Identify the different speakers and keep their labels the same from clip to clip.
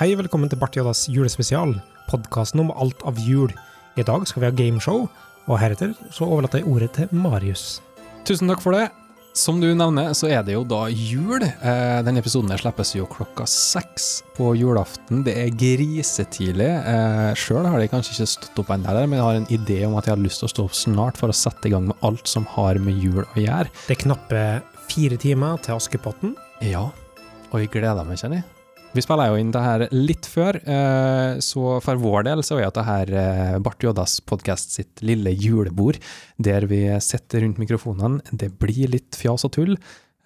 Speaker 1: Hei og velkommen til Bart Joddas julespesial, podkasten om alt av jul. I dag skal vi ha gameshow, og heretter så overlater jeg ordet til Marius.
Speaker 2: Tusen takk for det. Som du nevner, så er det jo da jul. Eh, denne episoden her slippes jo klokka seks på julaften. Det er grisetidlig. Eh, Sjøl har jeg kanskje ikke stått opp ennå, men jeg har en idé om at jeg har lyst til å stå opp snart for å sette i gang med alt som har med jul å gjøre.
Speaker 1: Det er knappe fire timer til Askepotten.
Speaker 2: Ja, og jeg gleder meg, kjenner jeg. Vi spiller jo inn det her litt før, eh, så for vår del så er jo det her eh, Bart Joddas podkast sitt lille julebord, der vi sitter rundt mikrofonene. Det blir litt fjas og tull,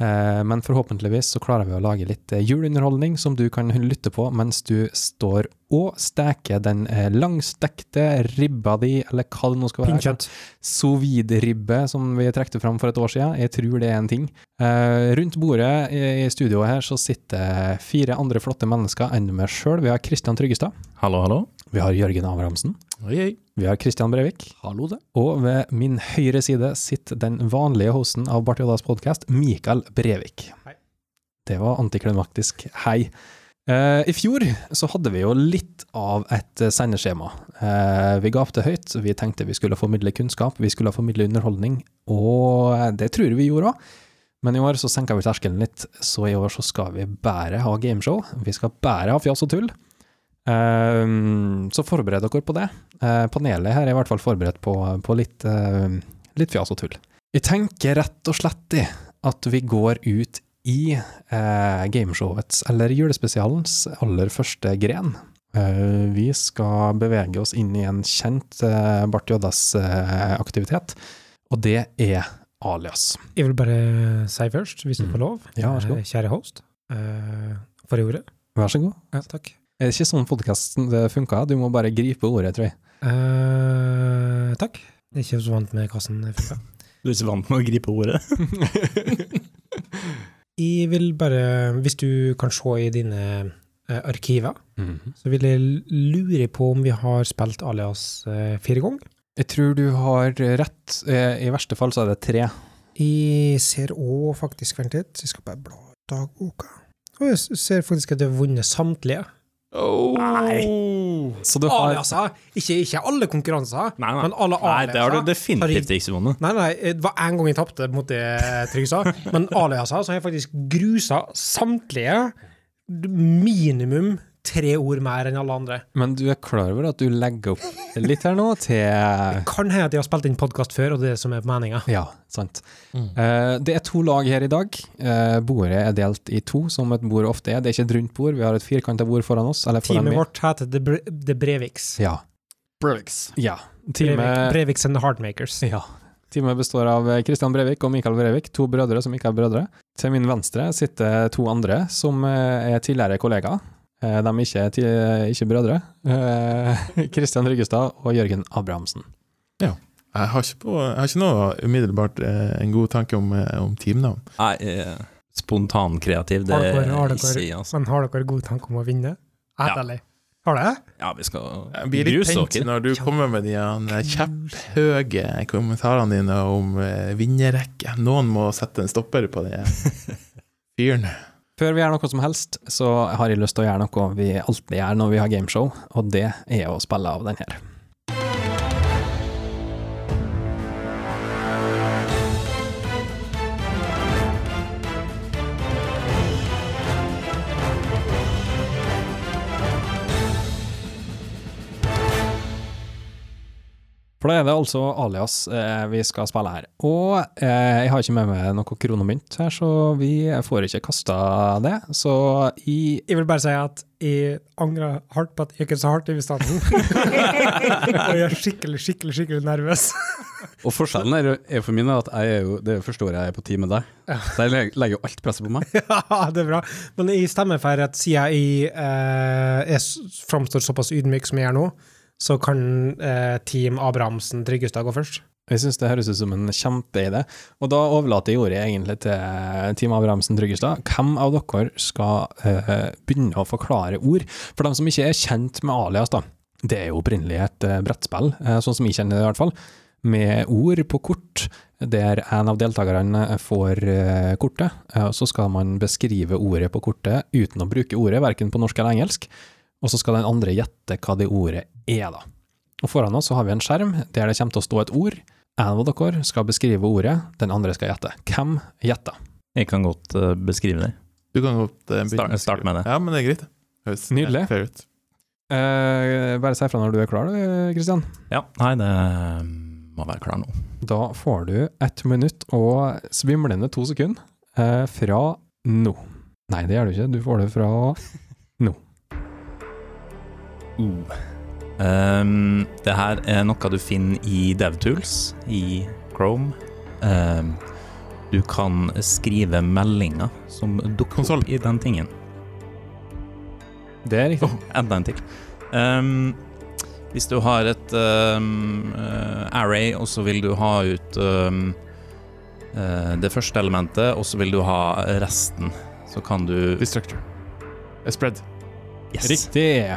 Speaker 2: eh, men forhåpentligvis så klarer vi å lage litt eh, juleunderholdning som du kan lytte på mens du står og steker den eh, langstekte ribba di, eller hva det nå skal være
Speaker 1: Pinnkjøtt.
Speaker 2: sous vide-ribbe som vi trekte fram for et år siden. Jeg tror det er en ting. Eh, rundt bordet i i studioet her så sitter fire andre flotte mennesker enn meg sjøl. Vi har Kristian Tryggestad.
Speaker 3: Hallo, hallo.
Speaker 2: Vi har Jørgen Abrahamsen.
Speaker 3: Oi, oi.
Speaker 2: Vi har Kristian Brevik.
Speaker 3: Hallo, det.
Speaker 2: Og ved min høyre side sitter den vanlige hosten av Bartiodas podkast, Mikael Brevik.
Speaker 1: Hei.
Speaker 2: Det var antiklimaktisk. Hei. Eh, I fjor så hadde vi jo litt av et eh, sendeskjema. Eh, vi gapte høyt, vi tenkte vi skulle formidle kunnskap, vi skulle formidle underholdning, og eh, det tror jeg vi gjorde òg. Men i år så senka vi terskelen litt, så i år så skal vi bare ha gameshow. Vi skal bare ha fjas og tull. Eh, så forbered dere på det. Eh, panelet her er i hvert fall forberedt på, på litt, eh, litt fjas og tull. Jeg tenker rett og slett i at vi går ut i eh, gameshowets, eller julespesialens, aller første gren. Eh, vi skal bevege oss inn i en kjent eh, Bart Joddas eh, aktivitet, og det er alias.
Speaker 1: Jeg vil bare si først, hvis du
Speaker 2: Mm.
Speaker 1: får lov,
Speaker 2: Ja, vær så god.
Speaker 1: eh, kjære host, eh, for ordet.
Speaker 2: Vær så god.
Speaker 1: Ja, takk.
Speaker 2: Er det ikke sånn podkasten funka? Du må bare gripe ordet, tror jeg.
Speaker 1: Eh, takk. Jeg er ikke så vant med kassen. jeg funker.
Speaker 3: Du er ikke vant med å gripe ordet.
Speaker 1: Jeg vil bare, hvis du kan se i dine eh, arkiver,
Speaker 2: Mhm.
Speaker 1: så vil jeg lure på om vi har spilt Alias eh, fire ganger.
Speaker 2: Jeg tror du har rett. Eh, I verste fall så er det tre.
Speaker 1: Jeg ser òg faktisk Vent litt, jeg skal bare bla i dagboka. Og jeg s- ser faktisk at jeg har vunnet samtlige.
Speaker 3: Oh. Nei.
Speaker 2: Så du har
Speaker 1: Aliaser! Ikke, ikke alle konkurranser,
Speaker 3: Oh, Nei, nei.
Speaker 1: men alle
Speaker 3: Nei, det har du
Speaker 1: aliaser.
Speaker 3: definitivt ikke vunnet.
Speaker 1: Nei, nei, det var én gang jeg tapte mot det Trygg sa, men aliaser så har jeg faktisk grusa samtlige minimum tre ord mer enn alle andre.
Speaker 2: Men du er klar over at du legger opp litt her nå til
Speaker 1: Kan hende at jeg har spilt inn podkast før, og det er det som er meninga.
Speaker 2: Ja, sant.
Speaker 3: Mm.
Speaker 2: Eh, det er to lag her i dag. Eh, bordet er delt i to, som et bord ofte er. Det er ikke et rundt bord, vi har et firkanta bord foran oss. Eller foran
Speaker 1: Teamet
Speaker 2: meg.
Speaker 1: vårt heter The, Bre The Breviks.
Speaker 2: Ja.
Speaker 3: Brooks.
Speaker 2: ja.
Speaker 1: Brevik,
Speaker 2: Teamet
Speaker 1: Breviks and the Hardmakers.
Speaker 2: ja. Teamet består av Kristian Brevik og Mikael Brevik, to brødre som ikke er brødre. Til min venstre sitter to andre som eh, er tidligere kollegaer. Eh, De er ikke, ti- ikke brødre. Kristian Ryggestad og Jørgen Abrahamsen.
Speaker 4: Jeg har ikke, på, jeg har ikke noe umiddelbart eh, en god tanke om, eh, om teamnavn.
Speaker 3: Nei, eh, spontankreativ, det
Speaker 1: Hardcore,
Speaker 3: er ikke
Speaker 1: hardcore.
Speaker 3: si, altså.
Speaker 1: Men har dere god tanke om å vinne?
Speaker 3: Ja.
Speaker 1: Ærlig. Har dere?
Speaker 3: Ja, vi skal
Speaker 4: Jeg blir litt
Speaker 3: gruse
Speaker 4: tent
Speaker 3: dere.
Speaker 4: når du kommer med de eh, kjepphøye kommentarene dine om eh, vinnerrekke. Noen må sette en stopper på den fyren.
Speaker 2: Før vi gjør noe som helst, så har jeg lyst til å gjøre noe vi alltid gjør når vi har gameshow, og det er å spille av den her. For da er det altså alias eh, vi skal spille her. Og eh, jeg har ikke med meg noe kronemynt her, så vi får ikke kasta det. Så i
Speaker 1: Jeg vil bare si at jeg angrer hardt på at jeg ikke sa hardt i bestanden. og jeg er skikkelig, skikkelig, skikkelig nervøs.
Speaker 5: Og forskjellen er, er for min er at jeg er jo, det forstår jeg er på tid med deg. Så jeg leg- legger jo alt presset på meg.
Speaker 1: ja, det er bra. Men jeg stemmer for at siden jeg, eh, jeg s- framstår såpass ydmyk som jeg gjør nå, så kan eh, Team Abrahamsen Tryggestad gå først.
Speaker 2: Jeg syns det høres ut som en kjempeidé. Og da overlater jeg ordet egentlig til eh, Team Abrahamsen Tryggestad. Hvem av dere skal eh, begynne å forklare ord? For dem som ikke er kjent med alias, da. Det er jo opprinnelig et eh, brettspill, eh, sånn som jeg kjenner det i hvert fall, med ord på kort. Der en av deltakerne får eh, kortet, eh, og så skal man beskrive ordet på kortet uten å bruke ordet, verken på norsk eller engelsk. Og så skal den andre gjette hva det ordet er, da. Og foran oss så har vi en skjerm der det kommer til å stå et ord. En av dere skal beskrive ordet, den andre skal gjette. Hvem gjetter?
Speaker 3: Jeg kan godt eh, beskrive det.
Speaker 4: Du kan godt eh,
Speaker 3: Start-
Speaker 4: å
Speaker 3: start
Speaker 4: skrive.
Speaker 3: med det.
Speaker 4: Ja, men det er greit. det. Høres
Speaker 2: Nydelig.
Speaker 4: fair ut.
Speaker 2: Eh, bare si ifra når du er klar, du, Kristian.
Speaker 3: Ja, nei, det eh, må være klar nå.
Speaker 2: Da får du ett minutt og svimlende to sekunder eh, fra nå. Nei, det gjør du ikke. Du får det fra
Speaker 3: Uh. Ehm, det her er noe du finner i DevTools, i Chrome. Ehm, du kan skrive meldinger som dukker
Speaker 4: Konsoll.
Speaker 3: opp i den tingen.
Speaker 2: Det er riktig.
Speaker 3: Åh, enda en til. Ehm, hvis du har et ehm, eh, array, og så vil du ha ut ehm, eh, det første elementet, og så vil du ha resten, så kan du
Speaker 4: Destructor.
Speaker 3: Eh,
Speaker 4: A spread.
Speaker 3: Yes.
Speaker 2: Riktig!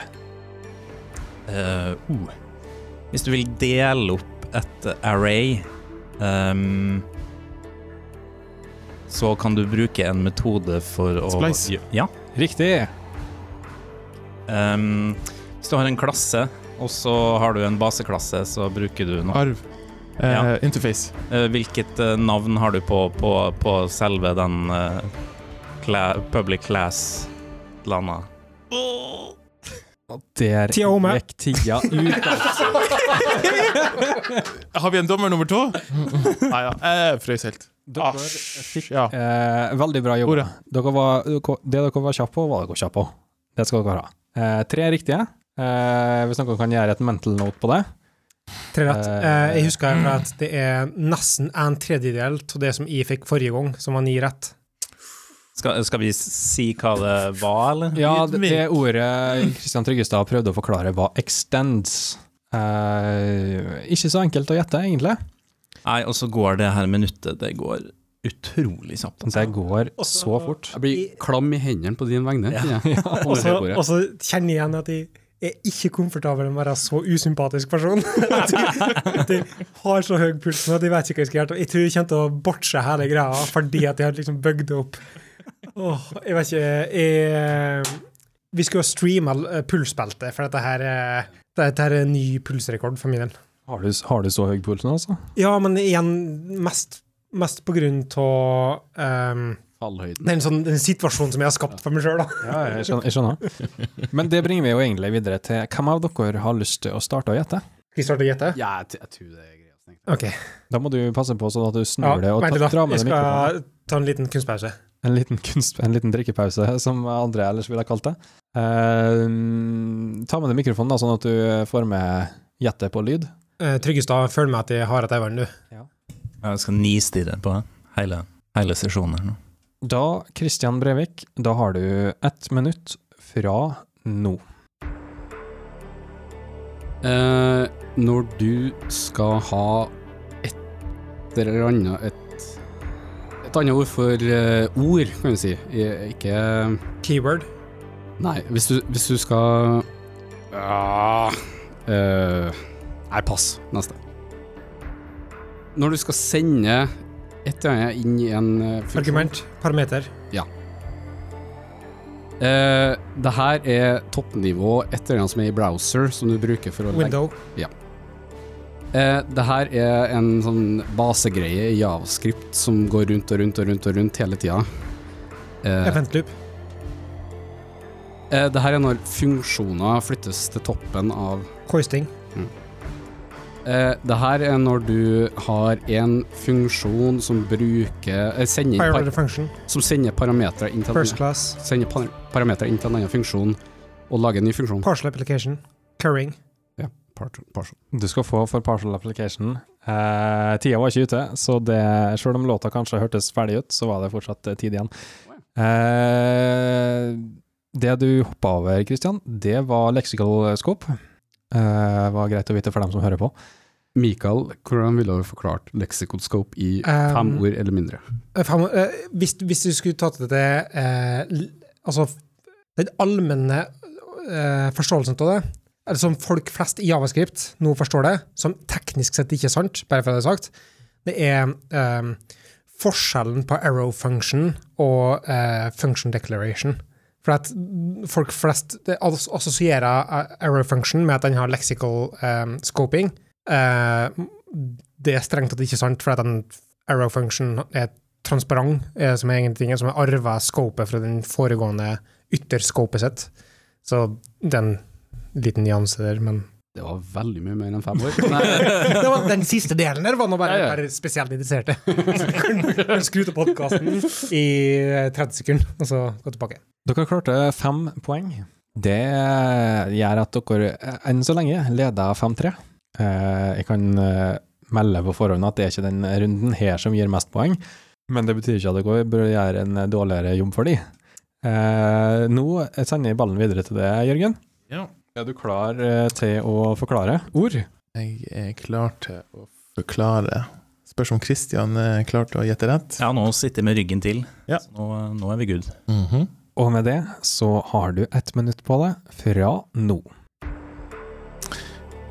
Speaker 3: Eh, uh. Hvis du vil dele opp et array ehm, Så kan du bruke en metode for å
Speaker 4: Splice.
Speaker 3: Ja.
Speaker 2: Riktig!
Speaker 3: ehm, hvis du har en klasse, og så har du en baseklasse, så bruker du noe.
Speaker 4: Arv. Eh,
Speaker 3: Ja.
Speaker 4: Interface.
Speaker 3: Eh, hvilket eh, navn har du på, på, på selve den eh, cla public class-landa?
Speaker 2: Og Der
Speaker 1: Tida omme.
Speaker 2: gikk tida ut.
Speaker 4: Har vi en dommer nummer to? Nei ja. Jeg frøys helt. Ah,
Speaker 2: Dere fikk
Speaker 4: Ja.
Speaker 2: eh, Veldig bra jobba.
Speaker 4: Ordet.
Speaker 2: Dere var, dere, det dere var kjappe på, var dere kjappe på. Det skal dere ha. Eh, tre riktige. Eh, hvis noen kan gjøre et mental note på det.
Speaker 1: Tre rett.
Speaker 2: Eh,
Speaker 1: Eh, jeg husker her at det er nesten en tredjedel av det som jeg fikk forrige gang, som var ni rett.
Speaker 3: Skal, skal vi si hva det var, eller?
Speaker 2: Ja, det,
Speaker 4: Ydmyk.
Speaker 2: det ordet Kristian Tryggestad prøvde å forklare, var 'extends'. Eh, ikke så enkelt å gjette, egentlig.
Speaker 3: Nei, og så går det her minuttet Det går utrolig kjapt.
Speaker 2: Det går så fort.
Speaker 5: Jeg blir klam i hendene på din vegne. kjenner jeg.
Speaker 1: Og så
Speaker 5: Om
Speaker 1: og
Speaker 5: det bordet.
Speaker 1: så kjenner jeg igjen at jeg er ikke komfortabel med å være så usympatisk person. At jeg- at jeg har så høy puls nå at jeg vet ikke hva jeg skal gjøre. Og Jeg tror jeg kommer til å botche hele greia fordi at jeg har liksom bygd det opp. Åh, jeg vet ikke jeg, Vi skulle jo streame eh, pulsbeltet, for dette her er, dette her er en ny pulsrekord for min del.
Speaker 2: Har du, har du så høy puls nå, altså?
Speaker 1: Ja, men igjen, mest, mest på grunn av ehm,
Speaker 5: Fallhøyden.
Speaker 1: den, sånn, den situasjonen som jeg har skapt for meg sjøl, da.
Speaker 2: Ja, jeg skjønner. Jeg skjønner. Men det bringer vi jo egentlig videre til hvem av dere har lyst til å starte å gjette?
Speaker 1: Skal jeg starte å gjette?
Speaker 5: Ja, jeg, t- jeg tror det er greia. som jeg tenkte.
Speaker 1: Ok.
Speaker 2: Da må du passe på sånn at du
Speaker 1: Ja,
Speaker 2: snur det og
Speaker 1: vent litt,
Speaker 2: ta,
Speaker 1: da.
Speaker 2: dra med
Speaker 1: Jeg
Speaker 2: deg mikrofonen.
Speaker 1: skal ta en liten kunstpause.
Speaker 2: En liten, kunst, en liten drikkepause, som andre ellers ville ha kalt det. Eh, ta med deg mikrofonen, da, sånn at du får med gjettet på lyd.
Speaker 1: Eh, Tryggestad, følg med at jeg har et øyevern, du.
Speaker 3: Jeg skal nistirre på det. hele, hele sesjonen her nå.
Speaker 2: Da, Kristian Brevik, da har du ett minutt fra nå.
Speaker 5: Eh, når du skal ha et eller annet Et, et annet ord for eh, ord, kan du si. I- Ikke
Speaker 1: Keyword.
Speaker 5: Nei, hvis du, hvis du skal ah, eh, Nei, pass. Neste. Når du skal sende et eller annet inn i en eh, funksjon-
Speaker 1: Argument. Parameter.
Speaker 5: Eh, det her er toppnivå et eller annet som er i browser, som du bruker for å legge
Speaker 1: Window.
Speaker 5: eh, Det her er en sånn basegreie i javascript som går rundt og rundt og rundt og rundt hele tida. Eh,
Speaker 1: Event loop.
Speaker 5: eh, det her er når funksjoner flyttes til toppen av
Speaker 1: Hoisting.
Speaker 5: eh, Det her er når du har en funksjon som bruker eh, sender, inn
Speaker 1: Priority
Speaker 5: par,
Speaker 1: function.
Speaker 5: Som sender parametere inn til en
Speaker 1: First
Speaker 5: annen-
Speaker 1: class.
Speaker 5: sender par- parametere inn til en annen funksjon og lager en ny funksjon.
Speaker 1: Partial application. Curring.
Speaker 5: Part- partial.
Speaker 2: Du skal få for partial application. Eh, tida var ikke ute, så det, selv om låta kanskje hørtes ferdig ut, så var det fortsatt eh, tid igjen. Eh, det du hoppa over, Kristian, det var lexical scope. Eh, var greit å vite for dem som hører på.
Speaker 5: Mikael, hvordan ville du forklart lexicodscope i
Speaker 1: Um,
Speaker 5: fem ord eller mindre?
Speaker 1: Eh, fram- eh, hvis, hvis du skulle tatt det til eh, l- Altså f- den allmenne eh, forståelsen av det, eller som folk flest i Javascript nå forstår det, som teknisk sett ikke er sant, bare for det er sagt, det er eh, forskjellen på arrow function og eh, function declaration. For at folk flest det ass- assosierer eh, error function med at den har lexical eh, scoping. Eh, det er strengt tatt ikke sant, for at den error function er transparent, eh, som er egentlig som er arva scopet fra den foregående ytterscopet sitt. Så det er en liten nyanse der, men
Speaker 5: Det var veldig mye mer enn fem år. Nei,
Speaker 1: det var, Den siste delen der var nå bare,
Speaker 5: Ja, ja.
Speaker 1: bare spesielt interesserte. Så kan du skru til podkasten i eh, 30 sekunder, og så gå tilbake.
Speaker 2: Dere klarte fem poeng. Det gjør at dere eh, enn så lenge leder 5-3. Eh, Jeg kan eh, melde på forhånd at det er ikke den runden her som gir mest poeng, men det betyr ikke at dere bør gjøre en dårligere jobb for dem. Nå sender jeg ballen videre til deg, Jørgen.
Speaker 4: Ja.
Speaker 2: Er du klar eh, til å forklare ord?
Speaker 4: Jeg er klar til å forklare. Spørs om Christian er klar til å gjette rett.
Speaker 3: Ja, nå sitter jeg med ryggen til.
Speaker 4: Ja.
Speaker 3: Så nå, nå er vi good.
Speaker 4: Mhm.
Speaker 2: Og med det så har du ett minutt på deg fra nå.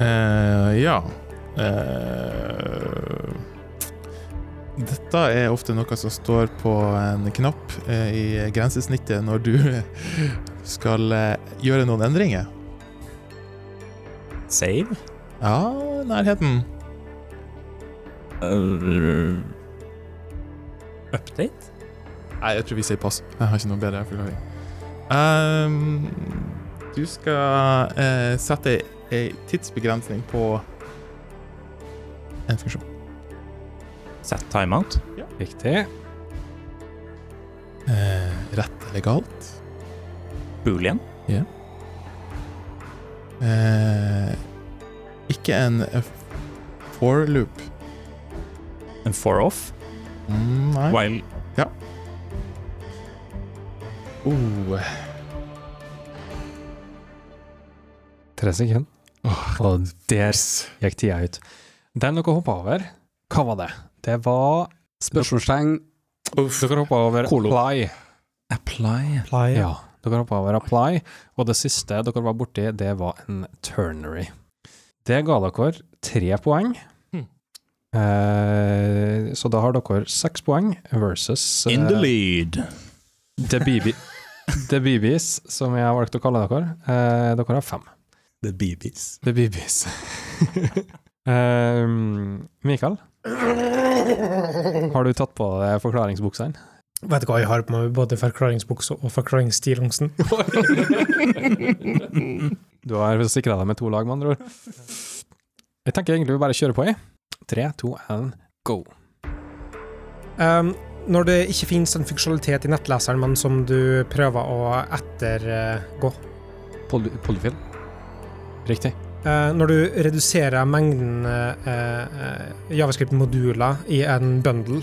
Speaker 4: Eh, ja. Eh, dette er ofte noe som står på en knapp eh, i grensesnittet når du skal eh, gjøre noen endringer.
Speaker 3: Save?
Speaker 4: Ja, nærheten.
Speaker 3: Uh, update?
Speaker 4: Nei, jeg tror vi sier pass. Jeg har ikke noe bedre forklaring. Ehm, du skal eh, sette ei tidsbegrensning på en funksjon.
Speaker 3: Set timeout?
Speaker 2: Riktig.
Speaker 4: Eh, rett eller galt?
Speaker 3: Boolean?
Speaker 4: Eh, ikke en eh, for loop.
Speaker 3: En four off?
Speaker 4: Mm, nei.
Speaker 3: While
Speaker 4: Oh,
Speaker 2: Tre sekunder. og der gikk tida ut. Den dere hoppa over, hva var det? Det var
Speaker 5: Spørsmålstegn.
Speaker 2: Dere hoppa over
Speaker 5: Kolo.
Speaker 2: apply.
Speaker 3: apply.
Speaker 2: Ja. Dere hoppa over apply, og det siste dere var borti, det var en turnery. Det ga dere tre poeng.
Speaker 4: Hmm.
Speaker 2: Eh, så da har dere seks poeng versus eh,
Speaker 3: In the lead.
Speaker 2: The BB The BBs, som jeg har valgt å kalle dere. Eh, dere har fem.
Speaker 3: The BBs.
Speaker 2: The BBs. um, Mikael, har du tatt på deg forklaringsbuksene?
Speaker 1: Vet du hva jeg har på meg? Både forklaringsbukse og forklaringsstillongsen.
Speaker 2: Du har sikra deg med to lag, med andre ord. Jeg tenker egentlig vi bare kjører på, jeg. Tre, to, én, go.
Speaker 1: Um, når det ikke finnes en funksjonalitet i nettleseren, men som du prøver å ettergå
Speaker 5: Poly polyfill.
Speaker 2: Riktig.
Speaker 1: Eh, Når du reduserer mengden eh, eh, javascript-moduler i en bundle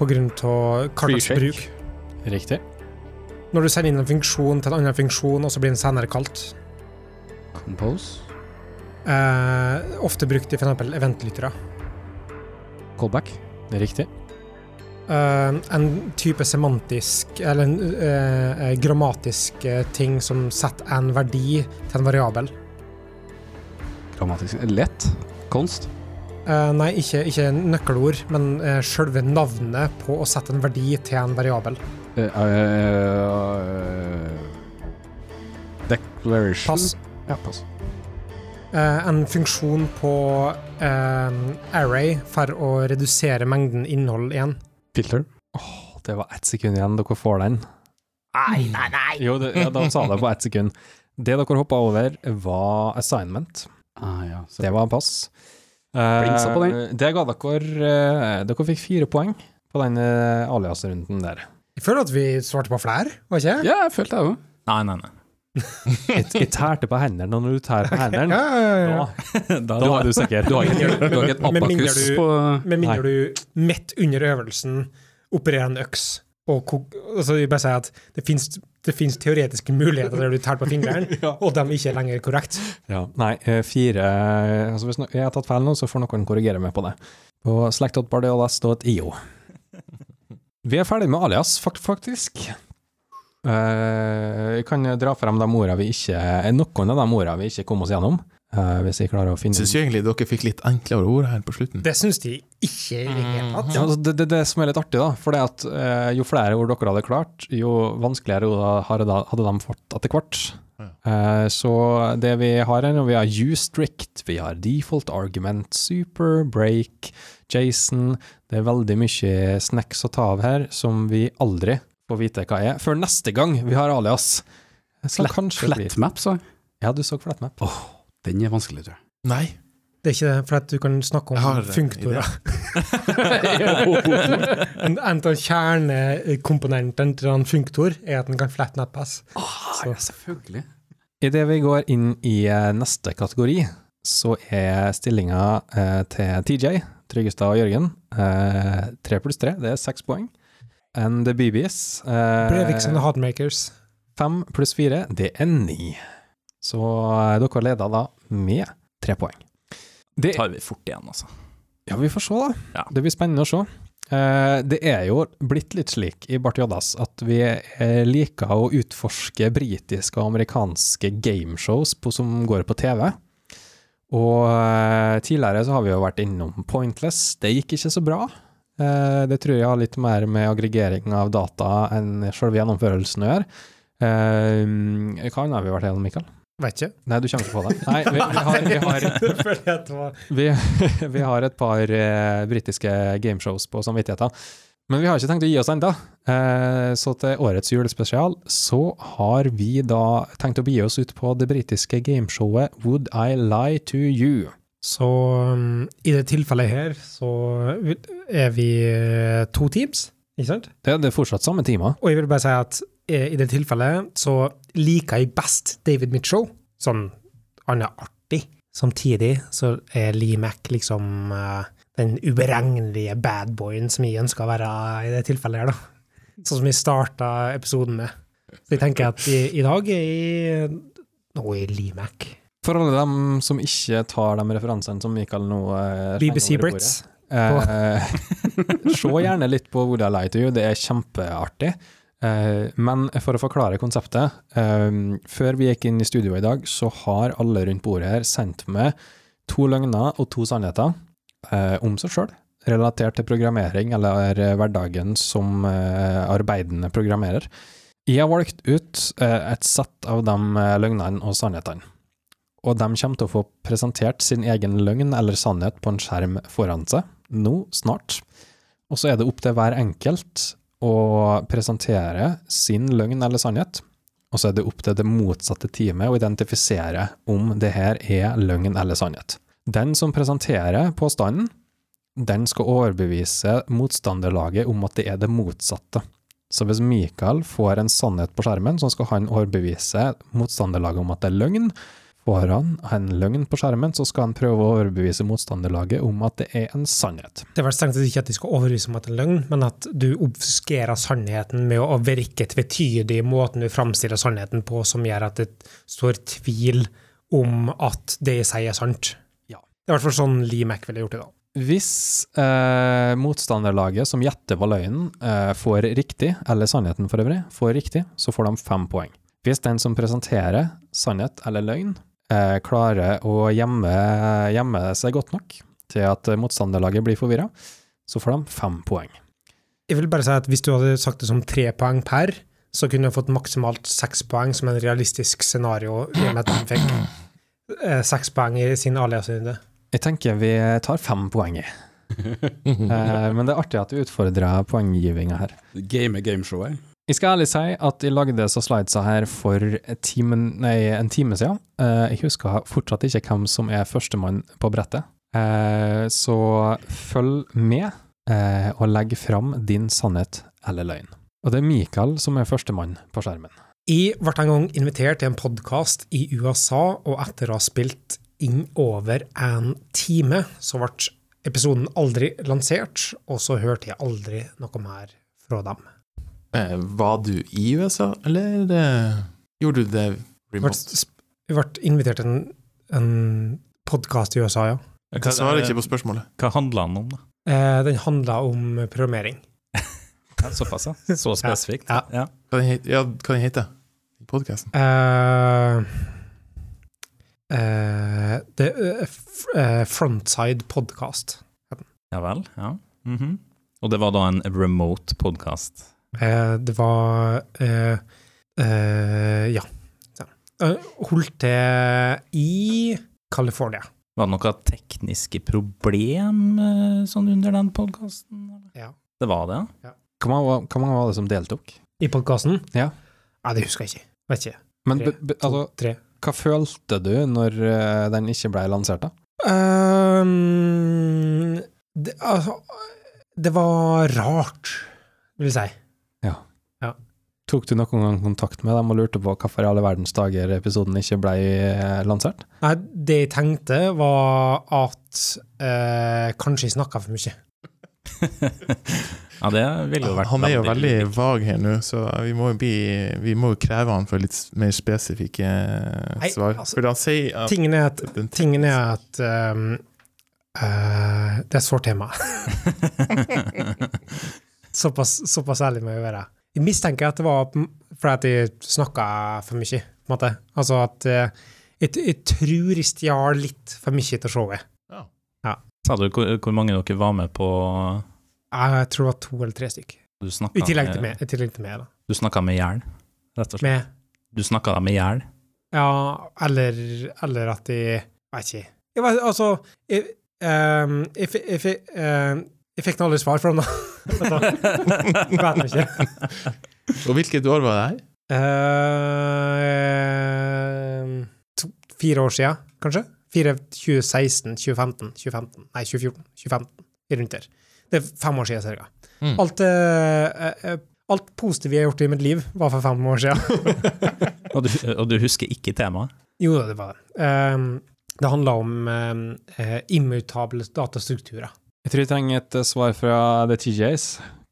Speaker 1: pga. kartas
Speaker 5: Freeshake.
Speaker 1: bruk
Speaker 2: Riktig.
Speaker 1: Når du sender inn en funksjon til en annen funksjon, og så blir den senere kalt
Speaker 5: Compose.
Speaker 1: eh, Ofte brukt i f.eks. eventlyttere.
Speaker 5: Callback.
Speaker 2: Riktig.
Speaker 1: Eh, en type semantisk, eller en eh, eh, grammatisk eh, ting som setter en verdi til en variabel.
Speaker 5: Grammatisk. Lett. Konst.
Speaker 1: Eh, nei, ikke, ikke nøkkelord, men eh, sjølve navnet på å sette en verdi til en variabel.
Speaker 5: Eh, eh, eh, declaration.
Speaker 1: Pass.
Speaker 5: Ja, pass.
Speaker 1: Eh, en funksjon på eh, array for å redusere mengden innhold igjen.
Speaker 5: Filter.
Speaker 2: Åh, det var ett sekund igjen. Dere får den.
Speaker 5: Nei, nei, nei!
Speaker 2: Jo, det, ja, da sa jeg det på ett sekund. Det dere hoppa over, var assignment.
Speaker 5: Ah, ja. så-
Speaker 2: Det var en pass.
Speaker 5: Blingsa på den.
Speaker 2: Eh, Det ga dere eh, Dere fikk fire poeng på den eh, alias-runden der.
Speaker 1: Jeg føler at vi svarte på flere, var ikke jeg?
Speaker 5: Ja, jeg følte det òg.
Speaker 3: Nei, nei, nei.
Speaker 2: Jeg, jeg tærte på hendene, og når du tærer på hendene,
Speaker 1: Ja, ja, ja.
Speaker 2: da,
Speaker 3: Da,
Speaker 2: da er du sikker.
Speaker 5: Du har ikke, du har ikke et
Speaker 1: Med mindre
Speaker 5: abakus
Speaker 1: du-
Speaker 5: på eh,
Speaker 1: Med mindre du midt under øvelsen opererer en øks og kok... Altså, jeg bare sier at det finnes, det finnes teoretiske muligheter der du tærer på fingeren, og de ikke er lenger korrekt.
Speaker 2: Ja, nei, eh, fire eh, altså Hvis no jeg har tatt feil nå, så får noen korrigere meg på det. På slack.bardiolas.io. Vi er ferdig med alias, fakt faktisk. Eh, Jeg kan dra frem de ordene vi ikke eh, Noen av de ordene vi ikke kom oss gjennom. Eh, eh, hvis jeg klarer å finne
Speaker 4: Syns jo egentlig dere fikk litt enklere ord her på slutten.
Speaker 1: Det syns de ikke i det hele tatt.
Speaker 2: ja, altså, det, det, det som er litt artig, da, for det at eh, jo flere ord dere hadde klart, jo vanskeligere ord hadde, da- hadde de fått etter hvert. Eh, så det vi har her, vi har U-strict, vi har default argument, super, break, Jason Det er veldig mye snacks å ta av her som vi aldri får vite hva er, før neste gang vi har alias. Så kanskje det blir
Speaker 5: Flatmap, sa jeg.
Speaker 2: Ja, du så flatmap.
Speaker 5: Den er vanskelig, tror jeg.
Speaker 4: Nei.
Speaker 1: Det er ikke det, for at du kan snakke
Speaker 4: Jeg har
Speaker 1: om
Speaker 4: en
Speaker 1: funktorer. en, en av kjernekomponentene til en funktor er at den kan flatten et pass.
Speaker 5: Ah, ja, selvfølgelig.
Speaker 2: Idet vi går inn i eh, neste kategori, så er stillinga eh, til TJ, Tryggestad og Jørgen, eh, tre pluss tre, det er seks poeng. And the BBs
Speaker 1: Breviksen
Speaker 2: eh,
Speaker 1: og Hardmakers.
Speaker 2: fem pluss fire, det er ni. Så eh, dere leder da med tre poeng. Det,
Speaker 3: tar vi fort igjen, altså.
Speaker 2: ja, vi får se, da.
Speaker 3: Ja.
Speaker 2: Det blir spennende å se. Eh, det er jo blitt litt slik i Bart Joddas at vi eh, liker å utforske britiske og amerikanske gameshows på, som går på TV. Og eh, tidligere så har vi jo vært innom Pointless. Det gikk ikke så bra. Eh, det tror jeg har litt mer med aggregering av data enn selve gjennomførelsen å gjøre. Eh, hva annet har vi vært gjennom, Mikael?
Speaker 1: Vet ikke.
Speaker 2: Nei, du kommer ikke på det. Nei, vi, vi har, vi har
Speaker 1: Fordi at det var
Speaker 2: vi, vi har et par eh, britiske gameshows på samvittigheten, men vi har ikke tenkt å gi oss ennå. Eh, så til årets julespesial så har vi da tenkt å begi oss ut på det britiske gameshowet Would I Lie To You?
Speaker 1: Så um, i det tilfellet her, så er vi eh, to teams, ikke sant?
Speaker 2: Det, det er fortsatt samme tema.
Speaker 1: Og jeg vil bare si at eh, i det tilfellet så liker jeg best David Mitchell. Sånn, han er artig. Samtidig så er Lee Mack liksom eh, den uberegnelige badboyen som jeg ønsker å være i det tilfellet her, da. Sånn som jeg starta episoden med. Så jeg tenker at i, i dag er jeg Nå er jeg Lee Mack.
Speaker 2: For alle dem som ikke tar de referansene som Mikael nå eh, slenger
Speaker 1: BBC
Speaker 2: over bordet.
Speaker 1: Brits.
Speaker 2: Eh, se gjerne litt på Would I Lie To You, det er kjempeartig. Eh, men for å forklare konseptet, eh, før vi gikk inn i studio i dag, så har alle rundt bordet her sendt med to løgner og to sannheter eh, om seg sjøl, relatert til programmering eller eh, hverdagen som eh, arbeidende programmerer. Jeg har valgt ut eh, et sett av de eh, løgnene og sannhetene og de kommer til å få presentert sin egen løgn eller sannhet på en skjerm foran seg, nå snart. Og så er det opp til hver enkelt å presentere sin løgn eller sannhet, og så er det opp til det motsatte teamet å identifisere om det her er løgn eller sannhet. Den som presenterer påstanden, den skal overbevise motstanderlaget om at det er det motsatte. Så hvis Mikael får en sannhet på skjermen, så skal han overbevise motstanderlaget om at det er løgn, Får han en løgn på skjermen, så skal han prøve å overbevise motstanderlaget om at det er en sannhet.
Speaker 1: Det er vel strengt tatt ikke at de skal overbevise om at det er løgn, men at du obfuskerer sannheten med å virke tvetydig i måten du framstiller sannheten på, som gjør at det står tvil om at det jeg sier, er sant.
Speaker 2: Ja.
Speaker 1: Det er i hvert fall sånn Lee Mack ville gjort det, da.
Speaker 2: Hvis eh, motstanderlaget som gjetter hva løgnen, eh, får riktig, eller sannheten for øvrig, får riktig, så får de fem poeng. Hvis den som presenterer sannhet eller løgn, eh, klarer å gjemme, gjemme seg godt nok til at motstanderlaget blir forvirra, så får de fem poeng.
Speaker 1: Jeg vil bare si at hvis du hadde sagt det som tre poeng per, så kunne du fått maksimalt seks poeng som en realistisk scenario, i og med at han fikk eh, seks poeng i sin aliasrunde.
Speaker 2: Jeg tenker vi tar fem poeng i, eh, men det er artig at du utfordrer poenggivinga her.
Speaker 5: Game er gameshowet.
Speaker 2: Jeg skal ærlig si at jeg lagde så slidesa her for et timen- nei, en time siden. Eh, Jeg husker fortsatt ikke hvem som er førstemann på brettet. Eh, Så følg med eh, og legg fram din sannhet eller løgn. Og det er Mikael som er førstemann på skjermen.
Speaker 1: Jeg ble en gang invitert til en podkast i USA, og etter å ha spilt inn over en time, så ble episoden aldri lansert, og så hørte jeg aldri noe mer fra dem.
Speaker 4: Eh, var du i USA, eller eh, gjorde du det
Speaker 1: Jeg ble,
Speaker 4: remote?
Speaker 1: sp- jeg ble invitert til en, en podkast i USA, ja.
Speaker 4: Jeg svarer ikke på spørsmålet.
Speaker 3: Hva handla den om, da?
Speaker 1: Eh, den handla om programmering.
Speaker 3: Ja, såpass, ja. Så spesifikt.
Speaker 1: Ja.
Speaker 3: Ja.
Speaker 4: Hva den het- ja, hva den heter den? Podkasten?
Speaker 1: Eh, eh, det, eh, f- eh, Frontside Podcast.
Speaker 3: Ja vel, ja. Mhm. Og det var da en remote podkast.
Speaker 1: Eh, det var eh, eh, Ja. ja. Eh, holdt til i California.
Speaker 3: Var det noen tekniske problem eh, sånn under den podkasten?
Speaker 1: Ja.
Speaker 3: Det var det, ja.
Speaker 2: Hvor mange, var- hvor mange var det som deltok?
Speaker 1: I podkasten?
Speaker 2: Ja.
Speaker 1: Nei, det husker jeg ikke. Vet ikke.
Speaker 2: Men
Speaker 1: Tre.
Speaker 2: be, be, altså,
Speaker 1: Tre.
Speaker 2: hva følte du når eh, den ikke ble lansert, da?
Speaker 1: Ehm, det, altså, det var rart, vil jeg si.
Speaker 2: Tok du noen gang kontakt med dem og lurte på hvorfor i alle verdens dager episoden ikke ble eh, lansert?
Speaker 1: Nei, det jeg tenkte, var at eh, kanskje jeg snakka for mye.
Speaker 3: ja, det ville jo vært
Speaker 4: Han er jo veldig vag her nå, så vi må jo, bli, vi må jo kreve han for litt mer spesifikke eh,
Speaker 1: Nei,
Speaker 4: svar.
Speaker 1: altså,
Speaker 4: for han sier at
Speaker 1: Tingen er at,
Speaker 4: den-
Speaker 1: tingen er at ehm, eh, Det er et sårt tema. Såpass, såpass ærlig må jeg være. Jeg mistenker at det var på- fordi at jeg snakka for mye. på en måte. Altså at eh, jeg, jeg tror jeg stjal litt for mye til showet.
Speaker 3: Sa du hvor, hvor mange dere var med på
Speaker 1: Jeg tror det var to eller tre stykk.
Speaker 3: Du
Speaker 1: I
Speaker 3: snakka
Speaker 1: tillegg til meg. I tillegg til meg, da.
Speaker 3: Du snakka med Jern, rett og slett.
Speaker 1: Med,
Speaker 3: Du snakka med Jern.
Speaker 1: ja, eller, eller at de Vet ikke. Jeg vet, altså Jeg, ehm, jeg, fi- jeg, fi- ehm, jeg fikk nå aldri svar fra dem, da. Vet vi ikke.
Speaker 4: Og hvilket år var det her?
Speaker 1: Ehm, to, fire år siden, kanskje? Fire, 2016, 2015, 2015 Nei, 2014, 2015. i Rundt der. Det er fem år siden, cirka.
Speaker 4: Mm.
Speaker 1: Alt, eh, eh, alt positive jeg har gjort i mitt liv, var for fem år siden.
Speaker 3: Og du, og du husker ikke temaet?
Speaker 1: Jo, det var det. Ehm, det handla om um, immutable datastrukturer.
Speaker 2: Jeg tror jeg trenger et eh, svar fra The TJs.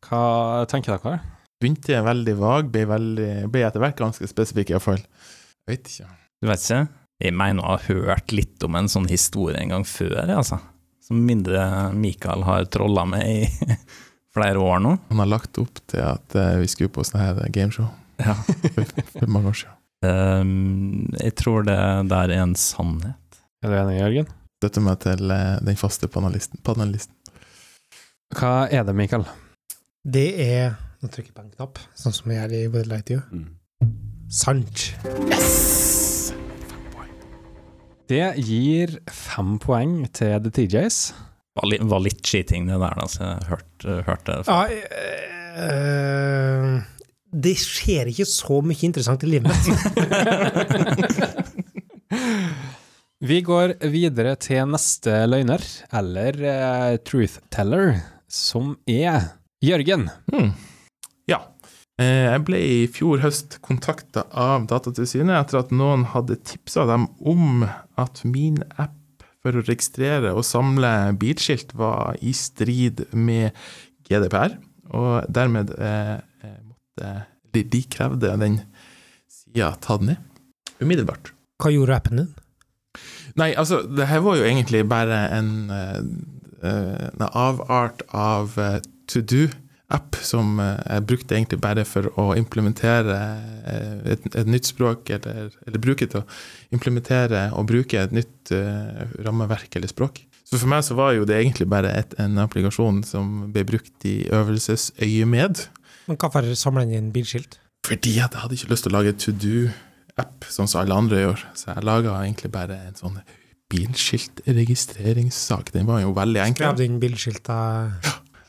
Speaker 2: Hva tenker dere?
Speaker 4: Begynte veldig vag, ble, veldig, ble etter hvert ganske spesifikk, iallfall. Jeg vet ikke.
Speaker 3: Du vet ikke? Jeg mener å ha hørt litt om en sånn historie en gang før, jeg, altså. Som mindre Mikael har trolla med i flere år nå.
Speaker 4: Han har lagt opp til at eh, vi skulle på sånn her gameshow
Speaker 3: Ja.
Speaker 4: for mange år siden.
Speaker 3: Ehm, jeg tror det der er en sannhet.
Speaker 2: Er du enig, Jørgen?
Speaker 4: Støtter meg til eh, den faste panelisten. panelisten.
Speaker 2: Hva er det, Mikael?
Speaker 1: Det er Nå trykker jeg på en knapp, sånn som jeg gjør i Would Light You.
Speaker 5: Mm.
Speaker 1: Sant.
Speaker 2: Det gir fem poeng til The TJs.
Speaker 3: Var, li, var litt cheating, det der, da, så jeg hørte hørt det.
Speaker 1: Ja, eh, det skjer ikke så mye interessant i livet mitt.
Speaker 2: Vi går videre til neste løgner, eller eh, truth teller, som er Jørgen.
Speaker 4: Hmm. Ja. Eh, Jeg ble i fjor høst kontakta av Datatilsynet etter at noen hadde tipsa dem om at min app for å registrere og samle bilskilt var i strid med GDPR, og dermed eh, eh, måtte de, de krevde den sida tatt ned. Umiddelbart.
Speaker 1: Hva gjorde appen din?
Speaker 4: Nei, altså, det her var jo egentlig bare en, eh, eh, en avart av to do-app, som eh, jeg brukte egentlig bare for å implementere eh, et, et nytt språk, eller, eller bruke til å implementere og bruke et nytt eh, rammeverk eller språk. Så for meg så var jo det egentlig bare et, en applikasjon som ble brukt i øvelsesøyemed.
Speaker 1: Men Hvorfor samler den inn bilskilt?
Speaker 4: Fordi at jeg hadde ikke lyst til å lage to do-app, sånn som alle andre gjør. Så jeg laga egentlig bare en sånn bilskiltregistreringssak. Den var jo veldig
Speaker 1: Skrev
Speaker 4: enkel.
Speaker 1: du inn bilskilta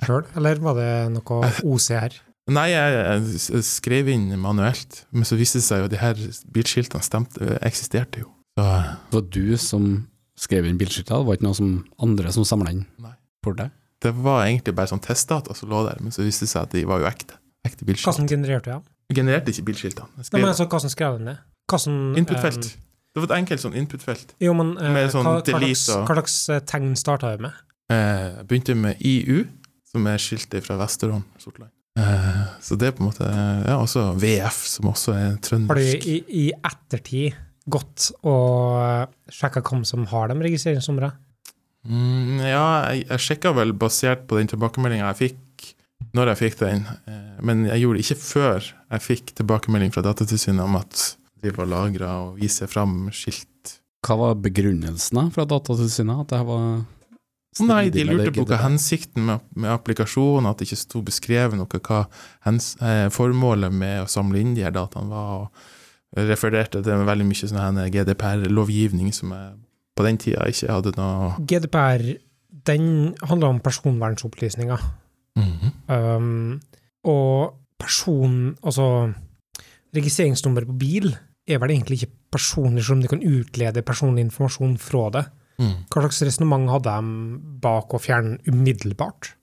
Speaker 1: sjøl, eller var det noe OCR?
Speaker 4: Nei, jeg, jeg s- skrev inn manuelt, men så viste det seg jo at de her bilskiltene stemte, eksisterte jo. Så
Speaker 5: Det var du som skrev inn bildskiltet, det var ikke noe som andre som samla inn
Speaker 4: Nei.
Speaker 5: for deg?
Speaker 4: det var egentlig bare sånn testdata som lå der, men så viste det seg at de var jo ekte. Ekte bilskilt.
Speaker 1: Hvordan genererte du den?
Speaker 4: Jeg genererte ikke bilskiltene.
Speaker 1: Nei,
Speaker 4: Jeg
Speaker 1: men
Speaker 4: skrev
Speaker 1: altså, hvordan skrev den det? Hvordan,
Speaker 4: input-felt.
Speaker 1: eh,
Speaker 4: Det var et enkelt sånn input-felt.
Speaker 1: jo, men eh,
Speaker 4: Med sånn
Speaker 1: hva, hva, slags,
Speaker 4: delete og-
Speaker 1: hva slags eh, tegn starta du med?
Speaker 4: Eh, Jeg begynte med IU, som er skiltet fra Vesterålen, Sortland. Eh, Så det er på en måte Ja, også VF, som også er
Speaker 1: Har du
Speaker 4: trøndersk.
Speaker 1: i, i ettertid gått og sjekka hvem som har de registreringsnumrene?
Speaker 4: Mm, ja, jeg, jeg sjekka vel basert på den tilbakemeldinga jeg fikk, når jeg fikk den, eh, men jeg gjorde det ikke før jeg fikk tilbakemelding fra Datatilsynet om at de var lagra og viser fram skilt
Speaker 5: Hva var begrunnelsen da fra Datatilsynet? At det her var
Speaker 4: Å nei, de
Speaker 5: stridig med
Speaker 4: lurte på hva
Speaker 5: GDPR?
Speaker 4: hensikten med, med applikasjonen, at det ikke sto beskrevet noe hva hens, eh, formålet med å samle inn de her dataene var, og refererte til veldig mye sånn her GDPR-lovgivning som jeg på den tida ikke hadde noe
Speaker 1: GDPR den handler om personvernsopplysninger. Um, og person, altså registreringsnummer på bil er vel egentlig ikke personlig, selv om det kan utlede personlig informasjon fra det.
Speaker 4: Mm.
Speaker 1: Hva slags resonnement hadde de bak å fjerne umiddelbart?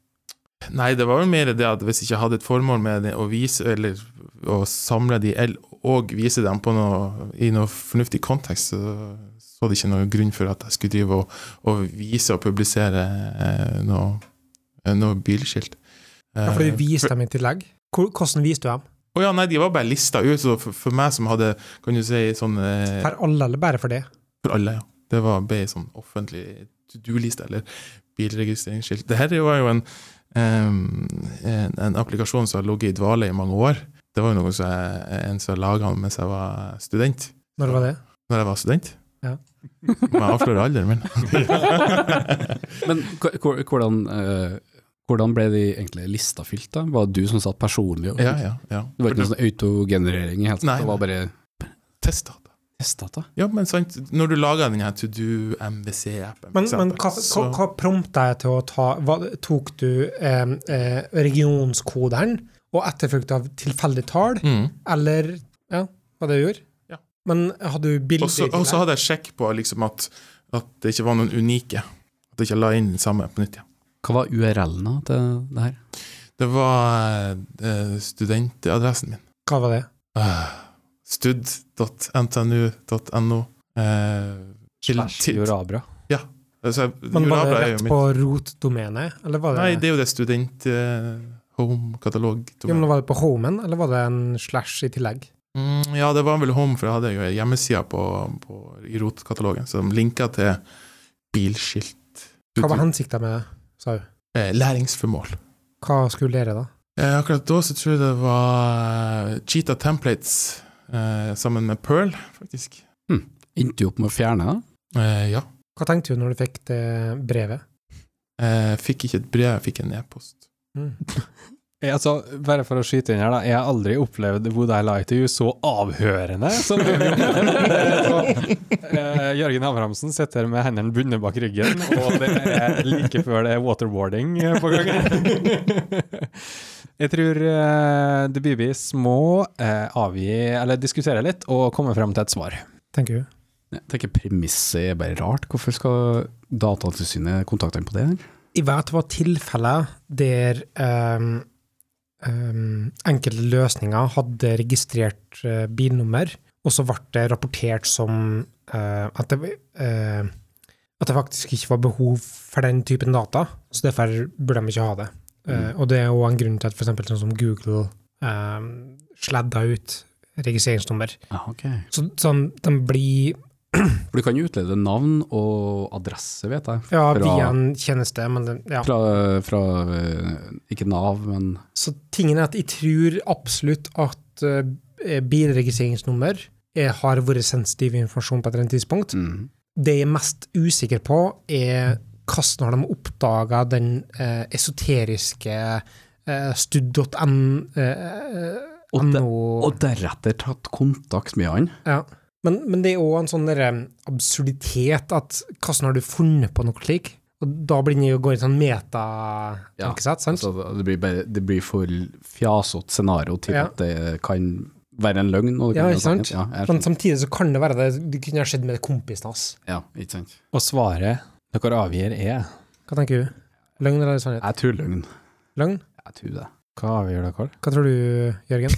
Speaker 4: Nei, det var jo mer det at hvis jeg ikke hadde et formål med det å vise, eller å samle de, el- og vise dem på noe, i noe fornuftig kontekst, så så det ikke noe grunn for at jeg skulle drive og, og vise og publisere eh, noe, eh, noe bilskilt.
Speaker 1: Ja, for
Speaker 4: Eh,
Speaker 1: det viste dem i tillegg. Hvor- Hvordan viste du dem?
Speaker 4: Å ja, nei, de var bare lista ut, så for, for meg som hadde, kan du si, sånn eh,
Speaker 1: For alle, eller bare for det?
Speaker 4: For alle, ja. Det var ble en sånn offentlig to do-liste, eller bilregistreringsskilt. Dette var jo en, eh, en, en applikasjon som har ligget i dvale i mange år. Det var jo noe som jeg, en som laga den mens jeg var student.
Speaker 1: Når var det?
Speaker 4: Når jeg var student.
Speaker 1: Ja.
Speaker 4: Må jeg avsløre alderen min?
Speaker 5: Men hva- hvor- hvordan, eh, hvordan ble de egentlig lista fylt, da? Var det du som satt personlig? og-
Speaker 4: ja, ja, ja.
Speaker 5: Det var ikke noe sånn autogenerering i hele tatt?
Speaker 4: Nei,
Speaker 5: Det var bare
Speaker 4: Testa det.
Speaker 5: testdata?
Speaker 4: Ja, men sant, når du lager denne to do MVC-appen
Speaker 1: Men, men hva, hva, hva prompta jeg til å ta hva, Tok du eh, eh, regionskoderen og etterfulgt av tilfeldig tall,
Speaker 4: mm.
Speaker 1: eller ja, hva det du gjorde?
Speaker 4: Ja.
Speaker 1: Men hadde du bilder
Speaker 4: Og
Speaker 1: i
Speaker 4: så og så
Speaker 1: tillegg?
Speaker 4: hadde jeg sjekk på liksom at, at det ikke var noen unike. At jeg ikke la inn den samme på nytt igjen.
Speaker 5: Hva var URL-ene til det her?
Speaker 4: Det var eh, studentadressen min.
Speaker 1: Hva var det?
Speaker 4: Ah, Stud.ntnu.no. Eh, til-
Speaker 2: Slash
Speaker 4: til-
Speaker 2: Jorabra.
Speaker 4: altså,
Speaker 1: Men var det
Speaker 4: Jorabla er jo
Speaker 1: rett
Speaker 4: mitt-
Speaker 1: på eh, rotdomenet, eller var det,
Speaker 4: Nei, det er jo det student eh, home-katalog.
Speaker 1: jo, men var det på homen, eller var det en slash i tillegg?
Speaker 4: Mm, ja, det var vel home, for jeg hadde jo hjemmesida på, på, i rotkatalogen som linka til bilskilt.
Speaker 1: Hva var hensikta med det, sa hun?
Speaker 4: Eh, læringsformål.
Speaker 1: Hva skulle dere da?
Speaker 4: Eh, akkurat da så tror jeg det var eh, Cheetah Templates eh, sammen med Pearl, faktisk.
Speaker 5: Endte du opp med å fjerne det?
Speaker 4: Eh, ja.
Speaker 1: Hva tenkte du når du fikk det brevet?
Speaker 4: Eh, fikk ikke et brev, jeg fikk en e-post.
Speaker 1: Mm.
Speaker 2: Ja, altså, bare for å skyte inn her, da. Jeg har aldri opplevd Would I Lie to You så avhørende som jeg gjorde. Så, eh, Jørgen Abrahamsen sitter med hendene bundet bak ryggen, og det er like før det er waterboarding eh, på gang. Jeg tror eh, The Bibis må eh, avgi, eller diskutere litt, og komme frem til et svar.
Speaker 1: Tenker hun.
Speaker 5: Jeg tenker premisset er bare rart. Hvorfor skal Datatilsynet kontakte dem på det? her?
Speaker 1: Jeg vet det var tilfeller der ehm, ehm, enkelte løsninger hadde registrert eh, bilnummer, og så ble det rapportert som eh, at, det, eh, at det faktisk ikke var behov for den typen data, så derfor burde de ikke ha det. Eh, og det er jo en grunn til at f.eks. sånn som Google um, sladda ut registreringsnummer.
Speaker 5: Ah, ok.
Speaker 1: Så sånn, de blir
Speaker 5: For du kan jo utlede navn og adresse, vet jeg.
Speaker 1: ja,
Speaker 5: Fra-
Speaker 1: via en tjeneste, men det, ja.
Speaker 5: Fra, fra eh, ikke Nav, men
Speaker 1: Så tingen er at jeg tror absolutt at eh, bilregistreringsnummer eh, har vært sensitiv informasjon på et eller annet tidspunkt.
Speaker 5: mm.
Speaker 1: Det jeg er mest usikker på, er hvordan har de oppdaga den eh, esoteriske eh,
Speaker 5: Og det-
Speaker 1: stud.no
Speaker 5: Og deretter tatt kontakt med han.
Speaker 1: ja. men, men det er òg en sånn der, eh, absurditet at hvordan har du funnet på noe slikt? Og da blir den jo går i en sånn
Speaker 5: Ja,
Speaker 1: meta-tankesett, sant?
Speaker 5: Altså, det, blir bare, det blir for fjasete scenario til
Speaker 1: Ja.
Speaker 5: at det kan være en løgn. Og
Speaker 1: Ja,
Speaker 5: det sånn- kan være
Speaker 1: ikke sant?
Speaker 5: sannhet. Ja, jeg
Speaker 1: Men
Speaker 5: skjønner.
Speaker 1: samtidig så kan det være det, det kunne ha skjedd med kompisen hans.
Speaker 5: ja, ikke sant.
Speaker 2: Og svaret dere avgir er
Speaker 1: Hva tenker du? Løgn eller sannhet?
Speaker 5: Jeg tror løgn.
Speaker 1: Løgn?
Speaker 5: Jeg tror det.
Speaker 2: Hva avgjør dere?
Speaker 1: Hva tror du, Jørgen?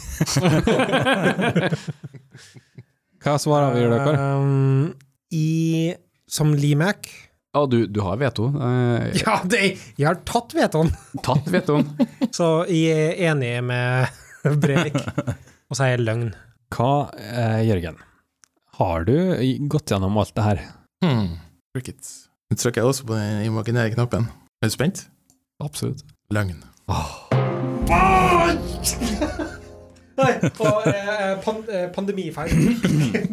Speaker 2: Hva svar avgjør dere?
Speaker 1: Um, I Som Limac
Speaker 5: Ja, du, du har veto. Eh,
Speaker 1: Ja, det, jeg har tatt vetoen!
Speaker 5: Tatt vetoen.
Speaker 1: Så jeg er enig med Brevik, og så er jeg løgn.
Speaker 2: Hva, eh, Jørgen? Har du gått gjennom alt det her?
Speaker 4: Hmm. Cricket. Nå trykker jeg også på den imaginære knappen. Er du spent?
Speaker 5: Absolutt.
Speaker 4: Løgn.
Speaker 1: eh, Nei, og pandemifeil.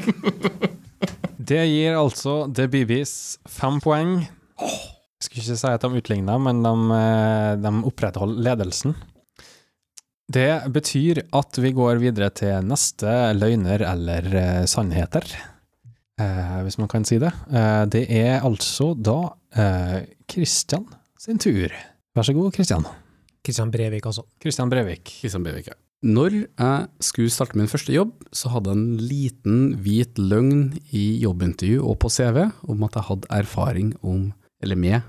Speaker 2: Det gir altså The BBs fem poeng. Jeg skulle ikke si at de utligna, men de, eh, de opprettholder ledelsen. Det betyr at vi går videre til neste løgner eller eh, sannheter, eh, hvis man kan si det. Eh, det er altså da eh, Christian sin tur. Vær så god, Christian. altså.
Speaker 1: Kristian Brevik også.
Speaker 2: Christian Brevik.
Speaker 5: Kristian Bevike. Når jeg skulle starte min første jobb, så hadde jeg en liten hvit løgn i jobbintervju og på CV om at jeg hadde erfaring om, eller med,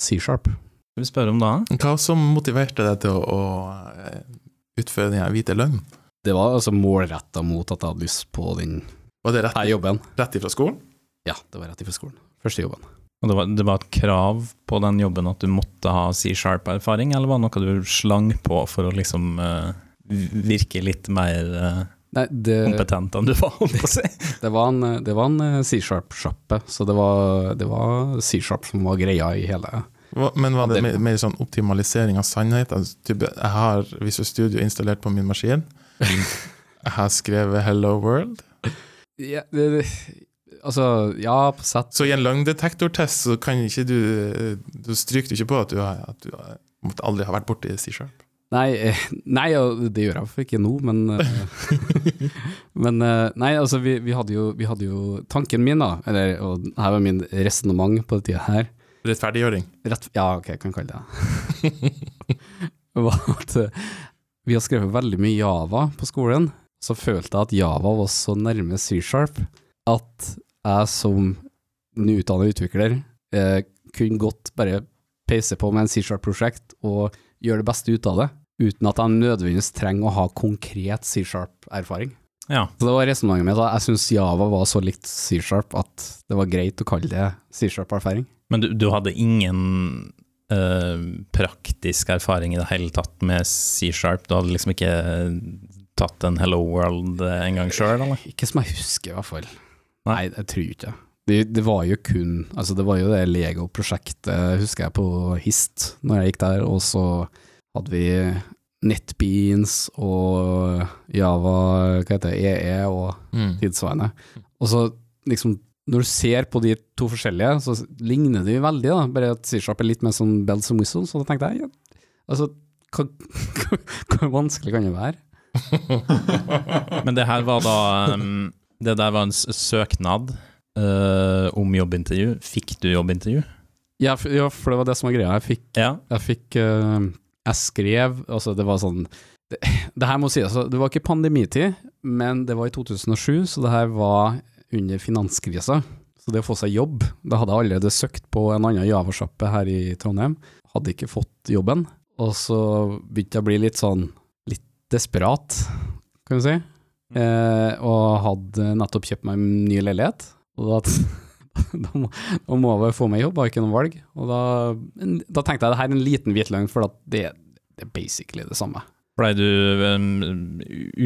Speaker 5: C-sharp.
Speaker 3: Skal vi spørre om da?
Speaker 4: Hva som motiverte deg til å, å eh, utføre den her hvite løgnen?
Speaker 5: Det var altså målretta mot at jeg hadde lyst på den
Speaker 4: Var det rett,
Speaker 5: her jobben.
Speaker 4: rett ifra skolen?
Speaker 5: Ja, det var rett ifra skolen. Første jobben.
Speaker 3: Og det var, det var et krav på den jobben at du måtte ha C-sharp-erfaring, eller var det noe du slang på for å liksom eh, virke litt mer eh,
Speaker 5: Nei, det,
Speaker 3: kompetent enn du var, holdt på å si?
Speaker 5: det var en, det var en eh, C-sharp-sjappe, så det var, det var C-sharp som var greia i hele
Speaker 4: Hva- Men var det
Speaker 5: Det-
Speaker 4: mer, mer sånn optimalisering av sannhet? Altså, type, jeg har Visual Studio installert på min maskin. Jeg har skrevet 'Hello World'.
Speaker 5: ja, det, det, Altså, ja, på sett
Speaker 4: Så i en løgndetektortest så kan ikke du Du stryker ikke på at du, har- at du har- måtte aldri ha vært borti C-sharp.
Speaker 5: Nei, eh, nei, og det gjør jeg for ikke nå, men eh, Men eh, nei, altså, vi, vi, hadde jo, vi hadde jo Tanken min, da, eller og her var min resonnement på den tida her
Speaker 4: Rettferdiggjøring.
Speaker 5: rett, Ja, ok, jeg kan kalle det det. var at eh, vi har skrevet veldig mye Java på skolen. Så følte jeg at Java var så nærme C-sharp at jeg som nyutdannet utvikler eh, kunne godt bare peise på med en C-sharp-prosjekt og gjøre det beste ut av det, uten at jeg nødvendigvis trenger å ha konkret C-sharp-erfaring.
Speaker 3: Ja.
Speaker 5: Så det var resonnementet mitt. da. Jeg syns Java var så likt C-sharp at det var greit å kalle det C-sharp-erfaring.
Speaker 3: Men du, du hadde ingen eh, praktisk erfaring i det hele tatt med C-sharp? Du hadde liksom ikke tatt en Hello World eh, en gang sjøl, eller?
Speaker 5: Ikke som jeg husker, i hvert fall.
Speaker 3: Nei.
Speaker 5: Nei, jeg tror ikke det. Det, det var jo kun altså Det var jo det Lego-prosjektet, husker jeg, på Hist, når jeg gikk der, og så hadde vi NetBeans og Java, hva heter det, EE og tidsvarende. Og så liksom når du ser på de to forskjellige, så ligner de veldig, da. bare at C-sharp er litt mer sånn bells and whistles. Så da tenkte jeg ja, altså, hva, hvor vanskelig kan det være?
Speaker 3: Men det her var da um, Det der var en s- søknad eh, om jobbintervju. Fikk du jobbintervju?
Speaker 5: Ja, for, ja, for det var det som var greia. Jeg fikk
Speaker 3: Ja.
Speaker 5: Jeg fikk eh, Jeg skrev Altså, det var sånn Det, det her må sies, altså, det var ikke pandemitid, men det var i 2007, så det her var under finanskrisa. Så det å få seg jobb Da hadde jeg allerede søkt på en annen Java-sjappe her i Trondheim. Hadde ikke fått jobben. Og så begynte jeg å bli litt sånn Litt desperat, kan du si. Eh, og hadde nettopp kjøpt meg en ny leilighet. Og da, da, må, da må jeg bare få meg jobb, har ikke noe valg. Og da, da tenkte jeg det her er en liten hvit løgn, for at det, det er basically det samme.
Speaker 3: Blei du um,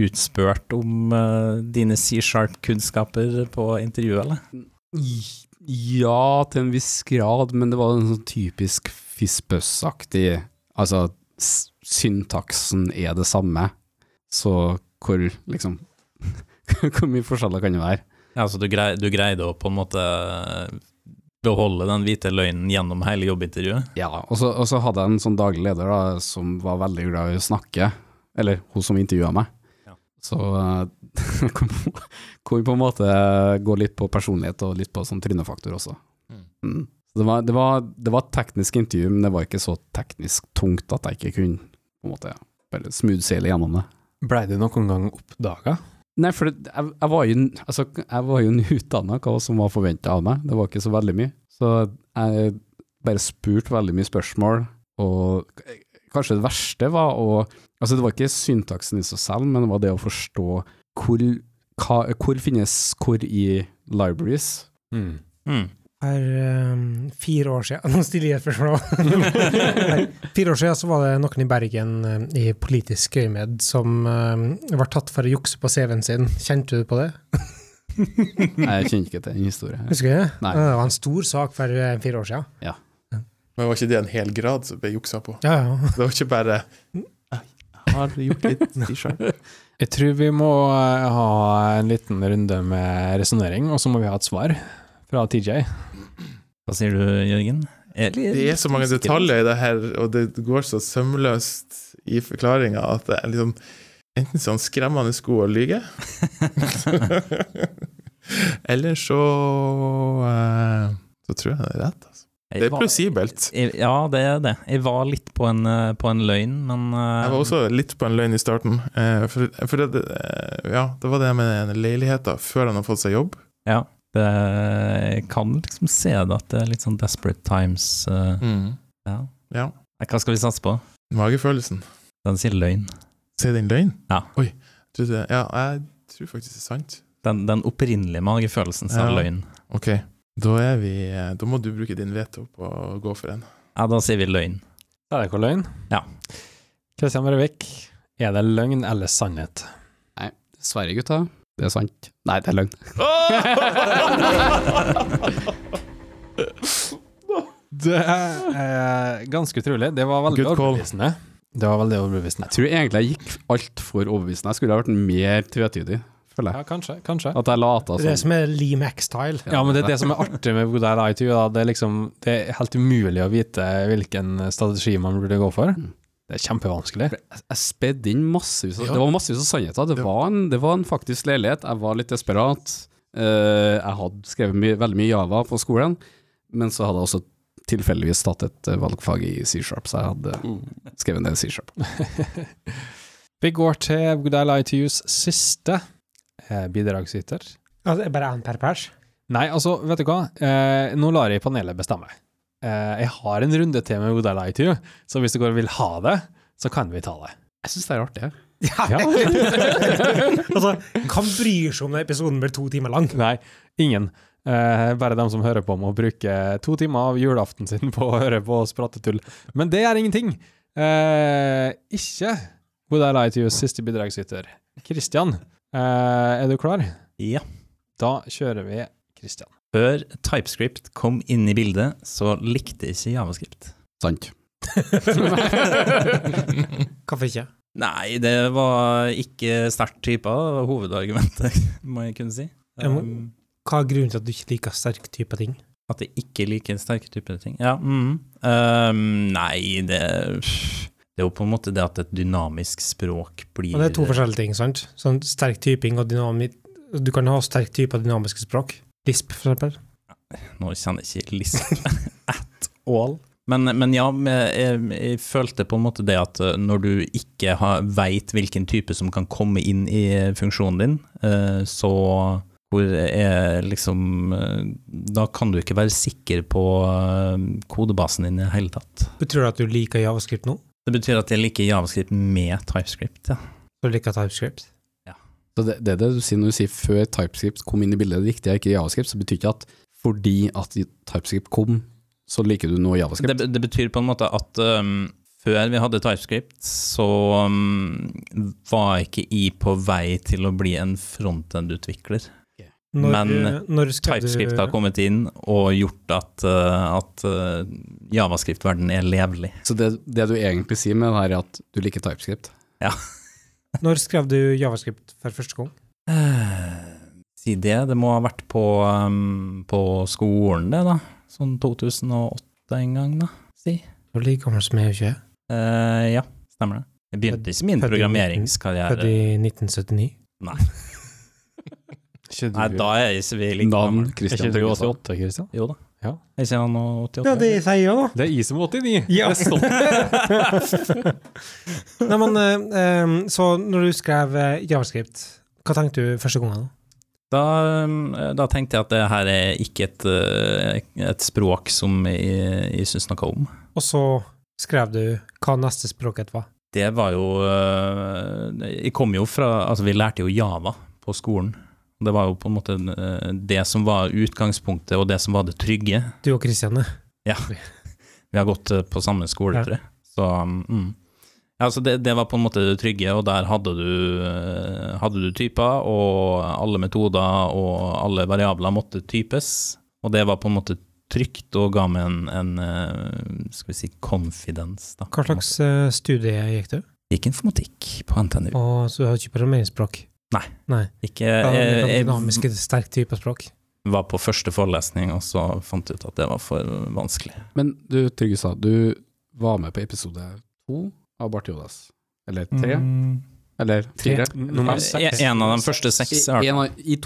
Speaker 3: utspurt om eh, dine C-sharp-kunnskaper på intervjuet, eller?
Speaker 5: Ja, til en viss grad, men det var en sånn typisk fispøssaktig Altså, s- syntaksen er det samme, så hvor liksom Hvor mye forskjeller kan det være?
Speaker 3: Ja, så du, grei, du greide å på en måte eh, beholde den hvite løgnen gjennom hele jobbintervjuet?
Speaker 5: Ja, og så, og så hadde jeg en sånn daglig leder da, som var veldig glad i å snakke, eller hun som intervjua meg.
Speaker 3: Ja.
Speaker 5: Så eh, kom kom på en måte gå litt på personlighet og litt på sånn trynefaktor også.
Speaker 4: Mm.
Speaker 5: Mm. Så det, var, det, var, det var et teknisk intervju, men det var ikke så teknisk tungt at jeg ikke kunne på en måte, bare smoothseile gjennom det.
Speaker 2: Blei du noen gang oppdaga?
Speaker 5: Nei, for det, jeg, jeg var jo n- altså, jeg var jo nyutdanna, hva som var forventa av meg. Det var ikke så veldig mye. Så jeg bare spurte veldig mye spørsmål, og k- kanskje det verste var å Altså, det var ikke syntaksen i seg selv, men det var det å forstå hvor, hva, hvor finnes hvor i libraries.
Speaker 2: Mm.
Speaker 3: Mm.
Speaker 1: For ehm, fire år siden Nå stiller jeg et spørsmål. Nei, fire år siden så var det noen i Bergen ehm, i politisk øyemed som ehm, var tatt for å jukse på CV-en sin. Kjente du på det?
Speaker 5: Nei, Jeg kjenner ikke til den historien. her.
Speaker 1: Husker du det?
Speaker 5: Nei.
Speaker 1: Det var en stor sak for eh, fire år siden.
Speaker 4: Men var ikke det en hel grad som ble juksa på?
Speaker 1: Ja, ja.
Speaker 4: Det var ikke bare Jeg har gjort litt C-sharp.
Speaker 2: Jeg tror vi må eh, ha en liten runde med resonnering, og så må vi ha et svar fra TJ.
Speaker 3: Hva sier du, Jørgen? Jeg litt
Speaker 4: Det er så mange
Speaker 3: usikker.
Speaker 4: detaljer i det her, og det går så sømløst i forklaringa at det er liksom enten sånn skremmende god å lyge Eller så eh, Så tror jeg det er rett. Altså.
Speaker 3: Jeg
Speaker 4: Det er
Speaker 3: var-
Speaker 4: plausibelt.
Speaker 3: jeg- Ja, det er det. Jeg var litt på en, eh, på en løgn, men eh,
Speaker 4: Jeg var også litt på en løgn i starten. eh, For, for det, eh, ja, det var det med den leiligheta før han har fått seg jobb.
Speaker 3: det, Jeg kan liksom se det at det er litt sånn desperate times. eh,
Speaker 1: Mm.
Speaker 3: ja.
Speaker 4: Ja.
Speaker 3: Nei, Hva skal vi satse på?
Speaker 4: Magefølelsen.
Speaker 3: Den sier løgn.
Speaker 4: Sier den løgn?
Speaker 3: Ja.
Speaker 4: Oi. Tror du det? Ja, jeg tror faktisk det er sant.
Speaker 3: Den, den opprinnelige magefølelsen sier
Speaker 4: Ja.
Speaker 3: løgn.
Speaker 4: Ok, da er vi eh, Da må du bruke din veto på å gå for en.
Speaker 3: Ja, da sier vi løgn.
Speaker 2: Er det ikke løgn?
Speaker 3: Ja.
Speaker 2: Kristian Brevik, er det løgn eller sannhet?
Speaker 5: Dessverre, gutta. Det er sant. Nei, det er løgn.
Speaker 2: Det er ganske utrolig. Det var veldig
Speaker 4: Good call.
Speaker 2: overbevisende. Det var veldig overbevisende.
Speaker 5: Jeg tror egentlig jeg gikk altfor overbevisende. Jeg skulle ha vært mer tvetydig, føler jeg.
Speaker 2: Ja, kanskje, kanskje.
Speaker 5: At jeg sånn. lata
Speaker 1: Det er det
Speaker 5: som.
Speaker 1: som er Lee Max-style.
Speaker 2: Ja, men det er det som er artig med Godal ITU. Da. Det, er liksom, det er helt umulig å vite hvilken strategi man burde gå for.
Speaker 5: Mm.
Speaker 2: Det er kjempevanskelig.
Speaker 5: Jeg spedde inn massevis av
Speaker 4: Ja.
Speaker 5: Det var massevis av sannheter. Det
Speaker 4: Ja.
Speaker 5: var en, det var en faktisk leilighet. Jeg var litt desperat. Eh, jeg hadde skrevet mye, veldig mye Java på skolen, men så hadde jeg også tilfeldigvis tatt et eh, valgfag i C-sharp, så jeg hadde skrevet ned C-sharp.
Speaker 2: Vi går til Godal ITUs siste eh, bidragsyter.
Speaker 1: Altså, det er bare én per pers.
Speaker 2: Nei, altså, vet du hva? Eh, nå lar jeg panelet bestemme. Eh, jeg har en runde til med Godal ITU, så hvis dere vil ha det, så kan vi ta det.
Speaker 5: Jeg syns det er artig. jeg.
Speaker 2: Ja.
Speaker 1: altså, hvem bryr seg om den episoden blir to timer lang?
Speaker 2: Nei, ingen. Eh, bare de som hører på, må bruke to timer av julaften sin på å høre på oss prate tull. Men det er ingenting. Eh, ikke Would I Lie to You, siste bidragsyter. Kristian, eh, er du klar?
Speaker 3: Ja.
Speaker 2: Da kjører vi Kristian.
Speaker 3: Før TypeScript kom inn i bildet, så likte jeg ikke javascript.
Speaker 5: Sant.
Speaker 1: Hvorfor ikke?
Speaker 3: Nei, det var ikke sterkt typer. Det var hovedargumentet, må jeg kunne si.
Speaker 1: Jeg må-
Speaker 3: Um,
Speaker 1: Hva er grunnen til at du ikke liker sterk type ting?
Speaker 3: At jeg ikke liker sterke typer ting. Ja, mm. um, nei, det Det er jo på en måte det at et dynamisk språk blir
Speaker 1: Men det er to forskjellige ting, sant? Sånn sterk typing og dynamikk Du kan ha sterk type av dynamiske språk. Lisp, for eksempel.
Speaker 3: Nå kjenner jeg ikke Lisp at all. Men, men ja, men jeg, jeg følte på en måte det at eh, når du ikke har- veit hvilken type som kan komme inn i funksjonen din, eh, så hvor er liksom eh, Da kan du ikke være sikker på eh, kodebasen din i det hele tatt.
Speaker 1: Betyr det at du liker javascript nå?
Speaker 3: Det betyr at jeg liker javascript med TypeScript, ja.
Speaker 1: Så du liker TypeScript?
Speaker 5: Så det, det er det du sier når du sier før TypeScript kom inn i bildet, det viktige er ikke JavaScript, så betyr ikke at fordi at TypeScript kom, så liker du nå JavaScript.
Speaker 3: Det, det betyr på en måte at um, før vi hadde TypeScript, så um, var ikke jeg på vei til å bli en frontend-utvikler.
Speaker 1: Når, eh,
Speaker 3: Men eh,
Speaker 1: når skal
Speaker 3: TypeScript
Speaker 1: du,
Speaker 3: har kommet inn og gjort at, uh, at uh, javascript-verdenen er levelig.
Speaker 5: Så det, det du egentlig sier med det her, er at du liker TypeScript.
Speaker 1: Når skrev du javascript for første gang?
Speaker 3: Si det. Det må ha vært på, um, på skolen, det, da. Sånn 2008 en gang, da. Si.
Speaker 1: Du er like gammel som jeg, ikke?
Speaker 3: Eh, ja, stemmer det. Jeg begynte ikke
Speaker 1: Født i
Speaker 3: min
Speaker 1: nitten- Født
Speaker 3: programmeringskarriere.
Speaker 1: i 1979.
Speaker 2: Ikke
Speaker 3: Nei, da er jeg ikke vi like
Speaker 5: Navn
Speaker 3: gammel.
Speaker 2: Er
Speaker 5: Christian
Speaker 2: ikke du
Speaker 5: Tryggestad.
Speaker 2: 88, Kristian?
Speaker 3: Jo da.
Speaker 2: Ja.
Speaker 3: Er ikke han 88?
Speaker 1: jeg sier òg.
Speaker 2: Det er jeg som er 89!
Speaker 1: Ja.
Speaker 2: Det er sånn.
Speaker 1: Nei, men eh, eh, Så når du skrev eh, javascript, hva tenkte du første gangen? da?
Speaker 3: Da, um, da tenkte jeg at det her er ikke et, uh, et språk som jeg, jeg syns noe om.
Speaker 1: Og så skrev du hva neste språket var.
Speaker 3: Det var jo uh, Jeg kom jo fra Altså, vi lærte jo Java på skolen. Det var jo på en måte uh, det som var utgangspunktet, og det som var det trygge.
Speaker 1: Du og eh, Kristian,
Speaker 3: Vi har gått eh, på samme skole,
Speaker 1: Ja.
Speaker 3: tror jeg. Så mm. ja, altså det, det var på en måte det trygge, og der hadde du, eh, hadde du typer, og alle metoder og alle variabler måtte types. Og det var på en måte trygt og ga meg en, en eh, skal vi si, confidence. Da,
Speaker 1: hva
Speaker 3: på en
Speaker 1: slags eh, studie gikk du?
Speaker 3: Ikke informatikk på NTNU.
Speaker 1: Å, så du har ikke programmeringsspråk?
Speaker 3: Ikke,
Speaker 1: Ja,
Speaker 3: eh, jeg,
Speaker 1: det er
Speaker 3: jeg
Speaker 1: Dynamiske, sterk type språk.
Speaker 3: var på første forelesning, og så fant jeg ut at det var for vanskelig.
Speaker 5: Men du, Trygve sa, du var med på episode to av Bart Jodas. Eller tre?
Speaker 3: Mm.
Speaker 5: Eller fire?
Speaker 1: Nummer seks.
Speaker 3: En av de første seks. i hvert
Speaker 5: I, en av- I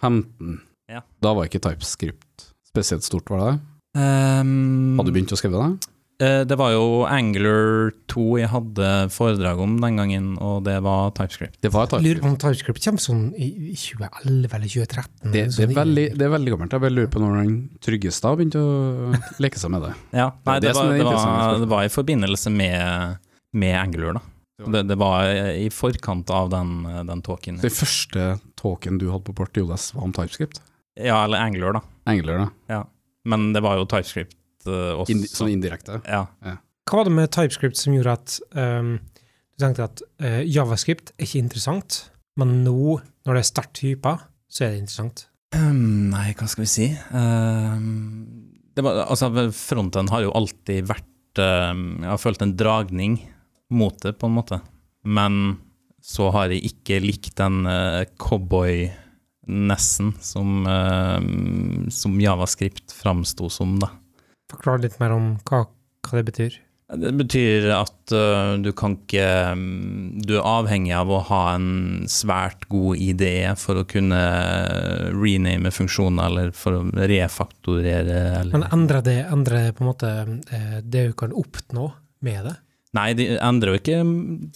Speaker 5: 2015.
Speaker 3: Ja.
Speaker 5: Da var ikke TypeScript spesielt stort, var det?
Speaker 3: Um,
Speaker 5: Hadde du begynt å skrive det?
Speaker 3: eh, Det var jo Angler 2 jeg hadde foredrag om den gangen, og det var TypeScript.
Speaker 5: Det var
Speaker 1: Jeg lurer
Speaker 5: TypeScript.
Speaker 1: på om TypeScript kommer sånn i i 2011 eller 2013.
Speaker 5: Det, det,
Speaker 1: sånn
Speaker 5: er
Speaker 1: i-
Speaker 5: veldig, det er veldig gammelt. Jeg bare lurer på når den Tryggestad begynte å leke seg med det.
Speaker 3: Ja, nei,
Speaker 5: det
Speaker 3: det,
Speaker 5: som
Speaker 3: var,
Speaker 5: er
Speaker 3: det,
Speaker 5: interessant
Speaker 3: var,
Speaker 5: spørsmål.
Speaker 3: det var i forbindelse med, med Angler, da. Det, det var i forkant av den, den talken.
Speaker 5: Den første talken du hadde på Bart Jodas, var om TypeScript?
Speaker 3: Ja, eller Angler, da.
Speaker 5: Engler, da.
Speaker 3: Men det var jo TypeScript eh, også.
Speaker 5: Indi, sånn indirekte.
Speaker 3: ja.
Speaker 1: Hva var det med TypeScript som gjorde at ehm, du tenkte at eh, JavaScript er ikke interessant, men nå, når det er starttyper, så er det interessant?
Speaker 3: Ehm, Nei, hva skal vi si? Ehm, det var, altså, fronten har jo alltid vært ehm, Jeg har følt en dragning mot det, på en måte. Men så har jeg ikke likt den eh, cowboy-nessen som, ehm, som javascript framsto som, da.
Speaker 1: Forklar litt mer om hva, hva det betyr.
Speaker 3: Det betyr at øh, du kan ikke mm, Du er avhengig av å ha en svært god idé for å kunne eh, rename funksjoner, eller for å refaktorere,
Speaker 1: Men
Speaker 3: eller
Speaker 1: endrer det, endrer det på en måte eh, det du kan oppnå med det?
Speaker 3: Nei, det endrer jo ikke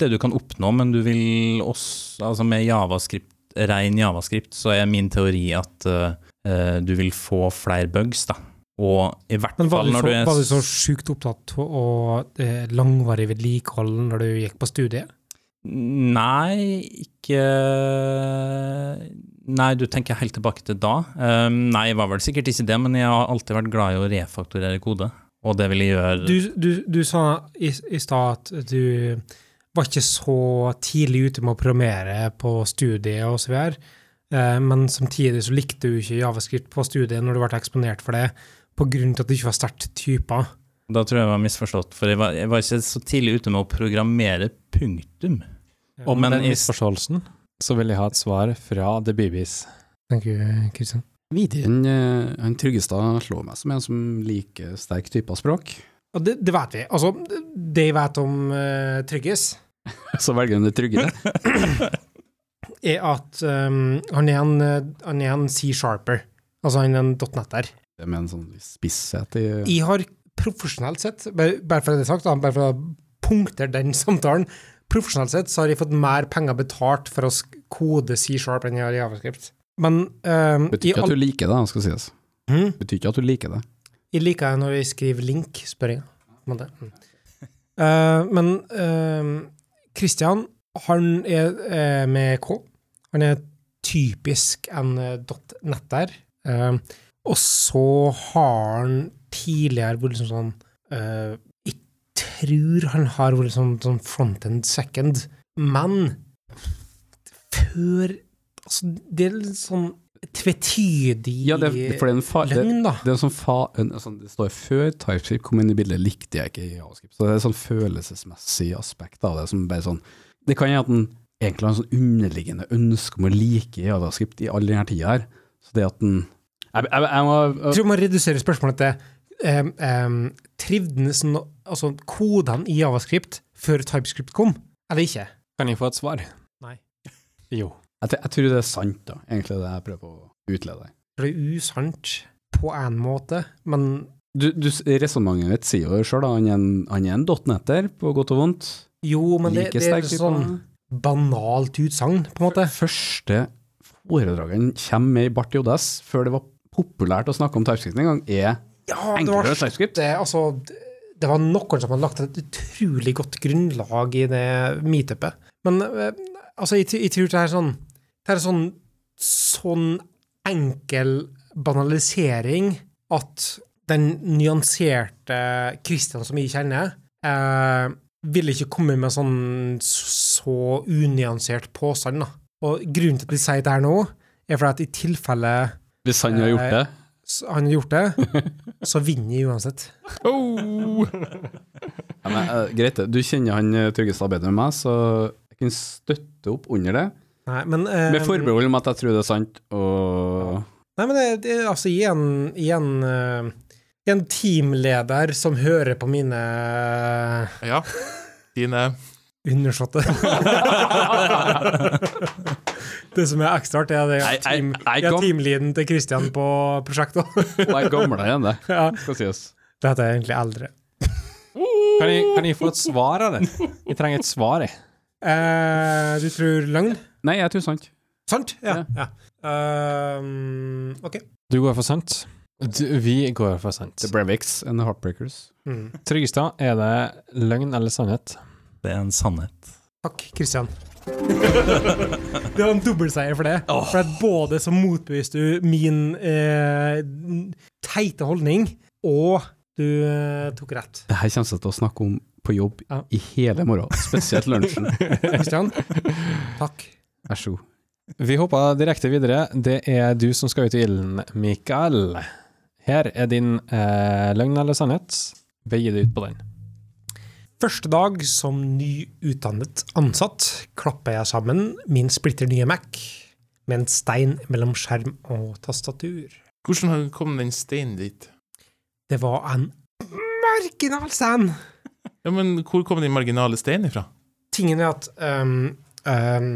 Speaker 3: det du kan oppnå, men du vil også Altså med javascript, ren javascript, så er min teori at øh, øh, du vil få flere bugs, da. Og i hvert
Speaker 1: Men var
Speaker 3: fall
Speaker 1: du,
Speaker 3: når
Speaker 1: så,
Speaker 3: du er
Speaker 1: var du så sjukt opptatt av eh, langvarig vedlikehold når du gikk på studiet?
Speaker 3: Nei, ikke Nei, du tenker helt tilbake til da. Um, nei, jeg var vel sikkert ikke det, men jeg har alltid vært glad i å refakturere kode. Og det vil jeg gjøre
Speaker 1: Du, du, du sa i, i stad at du var ikke så tidlig ute med å programmere på studiet og så videre, eh, men samtidig så likte du ikke javascript på studiet når du ble eksponert for det, på grunn til at du ikke var sterkt typer.
Speaker 3: Da tror jeg jeg var misforstått, for jeg var, jeg var ikke så tidlig ute med å programmere punktum. Og men
Speaker 2: den
Speaker 3: i-
Speaker 2: misforståelsen, så vil jeg ha et svar fra The Bibis.
Speaker 1: Thank you, Kristian.
Speaker 5: Videre enn eh, han Tryggestad slår meg som en som liker sterk type av språk.
Speaker 1: Og det, det vet vi. Altså, det jeg vet om eh, Trygges,
Speaker 5: Så velger han det trygge.
Speaker 1: er at um, han er en, eh, han er en C-sharper. Altså han er en .netter.
Speaker 5: Det med en sånn spisshet i
Speaker 1: Jeg har profesjonelt sett, bare, bare for at det er sagt, da, bare for å punktere den samtalen, profesjonelt sett så har jeg fått mer penger betalt for å sk- kode C-sharp enn jeg har i javascript. Men um,
Speaker 5: Betyr
Speaker 1: jeg,
Speaker 5: ikke at
Speaker 1: al-
Speaker 5: du liker det, skal sies.
Speaker 1: Hm?
Speaker 5: Betyr ikke at du liker det.
Speaker 1: jeg liker det når jeg skriver link-spørringer. på en måte. Mm. Eh, men um, Christian, han er eh, med K. Han er typisk en eh, .netter. Eh, og så har han tidligere vært liksom sånn eh, Jeg tror han har vært sånn, sånn frontend second, men før Altså, det er litt sånn tvetydig
Speaker 5: Ja, det, er- for det er en fa... Det,
Speaker 1: løgn, da.
Speaker 5: det er en sånn fa... En, sånn, det står før TypeScript kom inn i bildet, likte jeg ikke i JavaScript. Så det er et sånn følelsesmessig aspekt av det som bare sånn Det kan hende at en egentlig har en sånn underliggende ønske om å like JavaScript i all denne tida her. Så det at en jeg, jeg, jeg må
Speaker 1: Jeg tror man reduserer spørsmålet til um, um, trivdes no, altså kodene i javascript før TypeScript kom, eller ikke?
Speaker 2: Kan jeg få et svar?
Speaker 1: Nei.
Speaker 2: Jo.
Speaker 5: jeg, t- jeg tror det er sant, da, egentlig, det jeg prøver på å utlede.
Speaker 1: For det er usant på en måte, men
Speaker 5: Du, du, Resonnementet ditt sier jo sjøl, han er en- han er en dotnetter, på godt og vondt.
Speaker 1: jo, men det,
Speaker 5: Like
Speaker 1: det er
Speaker 5: sterk type.
Speaker 1: sånn banalt utsagn, på en måte.
Speaker 5: første foredraget han kommer med i Bart JS, før det var populært å snakke om TypeScript en gang, er
Speaker 1: Ja, det var
Speaker 5: enklere TypeScript.
Speaker 1: det, altså, det var noen som hadde lagt et utrolig godt grunnlag i det meetupet. Men eh, altså, jeg, tr- jeg tror det er sånn Det er sånn, sånn enkel banalisering at den nyanserte Christian som jeg kjenner, eh, ville ikke komme med sånn så unyansert påstand, da. Og grunnen til at de sier det her nå, er fordi at i tilfelle
Speaker 5: Hvis han har gjort det.
Speaker 1: Oh! s- han har gjort det, så vinner jeg uansett.
Speaker 5: Ja, men, eh, greit, det. du kjenner han eh, Tryggestad bedre enn meg, så jeg kan støtte opp under det.
Speaker 1: Nei, men, eh,
Speaker 5: Med forbehold om at jeg tror det er sant, og
Speaker 1: Nei, men det, det, altså, igjen, igjen eh, En teamleder som hører på mine eh,
Speaker 4: Ja. Dine
Speaker 1: undersåtte. det som er ekstra artig, er det at
Speaker 5: Nei,
Speaker 1: team,
Speaker 5: nei, nei,
Speaker 1: jeg er
Speaker 5: kom.
Speaker 1: teamleaden til Christian på prosjektet.
Speaker 5: Og jeg er gamlere enn det,
Speaker 1: ja,
Speaker 5: skal sies.
Speaker 1: dette er egentlig eldre.
Speaker 2: Kan jeg, kan jeg få et svar av det? Jeg trenger et svar, jeg.
Speaker 1: Eh, du tror løgn?
Speaker 5: Nei, jeg tror sant.
Speaker 1: Sant? Ja.
Speaker 5: Ja.
Speaker 1: ja. Ehm, ok.
Speaker 2: Du går for sant. Du, vi går for sant.
Speaker 5: The Breviks and the Heartbreakers.
Speaker 1: Mm.
Speaker 2: Tryggestad, er det løgn eller sannhet?
Speaker 3: Det er en sannhet.
Speaker 1: Takk, Christian. det var en dobbeltseier for det. For at både så motbeviste du min eh, teite holdning, og du eh, tok rett.
Speaker 5: Det her kommer jeg til å snakke om på jobb
Speaker 1: Ja.
Speaker 5: i hele morgen, spesielt lunsjen.
Speaker 1: Christian, takk.
Speaker 5: Vær så god.
Speaker 2: Vi hopper direkte videre. Det er du som skal ut i ilden, Mikael. Her er din eh, løgn eller sannhet. Veier det ut på den.
Speaker 1: Første dag som nyutdannet ansatt klapper jeg sammen min splitter nye Mac med en stein mellom skjerm og tastatur.
Speaker 4: Hvordan har- kom den steinen dit?
Speaker 1: Det var en marginal stein.
Speaker 4: Ja, men Hvor kom den marginale steinen ifra?
Speaker 1: tingen er at ehm, ehm,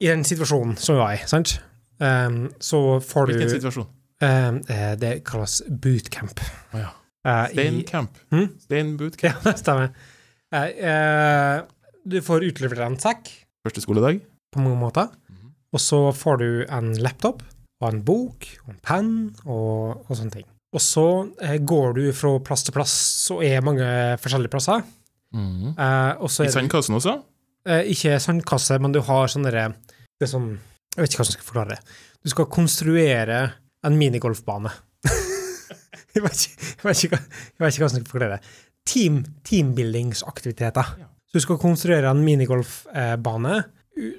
Speaker 1: i den situasjonen som vi var i, sant, Ehm, så får du
Speaker 4: Hvilken situasjon?
Speaker 1: ehm, eh, Det kalles bootcamp.
Speaker 4: Å ja.
Speaker 1: Eh, i-
Speaker 4: Steincamp.
Speaker 1: Hm? Ja,
Speaker 4: Steinbootcamp.
Speaker 1: det stemmer. Eh, eh, du får utlevert en sekk
Speaker 4: Første skoledag.
Speaker 1: på mange måter,
Speaker 4: Mhm.
Speaker 1: og så får du en laptop og en bok og en penn og, og sånne ting. Og så eh, går du fra plass til plass, så er mange forskjellige plasser. Eh, og så er
Speaker 4: I
Speaker 1: det
Speaker 4: sandkassen også?
Speaker 1: Eh, ikke sandkasse, men du har sånne derre- Det er sånn Jeg vet ikke hva som skal forklare det. Du skal konstruere en minigolfbane. jeg, vet ikke, jeg, vet ikke, hva- jeg vet ikke hva som skal forklare det. Team, teambuildingsaktiviteter. Du skal konstruere en minigolfbane, u-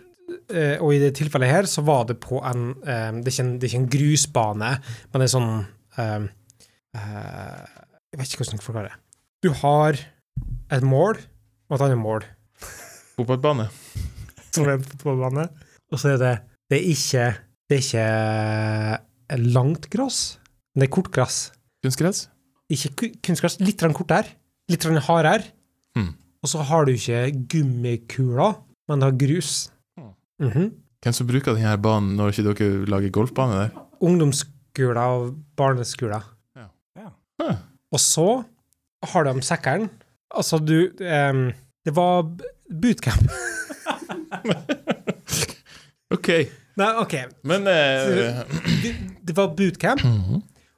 Speaker 1: eh, og i det tilfellet her så var det på en eh, Det er ikke en, det er ikke en grusbane, men det er sånn eh, eh, Jeg vet ikke hva som skal forklare det. Du har et mål og et annet mål
Speaker 4: Fotballbane.
Speaker 1: som er en fotballbane. Og så er det Det er ikke, det er ikke eh, langt gress, men det er kortgress.
Speaker 4: Kunstgress?
Speaker 1: Ikke ku- kunstgress, litt grann kortere, litt grann hardere.
Speaker 4: Mm.
Speaker 1: Og så har du ikke gummikuler, men du har grus.
Speaker 4: Mm.
Speaker 1: Mhm.
Speaker 4: Hvem som bruker denne banen når ikke dere lager golfbane der?
Speaker 1: Ungdomsskoler og barneskoler.
Speaker 4: Ja.
Speaker 3: Ja.
Speaker 4: Huh.
Speaker 1: Og så har de sekkeren. Altså, du em, Det var b- bootcamp.
Speaker 4: OK,
Speaker 1: Nei, OK.
Speaker 4: men eh,
Speaker 1: Det, det var bootcamp.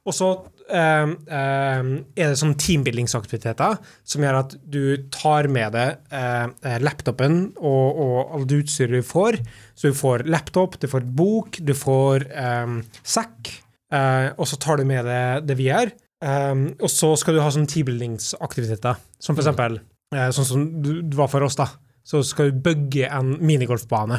Speaker 1: Og så eh, eh, er det sånn teambuildingsaktiviteter som gjør at du tar med deg eh, eh, laptopen og, og alt utstyret du får. Så du får laptop, du får bok, du får eh, sekk, eh, og så tar du med deg det vi gjør. Eh, og så skal du ha sånn teambuildingsaktiviteter, som for eksempel eh, sånn som du, du var for oss, da. Så skal du bygge en minigolfbane.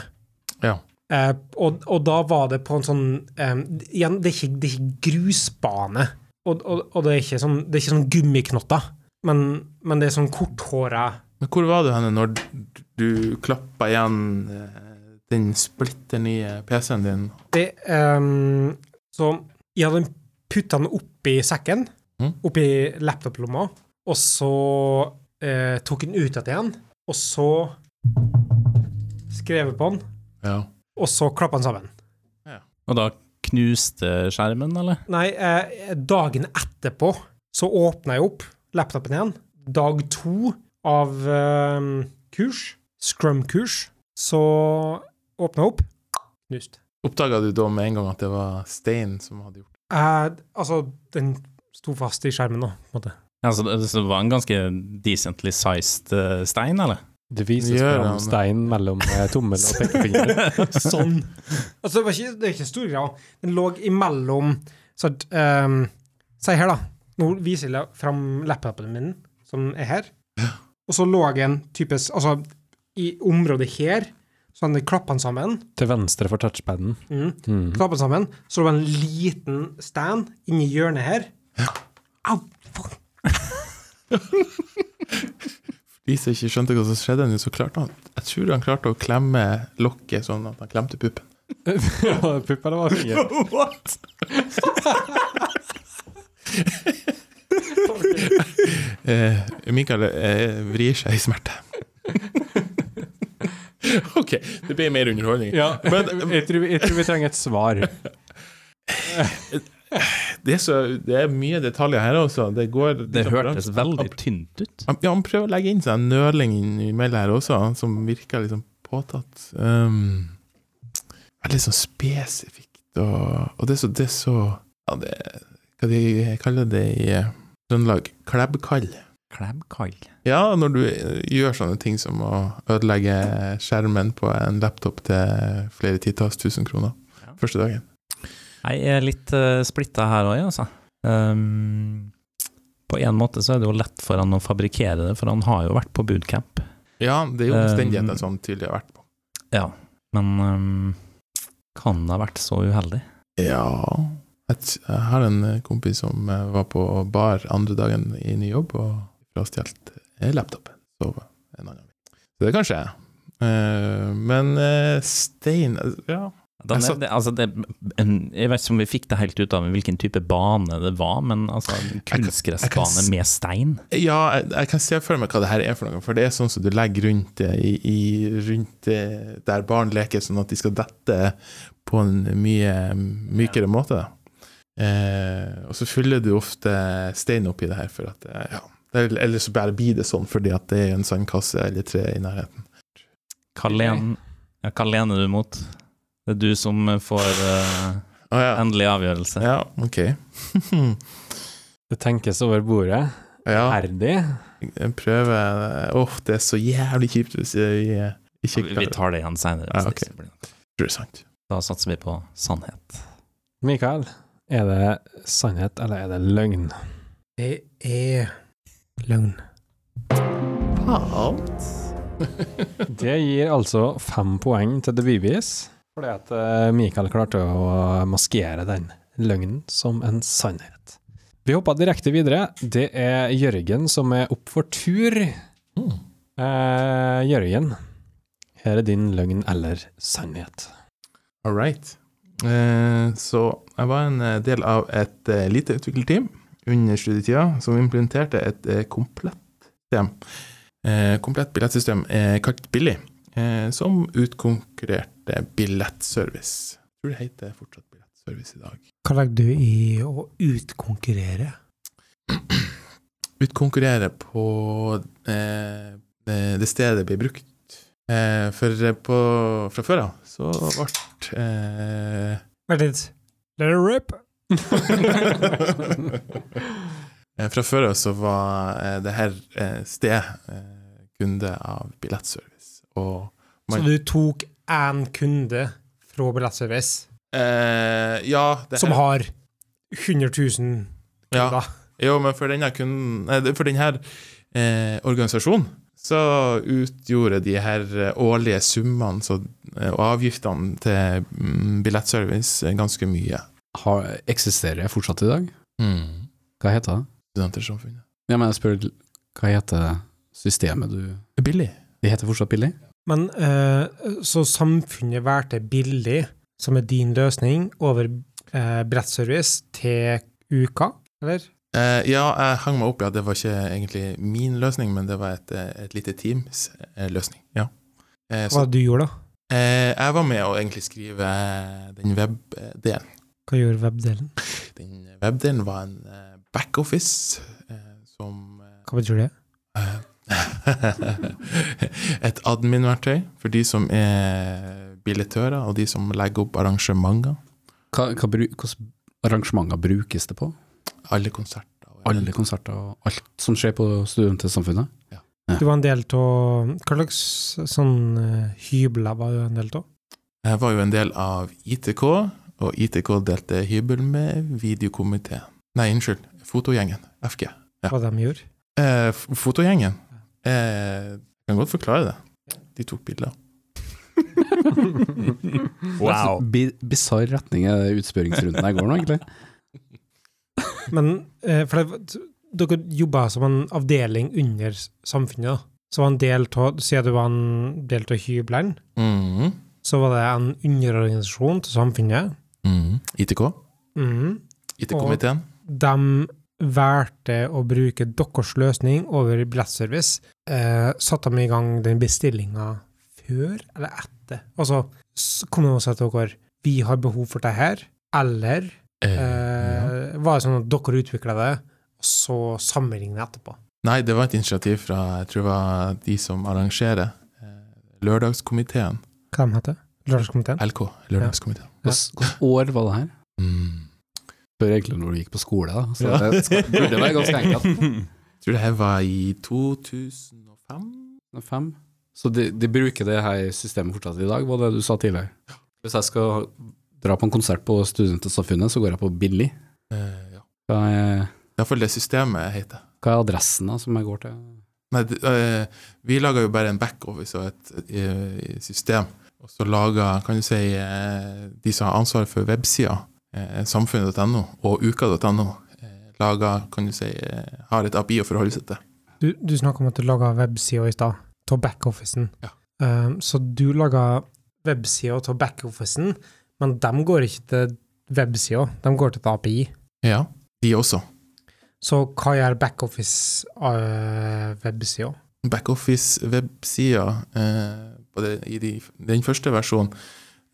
Speaker 4: Ja.
Speaker 1: Eh, og, og da var det på en sånn eh, Igjen, det er ikke, det er ikke grusbane. Og, og, og det er ikke sånn, det er ikke sånn gummiknotter, men, men det er sånn korthåra
Speaker 4: Men hvor var du henne når du klappa igjen eh, den splitter nye PC-en din?
Speaker 1: Det ehm, Så jeg hadde putta den oppi sekken,
Speaker 4: Mhm.
Speaker 1: oppi laptoplomma, og så eh, tok den ut igjen, og så skrev jeg på den,
Speaker 4: Ja.
Speaker 1: og så klappa den sammen.
Speaker 3: Og da knuste skjermen, eller?
Speaker 1: Nei, eh, dagen etterpå så åpna jeg opp laptopen igjen. Dag to av eh, kurs, Scrum-kurs, så åpna jeg opp. Knust.
Speaker 4: Oppdaga du da med en gang at det var stein som hadde gjort
Speaker 1: Eh, altså, den sto fast i skjermen nå, på en måte.
Speaker 3: Ja, så Altså, det, så det var en ganske decently sized eh, stein, eller?
Speaker 2: Det vises
Speaker 4: Gjør
Speaker 2: fram
Speaker 4: han.
Speaker 2: stein mellom eh, tommel og pekefinger.
Speaker 1: Sånn. altså, det, var ikke, det er ikke en stor greia. Den lå imellom Så at ehm, Si her, da. Nå viser jeg fram laptopen min, som er her. Og så lå den typisk Altså, i området her, så hadde den klappene sammen.
Speaker 2: Til venstre for touchpaden.
Speaker 1: Mm.
Speaker 2: Mm.
Speaker 1: Klappene sammen. Så det var en liten stand inni hjørnet her. Au! fuck.
Speaker 4: Lise ikke skjønte hva som skjedde, nå, så klarte han Jeg tror han klarte å klemme lokket sånn at han klemte puppen.
Speaker 2: Pupp eller hva? Finger?
Speaker 4: What?! eh, Mikael eh, vrir seg i smerte. OK, det blir mer underholdning.
Speaker 2: Ja,
Speaker 4: Men- eh,
Speaker 2: jeg, tror, jeg tror vi trenger et svar.
Speaker 4: Det, er så, det er mye detaljer her også. Det, går,
Speaker 3: Det hørtes veldig tynt ut.
Speaker 4: Han- Ja, han prøver å legge inn seg en nøling innimellom her også, han som virker liksom påtatt. Um, veldig sånn spesifikt, og, og det er så, det er så ja, det, Hva de kaller det i eh, Trøndelag? Klebbkall.
Speaker 3: Klem-kall.
Speaker 4: Ja, når du eh, gjør sånne ting som å ødelegge skjermen på en laptop til flere titalls tusen kroner
Speaker 3: Ja.
Speaker 4: første dagen.
Speaker 3: Nei, Jeg er litt uh, splitta her òg, altså. Ehm, på en måte så er det jo lett for han å fabrikkere det, for han har jo vært på bootcamp.
Speaker 4: Ja, det er jo
Speaker 3: Um,
Speaker 4: omstendigheter som han tydelig har vært på.
Speaker 3: Ja, men ehm, kan det ha vært så uheldig?
Speaker 4: Ja Jeg t- jeg har en eh, kompis som eh, var på bar andre dagen i ny jobb og frastjålet eh, laptopen. Sov en annen gang. Så det kan skje. Eh, Men eh, stein Ja.
Speaker 3: Da
Speaker 4: Altså-
Speaker 3: er det, altså det, en, jeg vet ikke om vi fikk det helt ut av hvilken type bane det var, men altså
Speaker 4: kan-
Speaker 3: en
Speaker 4: jeg kan
Speaker 3: kunstgressbane
Speaker 4: s-
Speaker 3: med stein?
Speaker 4: Ja, jeg, jeg kan se for meg hva det her er for noe, for det er sånn som du legger rundt det i, i rundt det der barn leker, sånn at de skal dette på en mye mm, mykere måte. Eh, og så fyller du ofte stein oppi det her, for at eh, ja. det- Eller så bare blir det sånn fordi at det er en sandkasse eller tre i nærheten.
Speaker 3: Hva len- ja, hva lener du mot? Det er du som får eh,
Speaker 4: Å ja.
Speaker 3: endelig avgjørelse.
Speaker 4: ja, ok.
Speaker 2: Det tenkes over bordet.
Speaker 4: ja,
Speaker 2: Ærlig.
Speaker 4: jeg prøver eh, Åh, det er så jævlig kjipt hvis jeg eh, ikke
Speaker 3: Vi, vi
Speaker 4: klarer
Speaker 3: tar det igjen seinere.
Speaker 4: Ja, ok. det. Sant.
Speaker 3: Da satser vi på sannhet.
Speaker 2: Mikael, er det sannhet eller er det løgn?
Speaker 1: Det er løgn.
Speaker 4: Faen.
Speaker 2: Det gir altså fem poeng til The Vivies, fordi at eh, Mikael klarte å maskere den løgnen som en sannhet. Vi hopper direkte videre. Det er Jørgen som er opp for tur. Mm. Eh, Jørgen, her er din løgn eller sannhet.
Speaker 4: All right. Eh, Så jeg var en eh, del av et eh, lite utviklerteam under studietida som implementerte et eh, komplett system. Eh, Komplett billettsystem eh, kalt Billy, eh, som utkonkurrerte billettservice. Jeg tror det heter fortsatt billettservice i dag.
Speaker 1: Hva legger du i å utkonkurrere?
Speaker 4: Utkonkurrere på eh, eh, det stedet det blir brukt. Eh, For eh, på, fra før av så ble eh,
Speaker 1: Vent litt. Let it rip.
Speaker 4: Eh, Fra før av så var eh, det her eh, sted eh, kunde av billettservice. Og
Speaker 1: Så du tok én kunde fra Billettservice,
Speaker 4: eh, ja det
Speaker 1: som
Speaker 4: her,
Speaker 1: har 100 000
Speaker 4: ja,
Speaker 1: kunder?
Speaker 4: Jo, men for denne kunden nei, det- For denne eh, organisasjonen så utgjorde de her eh, årlige summene så, eh, og avgiftene til mm, billettservice eh, ganske mye.
Speaker 5: Har, eksisterer jeg fortsatt i dag? Hva heter det?
Speaker 4: Studentersamfunnet.
Speaker 5: Ja, men jeg spør, hva heter systemet du
Speaker 4: Billig.
Speaker 5: Det heter fortsatt billig?
Speaker 1: Men eh, så samfunnet valgte billig, som er din løsning, over eh, billettservice til uka, eller?
Speaker 4: Eh, ja, jeg hang meg opp i at det var ikke egentlig min løsning, men det var et, eh, et lite teams eh, løsning. Ja. Eh,
Speaker 1: Hva
Speaker 4: så
Speaker 1: var det du gjorde, da?
Speaker 4: eh, jeg var med å egentlig skrive den webdelen.
Speaker 1: Hva gjorde webdelen?
Speaker 4: Den webdelen var en eh, backoffice eh, som eh,
Speaker 1: Hva betyr det?
Speaker 4: Et admin-verktøy for de som er billettører, og de som legger opp arrangementer.
Speaker 5: Hva, hva, bru- hvordan arrangementer brukes det på?
Speaker 4: Alle konserter. og-
Speaker 5: Alle konserter og alt som skjer på studentsamfunnet?
Speaker 1: Du var en del av Hva slags sånn eh, hybler var du en del av?
Speaker 4: Jeg var jo en del av ITK, og ITK delte hybel med videokomité. Nei, unnskyld, fotogjengen, FG. Ja.
Speaker 1: Hva de gjorde?
Speaker 4: Eh, f- fotogjengen. Eh, jeg kan godt forklare det. De tok bilder.
Speaker 3: Wow.
Speaker 5: Bi Bisarr retning er det utspørringsrunden her går nå, egentlig.
Speaker 1: Men eh, for det, dere jobba som en avdeling under samfunnet, da. så var en del av Siden du var en del av hyblene,
Speaker 5: Mm-hmm.
Speaker 4: Mhm.
Speaker 1: så var det en underorganisasjon til samfunnet.
Speaker 5: Mm-hmm.
Speaker 4: Mhm. ITK?
Speaker 1: Mhm.
Speaker 4: IT-komiteen?
Speaker 1: De valgte å bruke deres løsning over billettservice. Eh, satte de i gang den bestillinga før eller etter? Altså, s- kom de og sa til dere vi har behov for det her, eller
Speaker 4: Eh, ja.
Speaker 1: Eh, var det sånn at dere utvikla det, og så sammenligna etterpå?
Speaker 4: Nei, det var et initiativ fra jeg tror det var de som arrangerer. eh, Lørdagskomiteen.
Speaker 1: Hva de heter Lørdagskomiteen?
Speaker 4: LK. Lørdagskomiteen.
Speaker 5: Hvilket år var det her?
Speaker 4: Mm.
Speaker 5: Før egentlig når du gikk på skole, da. Så det skal, burde være ganske enkelt.
Speaker 4: Jeg tror det her var i 2005?
Speaker 5: Fem. Så de, de bruker det her systemet fortsatt i dag, var det du sa tidligere. Hvis jeg skal dra på en konsert på Studentsamfunnet, så går jeg på Billy.
Speaker 4: Eh, ja.
Speaker 5: Hva er,
Speaker 4: Iallfall det systemet heter.
Speaker 5: hva er adressen da som jeg går til?
Speaker 4: Nei, det, eh, vi laga jo bare en backoffice og et, eh, system. Og så laga, kan du si, eh, de som har ansvaret for websida, eh, samfunnet.no og uka.no, eh, laga, kan du si, eh, har et API å forholde seg til.
Speaker 1: Du, du snakka om at du laga websida i stad, av backofficen.
Speaker 4: Ja.
Speaker 1: Um, så du laga websida av backofficen, men de går ikke til websida, de går til et API.
Speaker 4: Ja, de også.
Speaker 1: Så hva gjør eh, backoffice-websida?
Speaker 4: Backoffice-websida eh, på det- i de, den første versjonen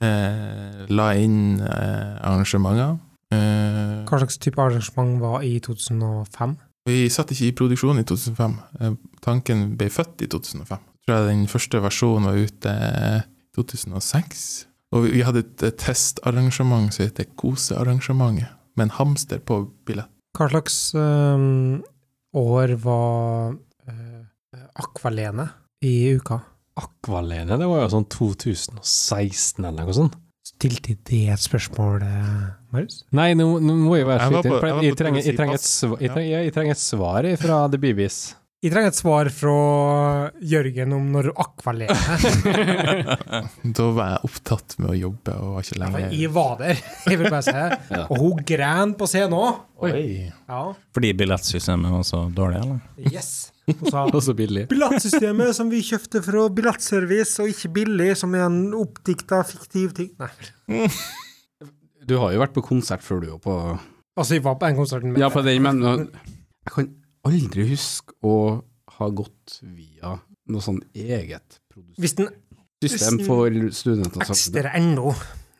Speaker 4: eh, la inn eh, arrangementer. Eh,
Speaker 1: Hva slags type arrangement var i 2005?
Speaker 4: Vi satt ikke i produksjon i 2005. Eh, Tanken ble født i 2005. Jeg tror jeg den første versjonen var ute eh, i 2006. Og vi- vi hadde et eh, testarrangement som heter Kosearrangementet, med en hamster på billett.
Speaker 1: Hva slags um, år var uh, Akvalene i uka?
Speaker 2: Akvalene, det var jo sånn 2016 eller noe sånt.
Speaker 1: Stilte det et spørsmål, eh, Marius?
Speaker 2: Nei, nå, nå må jeg være
Speaker 4: Jeg var
Speaker 2: slik.
Speaker 4: på- jeg var
Speaker 2: Jeg,
Speaker 4: på
Speaker 2: trenger- jeg,
Speaker 4: Tennessee
Speaker 2: trenger et
Speaker 4: Pass.
Speaker 2: sva- jeg,
Speaker 4: Ja.
Speaker 2: trenger- jeg, jeg trenger et svar fra The BBs.
Speaker 1: Jeg trenger et svar fra Jørgen om når akvalene
Speaker 4: Da var jeg opptatt med å jobbe og var ikke lenger
Speaker 1: Jeg var der, jeg vil bare si.
Speaker 5: Ja.
Speaker 1: Og hun gren på scenen òg.
Speaker 4: Oi.
Speaker 1: Ja.
Speaker 3: Fordi billettsystemet var så dårlig, eller?
Speaker 1: Yes. Hun sa
Speaker 5: Også Billy.
Speaker 1: billettsystemet som vi kjøpte fra Billettservice, og ikke billig, som er en oppdikta, fiktiv ting. Nei.
Speaker 5: Du har jo vært på konsert før du òg, på
Speaker 1: Altså, jeg var på en konsert med
Speaker 5: Ja, på den, men uh, jeg kan aldri huske å ha gått via noe sånn eget produsert
Speaker 1: Hvis den
Speaker 5: system for studenter.
Speaker 1: eksisterer ennå.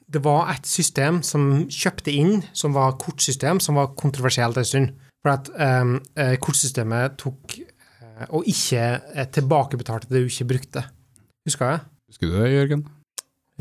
Speaker 1: Det var et system som kjøpte inn, som var kortsystem, som var kontroversielt en stund. For at ehm, eh, kortsystemet tok eh, og ikke eh, tilbakebetalte det du ikke brukte. Husker jeg?
Speaker 5: Husker du det, Jørgen?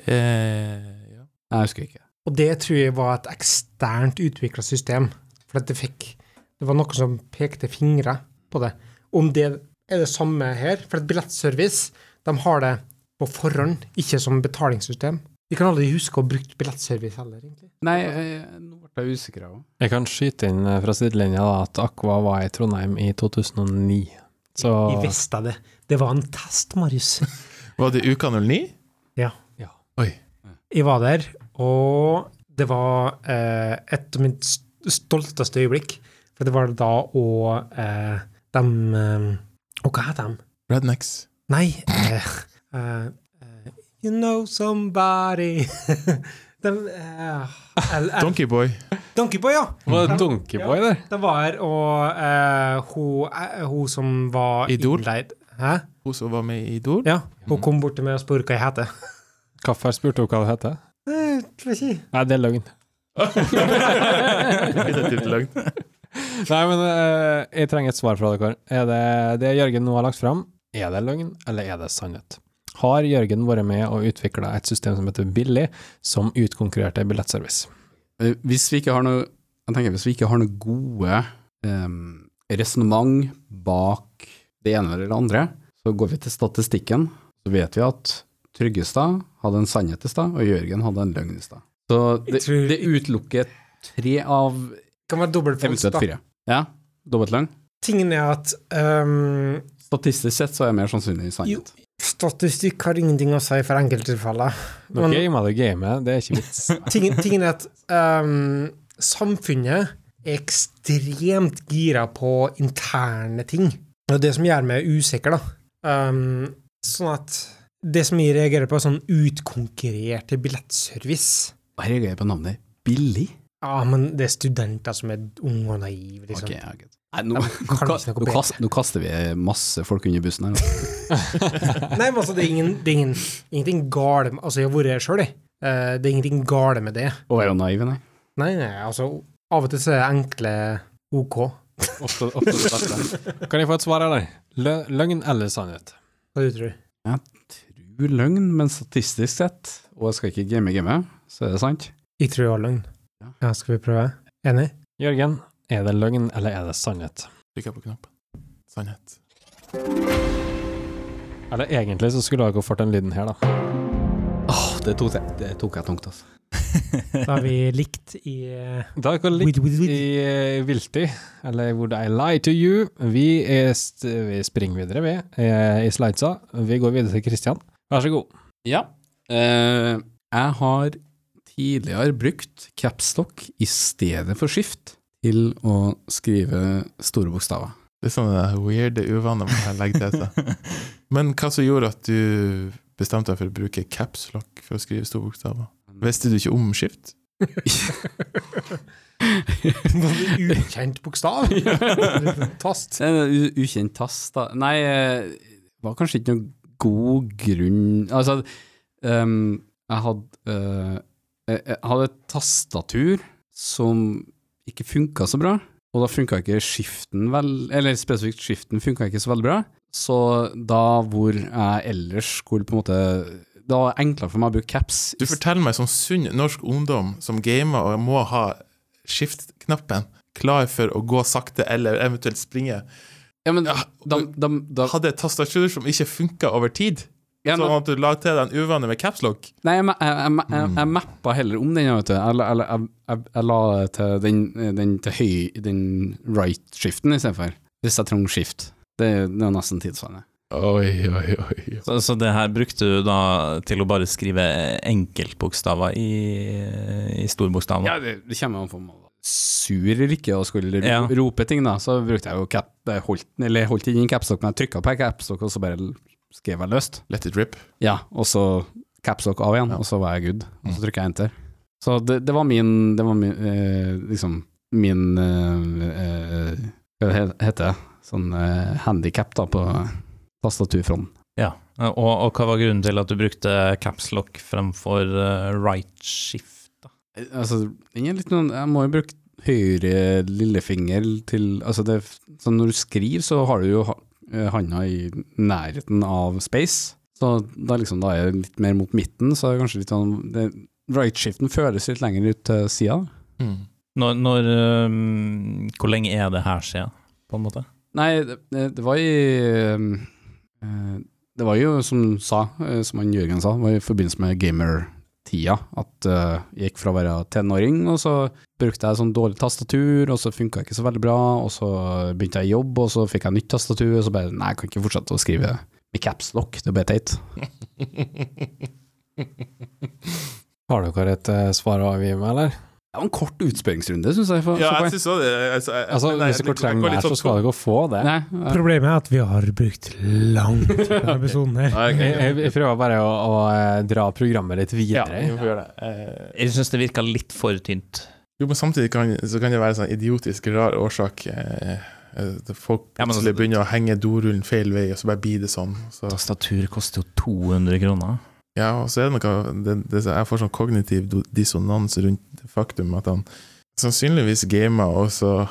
Speaker 4: Eh, ja.
Speaker 5: Nei, jeg husker ikke.
Speaker 1: Og det tror jeg var et eksternt utvikla system. For at det fikk Det var noe som pekte fingre på det. Om det er det samme her. For at billettservice, de har det på forhånd, ikke som betalingssystem. De kan aldri huske å ha brukt billettservice heller, egentlig.
Speaker 5: Nei, eh, nå ble jeg usikker av
Speaker 2: Jeg kan skyte inn eh, fra sidelinja da, at Aqua var i Trondheim i 2009. Så
Speaker 1: Vi visste det. Det var en test, Marius.
Speaker 4: Var det uka 09?
Speaker 1: Jeg var der, og det var eh, et av mitt st- stolteste øyeblikk. For det var da og eh, de eh, Og hva heter de?
Speaker 4: Rednecks.
Speaker 1: Nei eh, eh, eh, You know somebody De, eh, L- L-
Speaker 4: Donkeyboy.
Speaker 1: Donkeyboy, ja!
Speaker 2: var det Donkeyboy der?
Speaker 1: Det var her, og eh, hun, eh, hun som var
Speaker 4: Idol?
Speaker 1: innleid Hæ?
Speaker 4: Hun som var med i Idol.
Speaker 1: Ja, hun kom bort til meg og spurte hva jeg heter.
Speaker 2: Kaffer spurte hun hva det heter.
Speaker 1: Eh, tror jeg ikke.
Speaker 2: Nei, det er løgn.
Speaker 4: Definitivt langt.
Speaker 2: Nei, men eh, jeg trenger et svar fra dere. Er det det Jørgen nå har lagt fram, er det løgn, eller er det sannhet? Har Jørgen vært med og utvikla et system som heter Billig, som utkonkurrerte billettservice?
Speaker 5: det. Eh, Hvis vi ikke har noe jeg tenker, hvis vi ikke har noe gode eh, resonnement bak det ene eller det andre, så går vi til statistikken. Så vet vi at Tryggestad hadde en sannhet i stad, og Jørgen hadde en løgn i stad. Så det,
Speaker 1: Jeg tror-
Speaker 5: det utelukker tre av
Speaker 1: Kan være dobbeltfalsk,
Speaker 5: Eventuelt
Speaker 1: da.
Speaker 5: fire. Ja, dobbelt lang.
Speaker 1: Tingen er at ehm,
Speaker 5: Statistisk sett så er jeg mer sannsynlig
Speaker 1: Jo.
Speaker 5: i sannhet.
Speaker 1: statistikk har ingenting å si for enkelttilfeller.
Speaker 2: Nå
Speaker 1: Men-
Speaker 2: gamer du gamet, det er ikke vits.
Speaker 1: Tingen, tingen er at ehm, samfunnet er ekstremt gira på interne ting. Og det som gjør meg usikker, da, Um, sånn at det som jeg reagerer på, er sånn utkonkurrerte billettservice.
Speaker 5: Jeg reagerer på navnet. Billig?
Speaker 1: Ja, men det er studenter som er unge og naive, liksom.
Speaker 5: Ok, ja, greit. Nei, nå, nå,
Speaker 1: kan ikke
Speaker 5: kast,
Speaker 1: noe
Speaker 5: nå, kast, nå kaster vi masse folk under bussen her. altså.
Speaker 1: Nei, men altså, det er, ingen, det er ingen, ingenting gale med Altså, jeg har vært her sjøl, jeg. Eh, det er ingenting gale med det.
Speaker 5: Å være naiv, nei.
Speaker 1: Nei, nei, altså, av og til så er enkle OK.
Speaker 5: Ofte, ofte det beste.
Speaker 2: Kan jeg få et svar, eller? Lø løgn eller sannhet?
Speaker 1: Hva du tror du?
Speaker 5: Tru løgn, men statistisk sett, og jeg skal ikke game game, så er det sant.
Speaker 1: Jeg tror jeg har løgn.
Speaker 5: Ja.
Speaker 1: Ja, skal vi prøve? Enig?
Speaker 2: Jørgen, er det løgn eller er det sannhet?
Speaker 4: Trykker på knappen. Sannhet.
Speaker 2: Eller egentlig så skulle dere fått den lyden her, da.
Speaker 5: Åh, det tok jeg, det tok jeg tungt, altså.
Speaker 1: Da har vi likt i eh,
Speaker 2: Da er dere litt
Speaker 1: Wid, wid, wid.
Speaker 2: i eh, Vilti, eller Would I Lie to You? Vi, er st vi springer videre, vi, eh, i slidesa. Vi går videre til Kristian. Vær så god.
Speaker 5: Ja. Eh, jeg har tidligere brukt capstock i stedet for skift til å skrive store bokstaver.
Speaker 4: Det er sånn det weirde uvaner man kan legge til seg. Men hva som gjorde at du bestemte deg for å bruke caps lock for å skrive store bokstaver? Visste du ikke om skift?
Speaker 1: noe ukjent bokstav. Tast.
Speaker 5: En u- ukjent tast, da. Nei, eh, det var kanskje ikke noen god grunn Altså, ehm, jeg hadde eh, jeg- Jeg hadde et tastatur som ikke funka så bra, og da funka ikke skiften vel Eller spesifikt skiften funka ikke så veldig bra, så da hvor jeg ellers skulle på en måte Det var enklere for meg å bruke caps.
Speaker 4: Du forteller meg som sunn norsk ungdom som gamer og må ha skift-knappen klar for å gå sakte eller eventuelt springe,
Speaker 5: ja, men,
Speaker 4: Ja,
Speaker 5: da, da, da,
Speaker 4: hadde et tastatur som ikke funka over tid.
Speaker 5: ja, men-
Speaker 4: Sånn at du la til deg en uvane med caps lock.
Speaker 5: Nei, jeg, ma- jeg, jeg, jeg, jeg mappa heller om den, vet du. Jeg, la- jeg, la- jeg, jeg, jeg la det til den, den til høy, den right-skiften istedenfor. Hvis jeg trenger skift. Det, det er nesten tidsvanlig.
Speaker 4: Oi, oi, oi.
Speaker 3: Så, så det her brukte du da til å bare skrive enkeltbokstaver i, i storbokstavene?
Speaker 5: Ja, det, det kommer an på om man var sur eller ikke og skulle ro,
Speaker 3: Ja.
Speaker 5: rope ting, da. Så brukte jeg jo cap, jeg holdt, den- eller jeg holdt ikke inn capstock, men jeg trykka på capstock, og så bare l- skrev jeg løst.
Speaker 4: Let it rip.
Speaker 5: Ja, og så capstock av igjen,
Speaker 4: Ja.
Speaker 5: og så var jeg good. Og
Speaker 4: Mm.
Speaker 5: så trykka jeg enter. Så det, det var min Det var min eh, Liksom min eh, eh, Hva he- heter det? Sånn eh, handikap, da, på tastaturfronten.
Speaker 3: Ja. Og, og hva var grunnen til at du brukte capslock fremfor eh, right shift? da?
Speaker 5: Eh, Altså, ingen litt noen Jeg må jo bruke høyre lillefinger til Altså, det Så når du skriver, så har du jo ha- eh, handa i nærheten av space. Så da liksom Da er det litt mer mot midten, så er det kanskje litt sånn det, Right-skiften føres litt lenger ut til sida.
Speaker 4: Mm.
Speaker 3: Når, når eh, Hvor lenge er det her siden, på en måte?
Speaker 5: Nei, det, det det var i um, eh, Det var jo, som du sa, eh, som han Jørgen sa, det var i forbindelse med gamertida. At eh, jeg gikk fra å være tenåring, og så brukte jeg sånn dårlig tastatur, og så funka ikke så veldig bra, og så begynte jeg i jobb, og så fikk jeg nytt tastatur, og så bare Nei, jeg kan ikke fortsette å skrive med caps lock, det blir teit.
Speaker 2: Har dere et eh, svar å avgi med, eller?
Speaker 5: Det var en kort utspørringsrunde, syns jeg. For,
Speaker 4: Ja,
Speaker 5: for-
Speaker 4: jeg syns òg det. Altså, jeg-
Speaker 2: Altså, Hvis
Speaker 4: nei, jeg-
Speaker 2: dere
Speaker 4: jeg går
Speaker 2: trenger
Speaker 4: litt
Speaker 2: mer, så
Speaker 4: sånn-
Speaker 2: skal dere få det.
Speaker 5: Nei, jeg-
Speaker 1: Problemet er at vi har brukt lang tid på denne episoden her.
Speaker 4: Nei,
Speaker 2: Jeg,
Speaker 4: ok,
Speaker 2: jeg,
Speaker 4: ok.
Speaker 2: jeg prøver bare å, å eh, dra programmet litt
Speaker 4: Ja,
Speaker 2: videre.
Speaker 4: vi får gjøre det. Eh,
Speaker 3: Jeg syns det virka litt for tynt.
Speaker 4: Jo, men samtidig kan, så kan det være sånn idiotisk rar årsak. Eh, eh, at folk
Speaker 3: Ja, men
Speaker 4: plutselig
Speaker 3: altså-
Speaker 4: begynner å henge dorullen feil vei, og så bare blir det sånn. Så,
Speaker 3: Tastatur koster jo 200 kroner.
Speaker 4: ja, og så er det noe det, det, Jeg får sånn kognitiv do- dissonans rundt det faktum at han sannsynligvis gamer, og så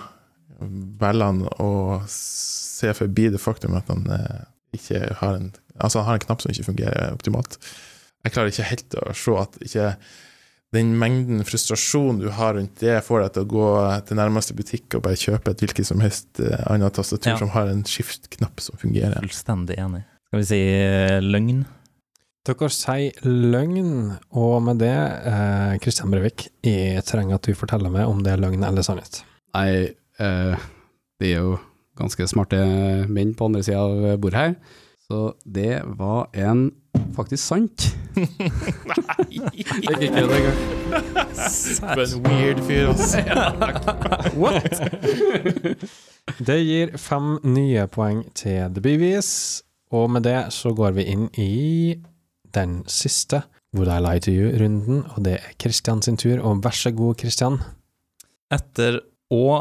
Speaker 4: velger han å se forbi det faktum at han eh, ikke har en Altså, han har en knapp som ikke fungerer optimalt. Jeg klarer ikke helt å se at ikke den mengden frustrasjon du har rundt det, får deg til å gå til nærmeste butikk og bare kjøpe et hvilket som helst eh, annet tastatur
Speaker 3: Ja.
Speaker 4: som har en skiftknapp som fungerer.
Speaker 3: Fullstendig enig. Skal vi si eh, løgn?
Speaker 2: Dere sier løgn, og med det, eh, Kristian Brevik, jeg trenger at du forteller meg om det er løgn eller sannhet.
Speaker 5: Nei, eh, det er jo ganske smarte menn på andre sida av bordet her. Så det var en faktisk sant. Det fikk jeg det engang.
Speaker 4: For en weird fyr, ass.
Speaker 2: What? det gir fem nye poeng til The BBs, Og med det så går vi inn i den siste Would I Lie to You-runden, og det er Kristian sin tur. Og vær så god, Kristian.
Speaker 3: Etter og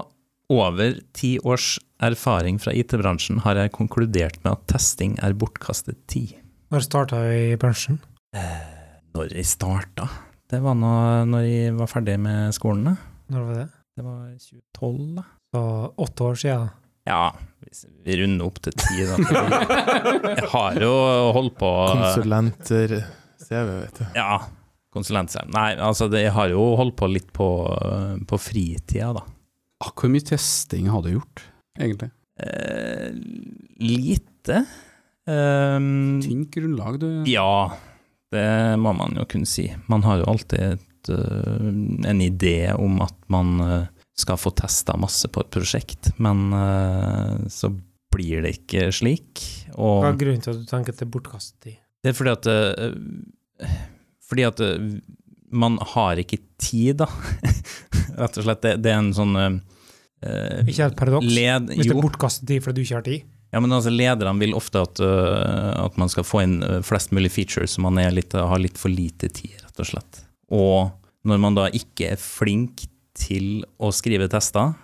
Speaker 3: over ti års erfaring fra IT-bransjen har jeg konkludert med at testing er bortkastet tid.
Speaker 1: Når starta vi i bransjen?
Speaker 3: Når jeg starta? Det var nå når jeg var ferdig med skolen. da.
Speaker 1: Når var det?
Speaker 3: Det var 2012, da.
Speaker 1: Så åtte år siden.
Speaker 3: Ja, hvis vi runder opp til ti, da. Jeg har jo holdt på
Speaker 4: Konsulenter CV, vet du.
Speaker 3: Ja, konsulentserien. Nei, altså, det, jeg har jo holdt på litt på, øh, på fritida, da.
Speaker 5: Ah, hvor mye testing har du gjort, egentlig?
Speaker 3: Eh, lite. Ehm,
Speaker 5: Tynt grunnlag, du.
Speaker 1: Mm.
Speaker 3: ja, det må man jo kunne si. Man har jo alltid et, øh, en idé om at man øh, skal få testa masse på et prosjekt, men øh, så blir det ikke slik. Og
Speaker 1: Hva er grunnen til at du tenker at det er bortkastet tid?
Speaker 3: Det er fordi at eh, Fordi at eh, man har ikke tid, da. Rett og slett. Det, det er en sånn eh,
Speaker 1: Ikke et paradoks?
Speaker 3: led,
Speaker 1: Hvis det er
Speaker 3: jo,
Speaker 1: bortkastet tid fordi du ikke har tid?
Speaker 3: ja, men altså Lederne vil ofte at, eh, at man skal få inn eh, flest mulig features, så man er litt, øh, har litt for lite tid, rett og slett. Og når man da ikke er flink til å skrive tester,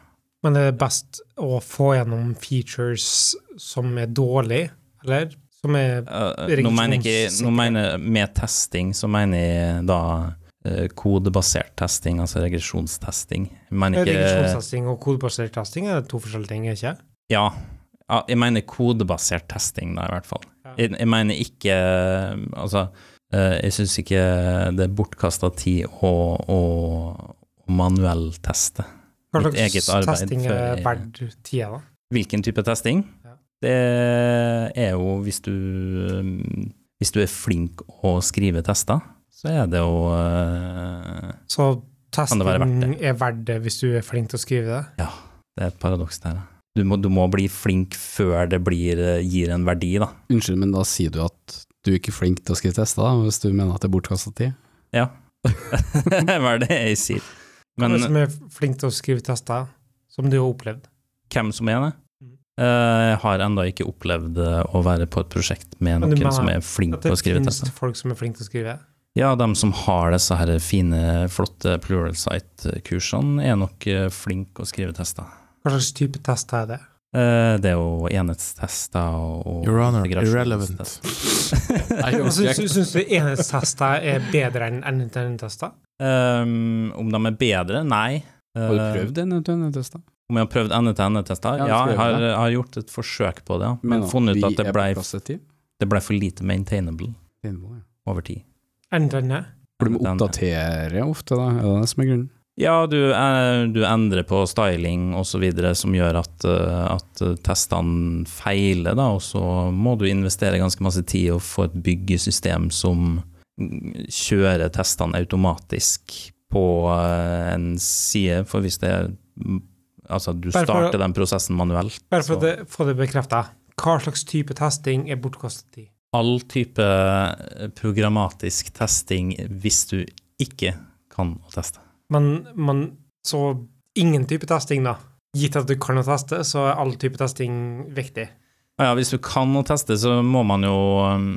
Speaker 1: Men er det best å få gjennom features som er dårlig, eller? Som er
Speaker 3: Eh, nå mener jeg ikke, nå mener, med testing så mener jeg da eh, kodebasert testing, altså regresjonstesting. Jeg mener ikke
Speaker 1: Regresjonstesting og kodebasert testing er to forskjellige ting, er det ikke?
Speaker 3: Ja, ja, jeg mener kodebasert testing da, i hvert fall.
Speaker 1: Ja.
Speaker 3: Jeg, jeg mener ikke Altså, eh, jeg syns ikke det er bortkasta tid å, å, å manuellteste.
Speaker 1: Hva
Speaker 3: Mitt
Speaker 1: slags
Speaker 3: eget arbeid
Speaker 1: testing
Speaker 3: før
Speaker 1: er
Speaker 3: jeg-
Speaker 1: verdt tida, da?
Speaker 3: Hvilken type testing?
Speaker 1: Ja.
Speaker 3: Det er jo hvis du eh, Hvis du er flink å skrive tester, så er det jo eh,
Speaker 1: Så testing
Speaker 3: det være verdt det?
Speaker 1: er verdt det hvis du er flink til å skrive det?
Speaker 3: Det er et paradoks der. da. Du må, du må bli flink før det blir, eh, gir en verdi, da.
Speaker 5: Unnskyld, men da sier du at du er ikke flink til å skrive tester, da, hvis du mener at det er bortkasta tid?
Speaker 3: Ja. Hva er det jeg sier?
Speaker 1: Hvem
Speaker 3: Men
Speaker 1: er det som er flink til å skrive tester, som du har opplevd?
Speaker 3: hvem som er det?
Speaker 1: Mm.
Speaker 3: Eh, Jeg har ennå ikke opplevd eh, å være på et prosjekt med
Speaker 1: Men du
Speaker 3: noen som
Speaker 1: mener
Speaker 3: er flink
Speaker 1: At
Speaker 3: til
Speaker 1: det
Speaker 3: å skrive
Speaker 1: finnes
Speaker 3: tester.
Speaker 1: folk som er flink til å skrive?
Speaker 3: Ja, de som har disse her fine, flotte pluralsight-kursene, er nok eh, flink å skrive tester.
Speaker 1: Hva slags type tester er det?
Speaker 3: Eh, Det er jo enhetstester og
Speaker 4: Your honor,
Speaker 3: integrasjonstester.
Speaker 4: irrelevant.
Speaker 1: Men
Speaker 5: altså.
Speaker 1: Syns Altså, syns du enhetstester er bedre enn enhetstester?
Speaker 3: Um, om de er bedre? Nei.
Speaker 5: Har du
Speaker 3: Eh,
Speaker 5: prøvd en eventuell test, da?
Speaker 3: Om jeg har prøvd ende-til-ende-tester?
Speaker 5: Ja,
Speaker 3: Ja,
Speaker 5: du skal
Speaker 3: jeg
Speaker 5: gjøre
Speaker 3: har,
Speaker 5: det.
Speaker 3: har gjort et forsøk på det, ja. men funnet ut at det ble,
Speaker 5: tid?
Speaker 3: det ble for lite maintainable
Speaker 5: For
Speaker 3: over tid.
Speaker 1: Endrende?
Speaker 5: du må oppdatere ofte, da. Er det det som er grunnen?
Speaker 3: Ja, du, eh, du endrer på styling og så videre, som gjør at, eh, at testene feiler, da, og så må du investere ganske masse tid og få et byggesystem som mm, kjører testene automatisk på eh, en side, for hvis det er mm, Altså, du
Speaker 1: Bare for å-
Speaker 3: starter den prosessen manuelt.
Speaker 1: Bare for
Speaker 3: så-
Speaker 1: å det- få det bekrefta. Hva slags type testing er bortkastet tid?
Speaker 3: all type eh, programmatisk testing hvis du ikke kan å teste.
Speaker 1: Men, men så ingen type testing, da. Gitt at du kan å teste, så er all type testing viktig.
Speaker 3: Ja, hvis du kan å teste, så må man jo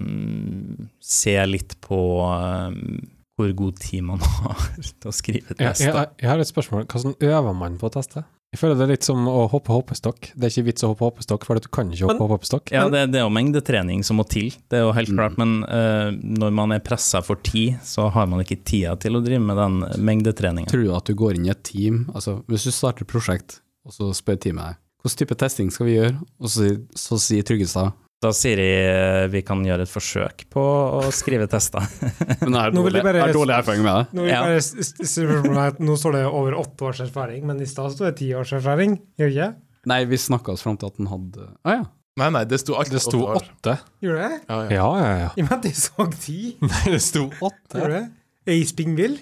Speaker 3: um, se litt på um, hvor god tid man har til å skrive
Speaker 2: Jeg,
Speaker 3: test.
Speaker 2: jeg,
Speaker 3: da.
Speaker 2: jeg har et spørsmål. Hvordan øver man på å teste? Jeg føler det er litt som å hoppe hoppestokk. Det er ikke vits å hoppe hoppestokk, for du kan ikke hoppe hoppestokk.
Speaker 3: Ja, det, det er jo mengdetrening som må til, det er jo
Speaker 1: Mm.
Speaker 3: helt klart. Men eh, når man er pressa for tid, så har man ikke tida til å drive med den mengdetreninga.
Speaker 5: Tror du at du går inn i et team altså Hvis du starter et prosjekt, og så spør teamet deg hvilken type testing skal vi gjøre, og så, så sier Tryggestad
Speaker 3: Da sier jeg eh, vi kan gjøre et forsøk på å skrive tester.
Speaker 5: Men jeg har
Speaker 1: Nå vil
Speaker 5: dårlig,
Speaker 1: jeg bare-
Speaker 5: jeg har dårlig erfaring med det.
Speaker 1: Nå, vil jeg
Speaker 3: Ja.
Speaker 1: bare s- s- s- spørre meg at nå står det over åtte års erfaring, men i stad sto det ti års erfaring. Gjør ikke?
Speaker 5: Nei, vi snakka oss fram til at den hadde Å ja.
Speaker 4: Nei, nei, det sto alt
Speaker 2: Det sto
Speaker 4: åtte år.
Speaker 2: åtte.
Speaker 1: Gjorde det?
Speaker 4: Ja, ja.
Speaker 2: Ja, ja, ja.
Speaker 1: I og med at jeg så ti.
Speaker 2: Det sto åtte.
Speaker 1: Gjorde det? Er jeg i spinnvill?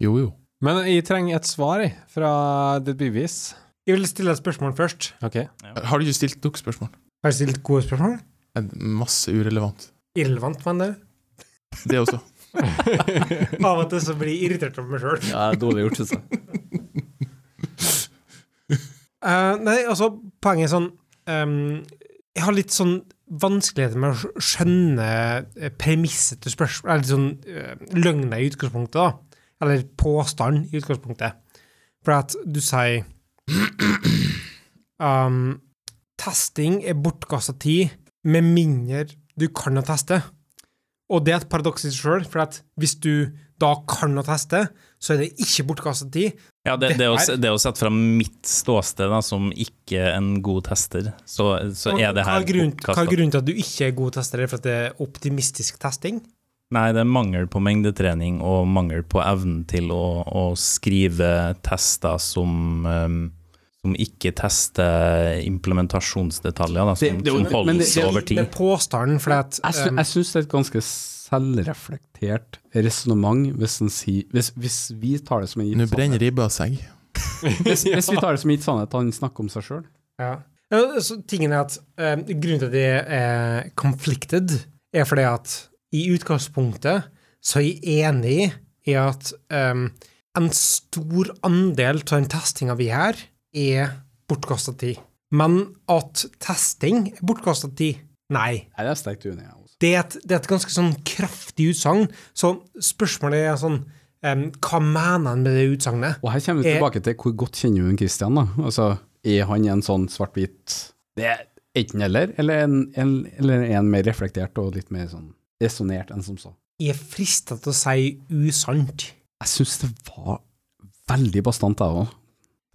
Speaker 4: Jo, jo.
Speaker 2: Men jeg trenger et svar jeg, fra The Beavis.
Speaker 1: Jeg vil stille et spørsmål først.
Speaker 2: Ok.
Speaker 4: Har du ikke stilt dere spørsmål?
Speaker 1: Har jeg stilt gode spørsmål?
Speaker 4: En Masse urelevant.
Speaker 1: Irrelevant, mener du?
Speaker 4: Det også.
Speaker 1: Av og til så blir jeg irritert over meg sjøl.
Speaker 5: ja dårlig gjort, syns jeg.
Speaker 1: Eh, nei, altså, poenget er sånn ehm, Jeg har litt sånn vanskeligheter med å skj- skjønne eh, premisset til spørsmål, eller sånn eh, løgna i utgangspunktet, da. Eller påstand i utgangspunktet. For at du sier um, Testing er bortkasta tid med mindre du kan å teste. Og det er et paradoks i seg sjøl, for at hvis du da kan å teste, så er det ikke bortkasta tid.
Speaker 3: Ja, det, det, å,
Speaker 1: Det her-
Speaker 3: det å sette fram mitt ståsted da, som ikke en god tester, så, så
Speaker 1: Og
Speaker 3: er det
Speaker 1: hva
Speaker 3: her
Speaker 1: er grunnen- Hva er
Speaker 3: bortkastet.
Speaker 1: grunnen til at du ikke er god tester? Er det for at det er optimistisk testing?
Speaker 3: Nei, det er mangel på mengdetrening og mangel på evnen til å, å skrive tester som ehm, som ikke tester implementasjonsdetaljer, da, som,
Speaker 5: Det- det er jo-
Speaker 3: som
Speaker 5: men
Speaker 3: holdes
Speaker 5: det- det er-
Speaker 3: over tid.
Speaker 1: Med påstanden, for at
Speaker 5: Jeg, sy
Speaker 1: um,
Speaker 5: jeg syns det er et ganske selvreflektert resonnement hvis, en sier- hvis, hvis vi tar det som en
Speaker 4: Nå
Speaker 5: gitt
Speaker 4: brenner
Speaker 5: sannhet.
Speaker 4: ribba seg.
Speaker 5: Hvis, hvis vi tar det som en gitt sannhet, at han snakker om seg sjøl.
Speaker 1: Ja. Ja, Så tingen er at eh, grunnen til at de er conflicted, er fordi at i utgangspunktet så er jeg enig i at eh, en stor andel av den testinga vi gjør, er bortkasta tid. Men at testing er bortkasta tid? Nei.
Speaker 5: Nei, det er sterkt uenig. altså. jeg også.
Speaker 1: Det er et, det er et ganske sånn kraftig utsagn. Så spørsmålet er sånn eh, Hva mener han med det utsagnet?
Speaker 5: Og her kommer vi
Speaker 1: Eh.
Speaker 5: tilbake til hvor godt kjenner vi en Christian, da. Altså, er han en sånn svart-hvit Det er enten-eller, eller, en, en, eller en mer reflektert og litt mer sånn resonnert enn som så.
Speaker 1: Jeg er frista til å si usant.
Speaker 5: Jeg syns det var veldig bastant, jeg òg.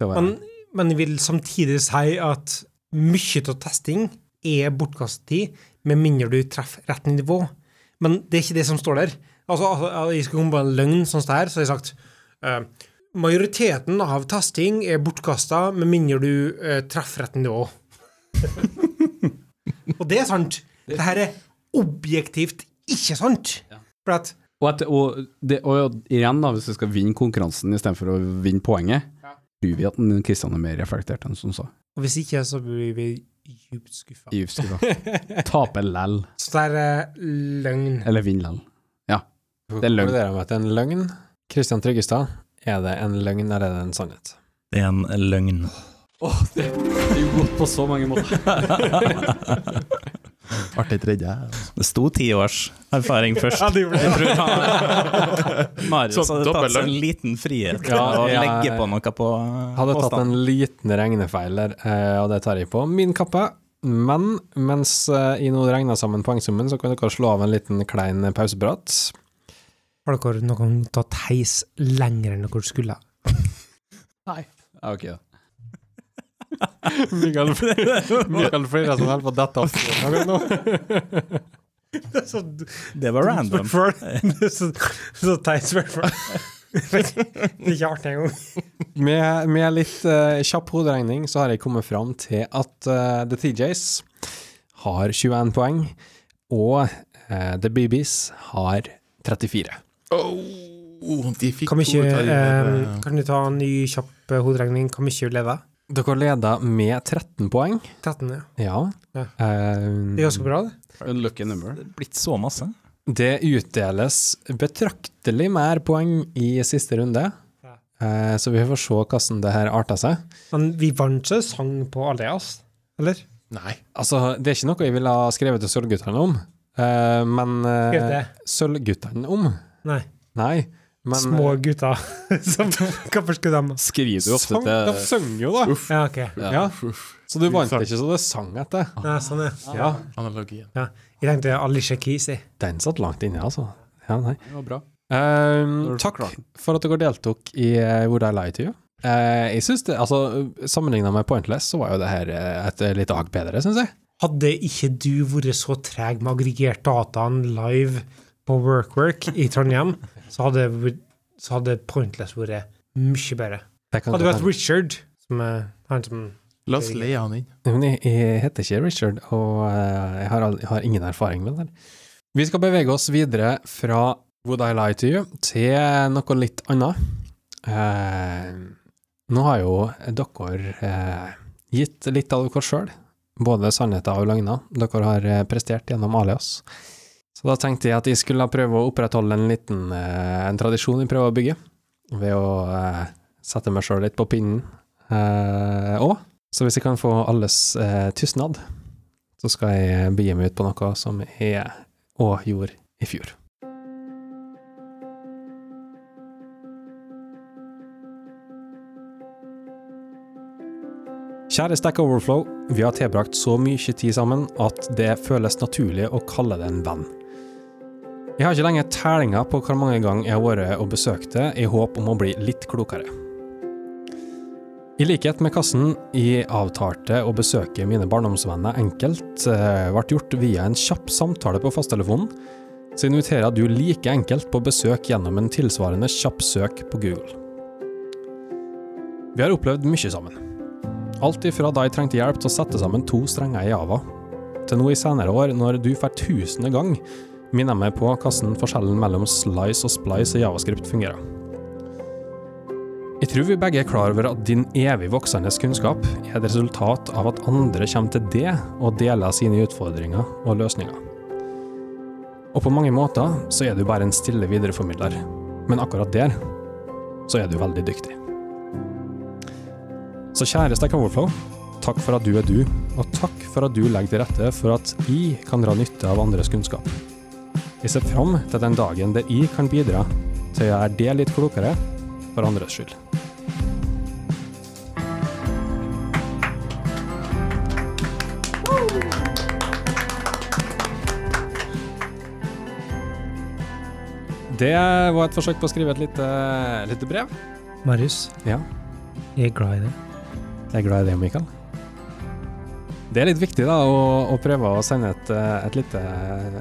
Speaker 1: Men, men jeg vil samtidig si at mye av testing er bortkastet tid, med mindre du treffer rett nivå. Men det er ikke det som står der. Altså, altså at jeg skal komme på en løgn sånn som det her, så har jeg sagt eh, majoriteten av testing er bortkasta med mindre du eh, treffer rett nivå. Og det er sant. Det her er objektivt ikke sant. For at
Speaker 5: Og, at, og, det, og igjen, da, hvis vi skal vinne konkurransen istedenfor å vinne poenget, tror vi at Kristian er mer reflektert enn som så.
Speaker 1: Og hvis ikke, så blir vi djupt skuffa.
Speaker 5: I Ufskriva. Tape lell,
Speaker 1: Så det er eh, løgn.
Speaker 5: eller vinne lell.
Speaker 2: Hvorfor
Speaker 5: Det er løgn.
Speaker 2: konkluderer med at det er en løgn. Kristian Tryggestad, er det en løgn eller er det en sannhet?
Speaker 3: Det er en løgn.
Speaker 5: Det er jo godt på så mange måter.
Speaker 4: Artig tredje. altså.
Speaker 3: Det sto ti års erfaring først.
Speaker 1: det gjorde
Speaker 3: Jeg tror han- Marius
Speaker 4: Så
Speaker 3: hadde tatt seg
Speaker 4: dobbeltløgn.
Speaker 3: en liten frihet til
Speaker 2: Ja,
Speaker 3: å
Speaker 2: ja,
Speaker 3: legge
Speaker 2: jeg-
Speaker 3: på noe på
Speaker 2: Hadde tatt
Speaker 3: påstanden.
Speaker 2: en liten regnefeil der, eh, og det tar jeg på min kappe. Men mens eh, jeg nå regner sammen poengsummen, så kan dere slå av en liten klein pauseprat.
Speaker 1: Har dere noen gang tatt heis lenger enn dere skulle?
Speaker 5: Nei. Ja, ok, da. Mikael Freyre som holder på å dette av
Speaker 1: så
Speaker 3: Det var random.
Speaker 1: spørsmål. så, så teit spørsmål. Det er ikke artig engang.
Speaker 2: Med, med litt eh, kjapp hoderegning så har jeg kommet fram til at eh, The TJs har 21 poeng, og eh, The BBs har 34.
Speaker 4: Oh, de fikk
Speaker 1: Kan vi
Speaker 4: to
Speaker 1: ikke
Speaker 4: tarier.
Speaker 1: eh, Kan du ta en ny kjapp eh, hoderegning? Kan vi ikke leve?
Speaker 2: Dere leder med 13 poeng.
Speaker 1: 13, ja.
Speaker 2: Ja.
Speaker 1: Ja.
Speaker 2: Eh,
Speaker 1: Det er ganske bra, det.
Speaker 5: Unlucky number.
Speaker 3: Blitt så masse.
Speaker 2: Det utdeles betraktelig mer poeng i siste runde,
Speaker 1: Ja.
Speaker 2: Eh, så vi får se hvordan det her arter seg.
Speaker 1: Men vi vant ikke sang på Alias, eller?
Speaker 4: Nei.
Speaker 2: Altså, det er ikke noe jeg ville ha skrevet til Sølvguttene om, eh, men eh,
Speaker 1: Skrevet det?
Speaker 2: Sølvguttene om?
Speaker 1: Nei.
Speaker 2: Nei. Men,
Speaker 1: Små gutter. som, hvorfor skulle de
Speaker 5: Skriver du ofte
Speaker 2: Sang, de
Speaker 5: til
Speaker 2: sang jo, da.
Speaker 1: Ja, OK.
Speaker 5: Ja.
Speaker 2: Ja.
Speaker 1: eh,
Speaker 2: Så du vant
Speaker 4: Sang.
Speaker 2: ikke, så det sang etter.
Speaker 1: Ja, sånn, ja.
Speaker 2: Ja.
Speaker 4: Analogien.
Speaker 1: Jeg tenkte Alicia Keys, jeg.
Speaker 2: Den satt langt inne, altså. Ja, nei.
Speaker 5: Det var bra.
Speaker 2: Ehm,
Speaker 5: Når du
Speaker 2: takk
Speaker 5: forklarer den.
Speaker 2: for at dere deltok i eh, Would I Lie to You. Eh, jeg synes det, altså, Sammenligna med Pointless så var jo det her eh, et lite hakk bedre, syns jeg.
Speaker 1: Hadde ikke du vært så treg med å aggregere dataen live på WorkWork i Trondheim, så hadde, vært- så hadde Pointless vært mye bedre.
Speaker 2: Det kan
Speaker 1: Hadde
Speaker 2: godt
Speaker 1: vært
Speaker 2: hende.
Speaker 1: Richard, som er han som
Speaker 4: La oss leie han inn.
Speaker 2: Men jeg, jeg heter ikke Richard, og eh, jeg, har, al- jeg har ingen erfaring med det. her. Vi skal bevege oss videre fra Would I Lie to You til noe litt annet. Eh, nå har jo dere eh, gitt litt av dere sjøl, både sannheter og løgner. Dere har eh, prestert gjennom Alias. Så da tenkte jeg at jeg skulle prøve å opprettholde en liten eh, en tradisjon jeg prøver å bygge, ved å eh, sette meg sjøl litt på pinnen. Eh, og så hvis jeg kan få alles eh, tystnad, så skal jeg begi meg ut på noe som jeg òg gjorde i fjor. Kjære Stack Overflow, vi har tilbrakt så mye tid sammen at det føles naturlig å kalle det en venn. Jeg har ikke lenger tellinga på hvor mange ganger jeg har vært og besøkt det, i håp om å bli litt klokere. I likhet med kassen jeg avtalte å besøke mine barndomsvenner enkelt, eh, ble gjort via en kjapp samtale på fasttelefonen, så inviterer du like enkelt på besøk gjennom en tilsvarende kjapp søk på Google. Vi har opplevd mye sammen. Alt ifra da jeg trengte hjelp til å sette sammen to strenger i Java, til nå i senere år, når du for tusende gang minner meg på hvordan forskjellen mellom slice og splice i javascript fungerer. Jeg tror vi begge er klar over at din evig voksende kunnskap er et resultat av at andre kommer til det og deler sine utfordringer og løsninger. Og på mange måter så er du bare en stille videreformidler, men akkurat der så er du veldig dyktig. Så kjære Stack Overflow, takk for at du er du, og takk for at du legger til rette for at jeg kan dra nytte av andres kunnskap. Jeg ser fram til den dagen der jeg kan bidra til å gjøre det litt klokere for andres skyld. Det var et forsøk på å skrive et lite, lite brev.
Speaker 1: Marius,
Speaker 2: Ja.
Speaker 1: jeg er glad i deg.
Speaker 2: Jeg er glad i det, Mikael. Det er litt viktig da, å, å prøve å sende et, eh, et, lite,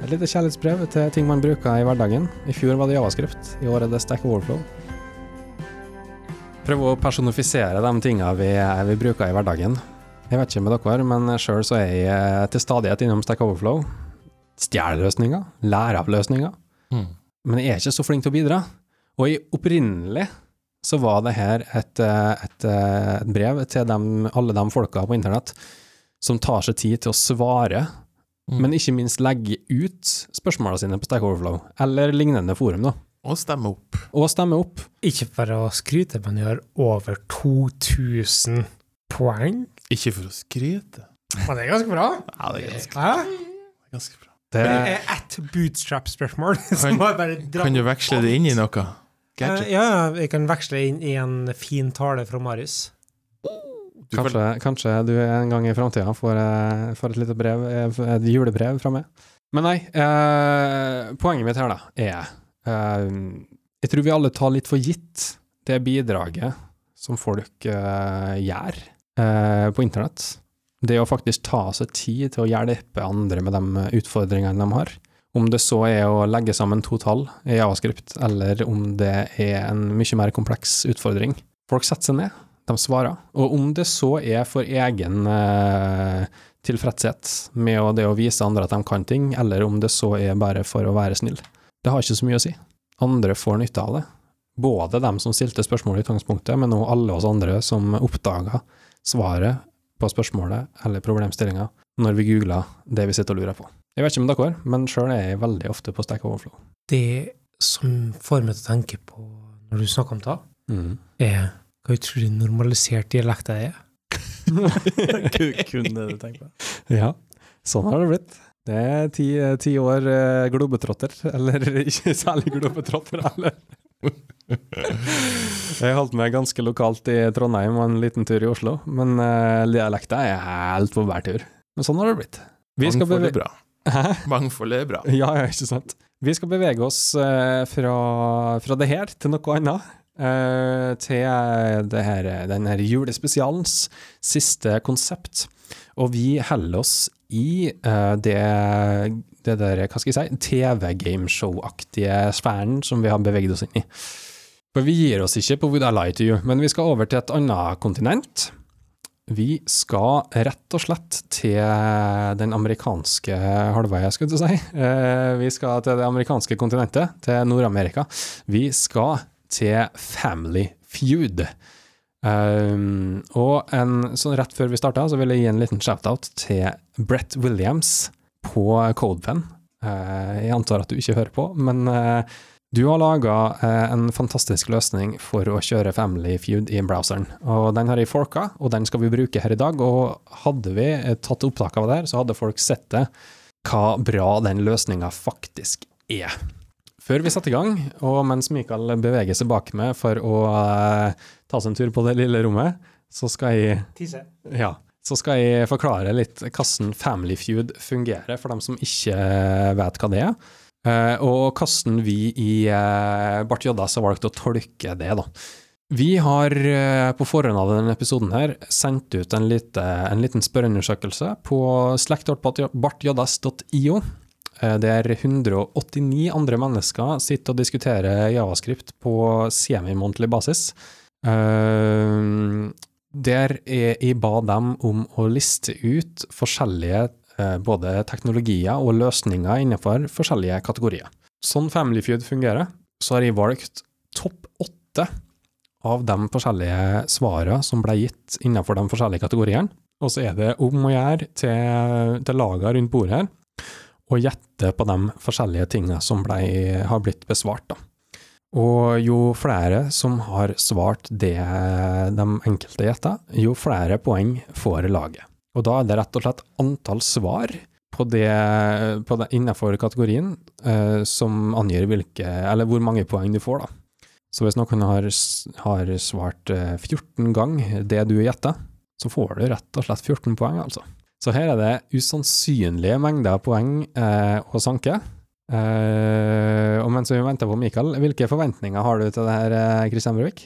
Speaker 2: et lite kjærlighetsbrev til ting man bruker i hverdagen. I fjor var det javascript, i år er det Stack Overflow. Prøv å personifisere de tingene vi, eh, vi bruker i hverdagen. Jeg vet ikke med dere, men sjøl så er jeg eh, til stadighet innom Stack Overflow. Stjeler løsninger, lærer av løsninger.
Speaker 4: Mm.
Speaker 2: Men jeg er ikke så flink til å bidra. Og i opprinnelig så var det her et, eh, et, eh, et brev til dem, alle de folka på internett som tar seg tid til å svare,
Speaker 4: Mm.
Speaker 2: men ikke minst legge ut spørsmåla sine på Stack Overflow, eller lignende forum, da,
Speaker 4: Og stemme opp.
Speaker 2: og stemme opp.
Speaker 1: Ikke for å skryte, men jeg har over 2000 poeng.
Speaker 4: Ikke for å skryte.
Speaker 1: Men det er ganske bra.
Speaker 4: Ja, det er ganske,
Speaker 1: Hæ?
Speaker 4: ganske bra.
Speaker 2: Det,
Speaker 1: Det er ett bootstrap-spørsmål, så
Speaker 4: Kan-
Speaker 1: må jeg bare dra
Speaker 4: Kan du veksle det inn i noe?
Speaker 1: Eh,
Speaker 4: Gadget?
Speaker 1: Ja, jeg kan veksle inn i en fin tale fra Marius.
Speaker 4: Du får-
Speaker 2: kanskje, kanskje du en gang i framtida får, eh, får et lite brev, eh, et julebrev fra meg. Men nei, eh, poenget mitt her da, er eh, Jeg tror vi alle tar litt for gitt det bidraget som folk eh, gjør eh, på internett. Det å faktisk ta seg tid til å hjelpe andre med de utfordringene de har. Om det så er å legge sammen to tall i javascript, eller om det er en mye mer kompleks utfordring. Folk setter seg ned, de svarer. Og om det så er for egen eh, tilfredshet med å- det å vise andre at de kan ting, eller om det så er bare for å være snill, det har ikke så mye å si. Andre får nytte av det. Både dem som stilte spørsmålet i utgangspunktet, men også alle oss andre som oppdaga svaret på spørsmålet eller problemstillinga når vi googla det vi sitter og lurer på. Jeg vet ikke om dere, men sjøl er jeg veldig ofte på Stack Overflow.
Speaker 1: Det som får meg til å tenke på når du snakker om det,
Speaker 3: Mm.
Speaker 1: er hva utrolig normalisert dialekt det er.
Speaker 3: Kun det du tenker på.
Speaker 2: Ja, sånn har det blitt. Det er ti, ti år eh, globetrotter, eller ikke særlig globetrotter heller. Jeg holdt meg ganske lokalt i Trondheim og en liten tur i Oslo, men uh, dialekta er helt på hver tur. Men sånn har det blitt. Vi skal
Speaker 4: Mangfold er
Speaker 2: beve
Speaker 4: bra.
Speaker 2: Hæ?
Speaker 4: Mangfold er bra.
Speaker 2: Ja, ja, ikke sant. Vi skal bevege oss eh, fra, fra det her til noe annet. eh, til det her, den her julespesialens siste konsept. Og vi holder oss i eh, det, det der, hva skal jeg si, TV-gameshow-aktige sfæren som vi har beveget oss inn i. For vi gir oss ikke på Would I Lie to You, men vi skal over til et annet kontinent. Vi skal rett og slett til den amerikanske halvveien, skulle jeg si. Eh, Vi skal til det amerikanske kontinentet, til Nord-Amerika. Vi skal til Family Feud. Um, og en, sånn rett før vi starta, så vil jeg gi en liten shout-out til Brett Williams på Codepen. Eh, jeg antar at du ikke hører på, men eh, Du har laga eh, en fantastisk løsning for å kjøre Family Feud i browseren. Og Den har jeg forka, og den skal vi bruke her i dag. Og Hadde vi eh, tatt opptak av det her, så hadde folk sett det, hva bra den løsninga faktisk er. Før vi satte i gang, og mens Mikael beveger seg bak meg for å eh, ta seg en tur på det lille rommet, så skal jeg
Speaker 1: Tise.
Speaker 2: ja. Så skal jeg forklare litt hvordan Family Feud fungerer, for dem som ikke vet hva det er. Eh, og hvordan vi i eh, Bart Joddas har valgt å tolke det, da. Vi har eh, på forhånd av denne episoden her sendt ut en, lite, en liten spørreundersøkelse på slekt.bartjoddas.io, eh, der 189 andre mennesker sitter og diskuterer javascript på semi-månedlig basis. Eh, der jeg, jeg ba dem om å liste ut forskjellige eh, både teknologier og løsninger innenfor forskjellige kategorier. Sånn Family Feud fungerer, så har jeg valgt topp åtte av de forskjellige svarene som ble gitt innenfor de forskjellige kategoriene. Og så er det om å gjøre til, til lagene rundt bordet her, og gjette på de forskjellige tingene som ble, har blitt besvart. da. Og jo flere som har svart det de enkelte gjetta, jo flere poeng får laget. Og da er det rett og slett antall svar på det, på det innenfor kategorien eh, som angir hvilke, eller hvor mange poeng du får, da. Så hvis noen har, s- har svart eh, 14 ganger det du gjetta, så får du rett og slett 14 poeng, altså. Så her er det usannsynlige mengder poeng eh, å sanke. Eh, og mens vi venter på Mikael, hvilke forventninger har du til det her, eh, Christian Brevik?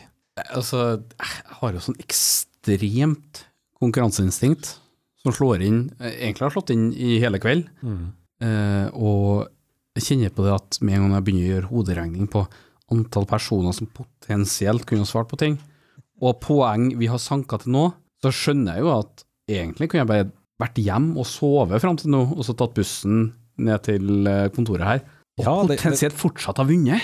Speaker 5: Altså, jeg har jo sånn ekstremt konkurranseinstinkt som slår inn, egentlig har slått inn i hele kveld,
Speaker 2: Mm.
Speaker 5: eh, og jeg kjenner på det at med en gang jeg begynner å gjøre hoderegning på antall personer som potensielt kunne ha svart på ting, og poeng vi har sanka til nå, så skjønner jeg jo at egentlig kunne jeg bare vært hjem og sove fram til nå, og så tatt bussen ned til eh, kontoret her, og
Speaker 2: Ja, det-
Speaker 5: potensielt fortsatt ha vunnet.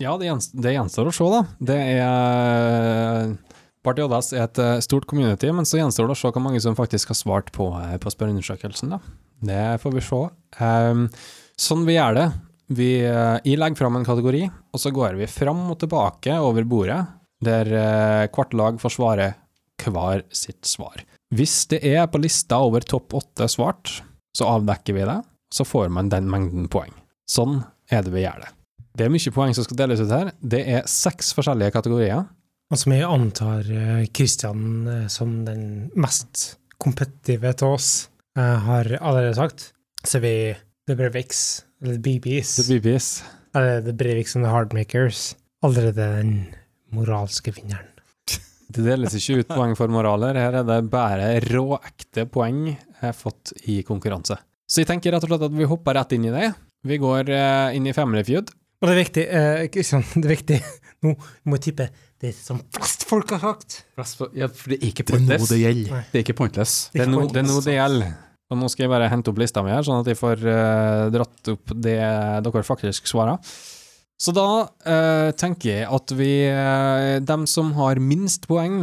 Speaker 2: Ja, det, gjenst det gjenstår å se, da. Det er Party Oddas er et eh, stort community, men så gjenstår det å se hvor mange som faktisk har svart på, eh, på spørreundersøkelsen, da. Det får vi se. Ehm, sånn vi gjør det. Vi, eh, jeg legger fram en kategori, og så går vi fram og tilbake over bordet, der eh, hvert lag får svare hver sitt svar. Hvis det er på lista over topp åtte svart, så avdekker vi det. Så får man den mengden poeng. Sånn er det vi gjør det. Det er mye poeng som skal deles ut her. Det er seks forskjellige kategorier.
Speaker 1: Og som jeg antar eh, Christian eh, som den mest kompetitive til oss eh, har allerede sagt, så er vi The Breviks, eller BBs,
Speaker 2: The BBs.
Speaker 1: eller The Breviks and The Hardmakers, allerede den moralske vinneren.
Speaker 2: Det deles ikke ut poeng for moraler. Her er det bare råekte poeng jeg har fått i konkurranse. Så jeg tenker rett og slett at vi hopper rett inn i det. Vi går eh, inn i Family Feud.
Speaker 1: Og det er viktig, eh, Christian, det er viktig, nå må jeg tippe det som flest folk har sagt.
Speaker 5: Ja, for det er ikke
Speaker 4: Det er nå
Speaker 5: pointless.
Speaker 4: det gjelder.
Speaker 5: Det er ikke pointless.
Speaker 2: Det er, no, det er nå
Speaker 1: pointless.
Speaker 2: det gjelder. Og nå skal jeg bare hente opp lista mi her, sånn at jeg får eh, dratt opp det dere faktisk svarer. Så da eh, tenker jeg at vi eh, Dem som har minst poeng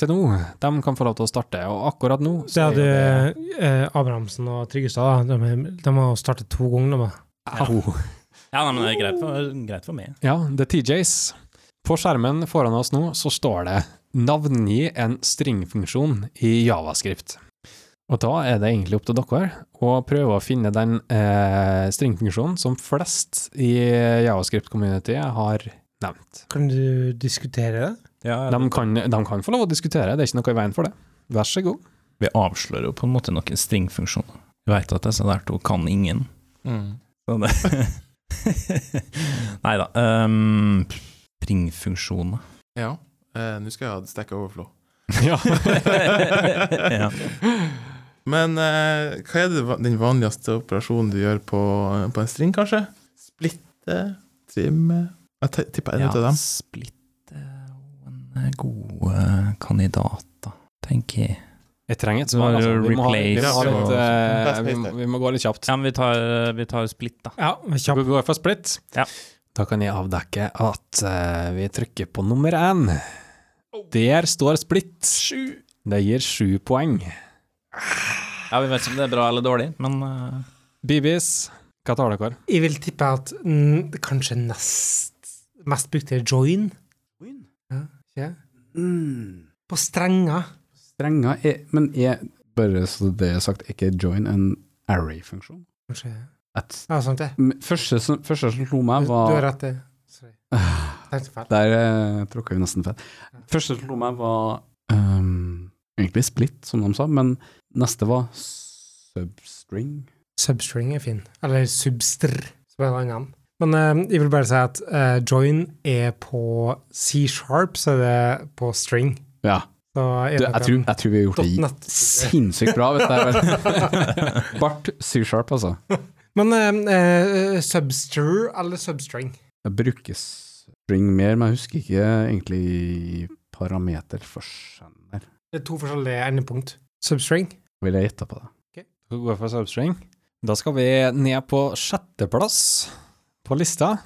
Speaker 2: til nå, dem kan få lov til å starte. Og akkurat nå
Speaker 1: Det
Speaker 2: er jo
Speaker 1: hadde eh, Abrahamsen og Tryggestad, da. de, de har jo startet to ganger. da.
Speaker 2: Au.
Speaker 3: Ja, nei, men det er greit for, greit for meg.
Speaker 2: Ja, det er TJs. På skjermen foran oss nå så står det 'navngi en stringfunksjon i javascript'. Og da er det egentlig opp til dere å prøve å finne den eh, stringfunksjonen som flest i javascript-communityet har nevnt.
Speaker 1: Kan du diskutere det?
Speaker 2: De kan, de kan få lov å diskutere, det er ikke noe i veien for det. Vær så god.
Speaker 3: Vi avslører jo på en måte noen stringfunksjoner. Du veit at disse der to kan ingen.
Speaker 4: Mm.
Speaker 3: Så det Nei da. Um, springfunksjoner.
Speaker 4: Ja. Eh, Nå skal jeg ha Stack Overflow.
Speaker 2: Ja.
Speaker 3: ja.
Speaker 4: Men eh, hva er det, va- den vanligste operasjonen du gjør på, på en string, kanskje? Splitte? Trimme? Jeg te- tipper en
Speaker 3: ja,
Speaker 4: ut av dem.
Speaker 3: Splitt eh, er jo en god eh, kandidat, da, tenker jeg.
Speaker 2: Jeg trenger et
Speaker 3: Du har
Speaker 2: svar. Altså. Vi, må ha, vi, må ha
Speaker 4: replace.
Speaker 2: litt, eh,
Speaker 4: Best
Speaker 2: vi,
Speaker 4: paste
Speaker 2: må,
Speaker 4: det.
Speaker 2: vi må gå litt kjapt.
Speaker 3: Ja, men vi tar, eh, vi tar splitt, da.
Speaker 1: Ja, kjapt.
Speaker 2: Vi går for split.
Speaker 3: Ja.
Speaker 2: Da kan jeg avdekke at eh, vi trykker på nummer én. Der står split. Det gir sju poeng.
Speaker 3: Ja, Vi vet ikke om det er bra eller dårlig, men eh,
Speaker 2: Bibis, hva tar dere?
Speaker 1: Jeg vil tippe at mm, kanskje nest mest brukte join. Ja, ikke?
Speaker 5: Mm.
Speaker 1: På strenger.
Speaker 5: Strenger er Men er, bare så det er sagt, er ikke join en array-funksjon?
Speaker 1: Kanskje.
Speaker 5: At-
Speaker 1: Ja, sant det.
Speaker 5: m- Første, som- første som slo meg,
Speaker 1: Du du har
Speaker 5: var
Speaker 1: rett, det. Sorry. Tenkte feil.
Speaker 5: Der eh, tråkka vi nesten feil. Første som slo meg, var ehm, egentlig split, som de sa, men neste var substring.
Speaker 1: Substring er fin. Eller substr, som er en annen. Men eh, jeg vil bare si at eh, join er på C-sharp, så er det på string.
Speaker 5: Ja.
Speaker 1: Så er
Speaker 5: Du,
Speaker 1: det
Speaker 5: jeg, tror, jeg tror vi har gjort det
Speaker 1: .net.
Speaker 5: sinnssykt bra. Vet du. det er vel- Bart C-sharp, altså.
Speaker 1: Men eh, eh, substr eller substring?
Speaker 5: Jeg bruker string mer, men jeg husker ikke egentlig parameterforskjeller.
Speaker 1: Det er to forskjellige endepunkt. Substring.
Speaker 5: Vil jeg gjette på det?
Speaker 2: Skal vi gå for substring? Da skal vi ned på sjetteplass på lista.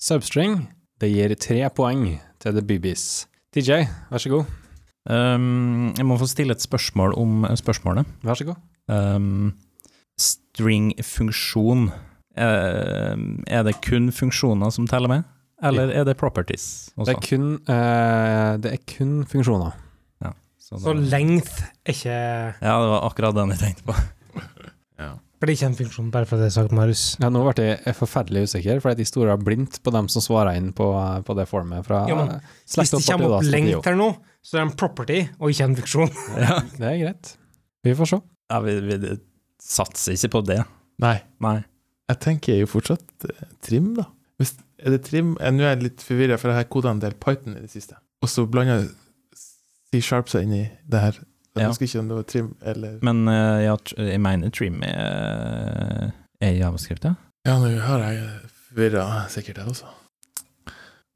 Speaker 2: Substring. Det gir tre poeng til The Boobies. TJ, vær så god.
Speaker 3: Um, jeg må få stille et spørsmål om eh, spørsmålet.
Speaker 2: Vær så god.
Speaker 3: Um, String-funksjon eh, Er det kun funksjoner som teller med, eller er det properties
Speaker 2: Det
Speaker 3: også?
Speaker 2: er kun, eh, det er kun funksjoner.
Speaker 3: Så
Speaker 1: Så
Speaker 3: da-
Speaker 1: length er ikke
Speaker 3: ja, det var akkurat den jeg tenkte på.
Speaker 4: Ja.
Speaker 1: For det er ikke en funksjon, bare for det er sagt, Marius.
Speaker 2: Ja, nå ble jeg forferdelig usikker, for de stoler blindt på dem som svarer inn på, på det formet fra
Speaker 1: Ja, men
Speaker 2: eh,
Speaker 1: Hvis det
Speaker 2: Slekta
Speaker 1: kommer
Speaker 2: Party,
Speaker 1: opp
Speaker 2: da,
Speaker 1: length
Speaker 2: Studio.
Speaker 1: her nå, så er det en property og ikke en funksjon.
Speaker 3: Ja.
Speaker 2: Det er greit. Vi får se.
Speaker 3: Ja, vi, vi satser ikke på det.
Speaker 4: Nei,
Speaker 3: Nei.
Speaker 4: jeg tenker jo fortsatt eh, trim, da. Hvis, er det trim? Eh, Nå er jeg litt forvirra, for jeg har kodet en del Python i det siste. Og så blander C-sharp seg inn i det her. Jeg
Speaker 3: Ja.
Speaker 4: husker ikke om det var trim eller
Speaker 3: Men eh, ja, tr- jeg mener trim er, er javascript, ja.
Speaker 4: Ja, nå har jeg forvirra sikkert det også.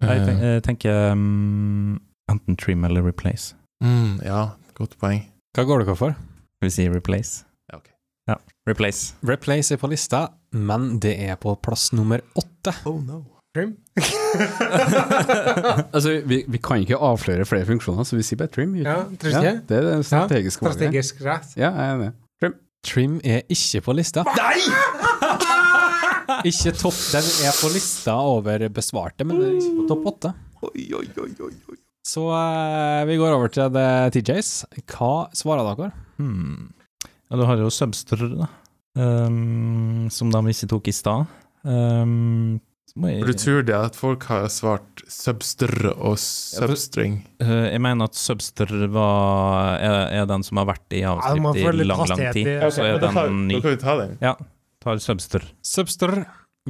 Speaker 3: Jeg tenk,
Speaker 4: Eh,
Speaker 3: jeg tenker mm, enten trim eller replace.
Speaker 4: mm, ja, godt poeng.
Speaker 2: Hva går dere for?
Speaker 3: Skal vi si replace?
Speaker 4: Ja, ok.
Speaker 3: Ja, replace.
Speaker 2: Replace er på lista, men det er på plass nummer åtte.
Speaker 4: Oh no.
Speaker 1: Trim.
Speaker 5: Altså, vi, vi kan ikke avsløre flere funksjoner, så vi sier bare trim.
Speaker 1: ja, tror du ikke?
Speaker 5: Ja, det er det strategiske valget.
Speaker 1: Strategisk rett.
Speaker 5: Ja, jeg er enig.
Speaker 2: Trim er ikke på lista.
Speaker 1: Nei!
Speaker 2: Ikke topp, Den er på lista over besvarte, men den er ikke på topp åtte.
Speaker 4: Oi, oi, oi, oi, oi.
Speaker 2: Så eh, vi går over til det TJs. Hva svarer dere?
Speaker 3: Hmm. Ja, du har jo substr, da. Um, som de ikke tok i stad. Um, så må
Speaker 4: For du
Speaker 3: jeg,
Speaker 4: tror det at folk har svart substr og substring?
Speaker 3: Eh, jeg mener at substr var, er, er den som har vært i
Speaker 1: Ja, du må
Speaker 3: javascript
Speaker 1: få
Speaker 3: i
Speaker 1: litt
Speaker 3: lang, lang
Speaker 1: hastighet
Speaker 3: tid.
Speaker 1: i-
Speaker 3: Så er
Speaker 4: da, tar,
Speaker 3: den
Speaker 4: da
Speaker 3: ny.
Speaker 4: kan vi ta den.
Speaker 3: Tar substr.
Speaker 2: Substr.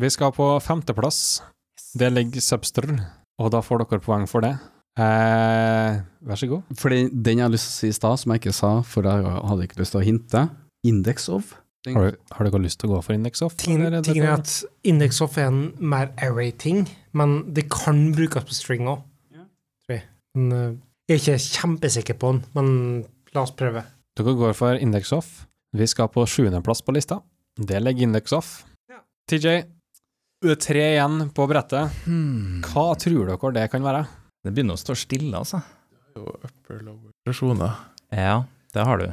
Speaker 2: Vi skal på femteplass. Det ligger Substr, og da får dere poeng for det. Eh, vær så god.
Speaker 5: Fordi den jeg har lyst til å si i stad, som jeg ikke sa, for jeg hadde ikke lyst til å hinte, index of. Den,
Speaker 2: Har, du, har dere lyst til å gå for Index Off?
Speaker 1: Ting,
Speaker 2: eller er det
Speaker 1: tingen er
Speaker 2: bare-
Speaker 1: at index of er en mer array-ting, men det kan brukes på string òg. Men eh, jeg er ikke kjempesikker på den, men la oss prøve.
Speaker 2: Dere går for Index Off. Vi skal på sjuendeplass på lista. Det ligger Index Off.
Speaker 1: Ja.
Speaker 2: TJ, det er tre igjen på brettet.
Speaker 4: Hmm.
Speaker 2: Hva tror dere det kan være?
Speaker 3: Det begynner å stå stille, altså.
Speaker 4: Og upper lower relasjoner.
Speaker 3: Ja, det har du.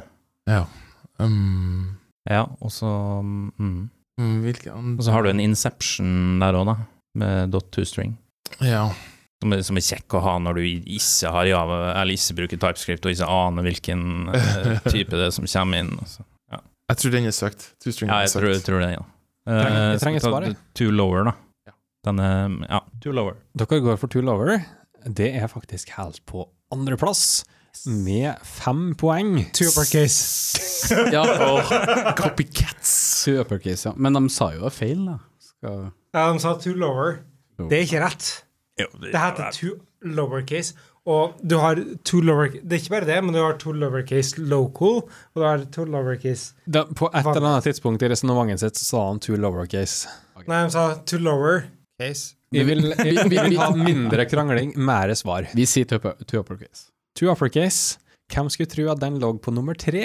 Speaker 4: Um,
Speaker 3: Ja, og så mm.
Speaker 4: mm, hvilke andre
Speaker 3: Og så har du en Inception der òg, da, med dot to string.
Speaker 4: Ja.
Speaker 3: Som er, som er kjekk å ha når du ikke har Java, eller ikke bruker TypeScript og ikke aner hvilken eh, type det er som kommer inn. Altså.
Speaker 4: Jeg tror den er søkt. Two string
Speaker 3: Ja,
Speaker 4: er
Speaker 3: jeg
Speaker 4: søkt.
Speaker 3: tror, jeg tror det, ja. Eh,
Speaker 2: Trenger- jeg
Speaker 3: skal
Speaker 2: trenger
Speaker 3: ta
Speaker 2: svar, jeg.
Speaker 3: Two lower,
Speaker 4: Ja.
Speaker 3: da. Den er Ja, two lower.
Speaker 2: Dere går for Tool Over. Det er faktisk helt på andreplass, med fem poeng.
Speaker 1: Two uppercase.
Speaker 5: Ja, og
Speaker 4: Copycats!
Speaker 5: two uppercase, ja. Men de sa jo det var feil, da. Skal...
Speaker 1: Ja, de sa two lower. Det er ikke rett.
Speaker 3: Jo,
Speaker 1: Det heter two lowercase, og du har two lower... Det er ikke bare det, men du har two lowercase local, og du har two lowercase...
Speaker 2: Da, på et eller annet tidspunkt i resonnementet sitt så sa han Tool Lowercase.
Speaker 1: Nei, de sa two lower case.
Speaker 2: Vi vil, vi, vi vil ha mindre krangling, mer svar.
Speaker 5: Vi sier two upper- two uppercase.
Speaker 2: Two Uppercase. Hvem skulle tro at den lå på nummer tre?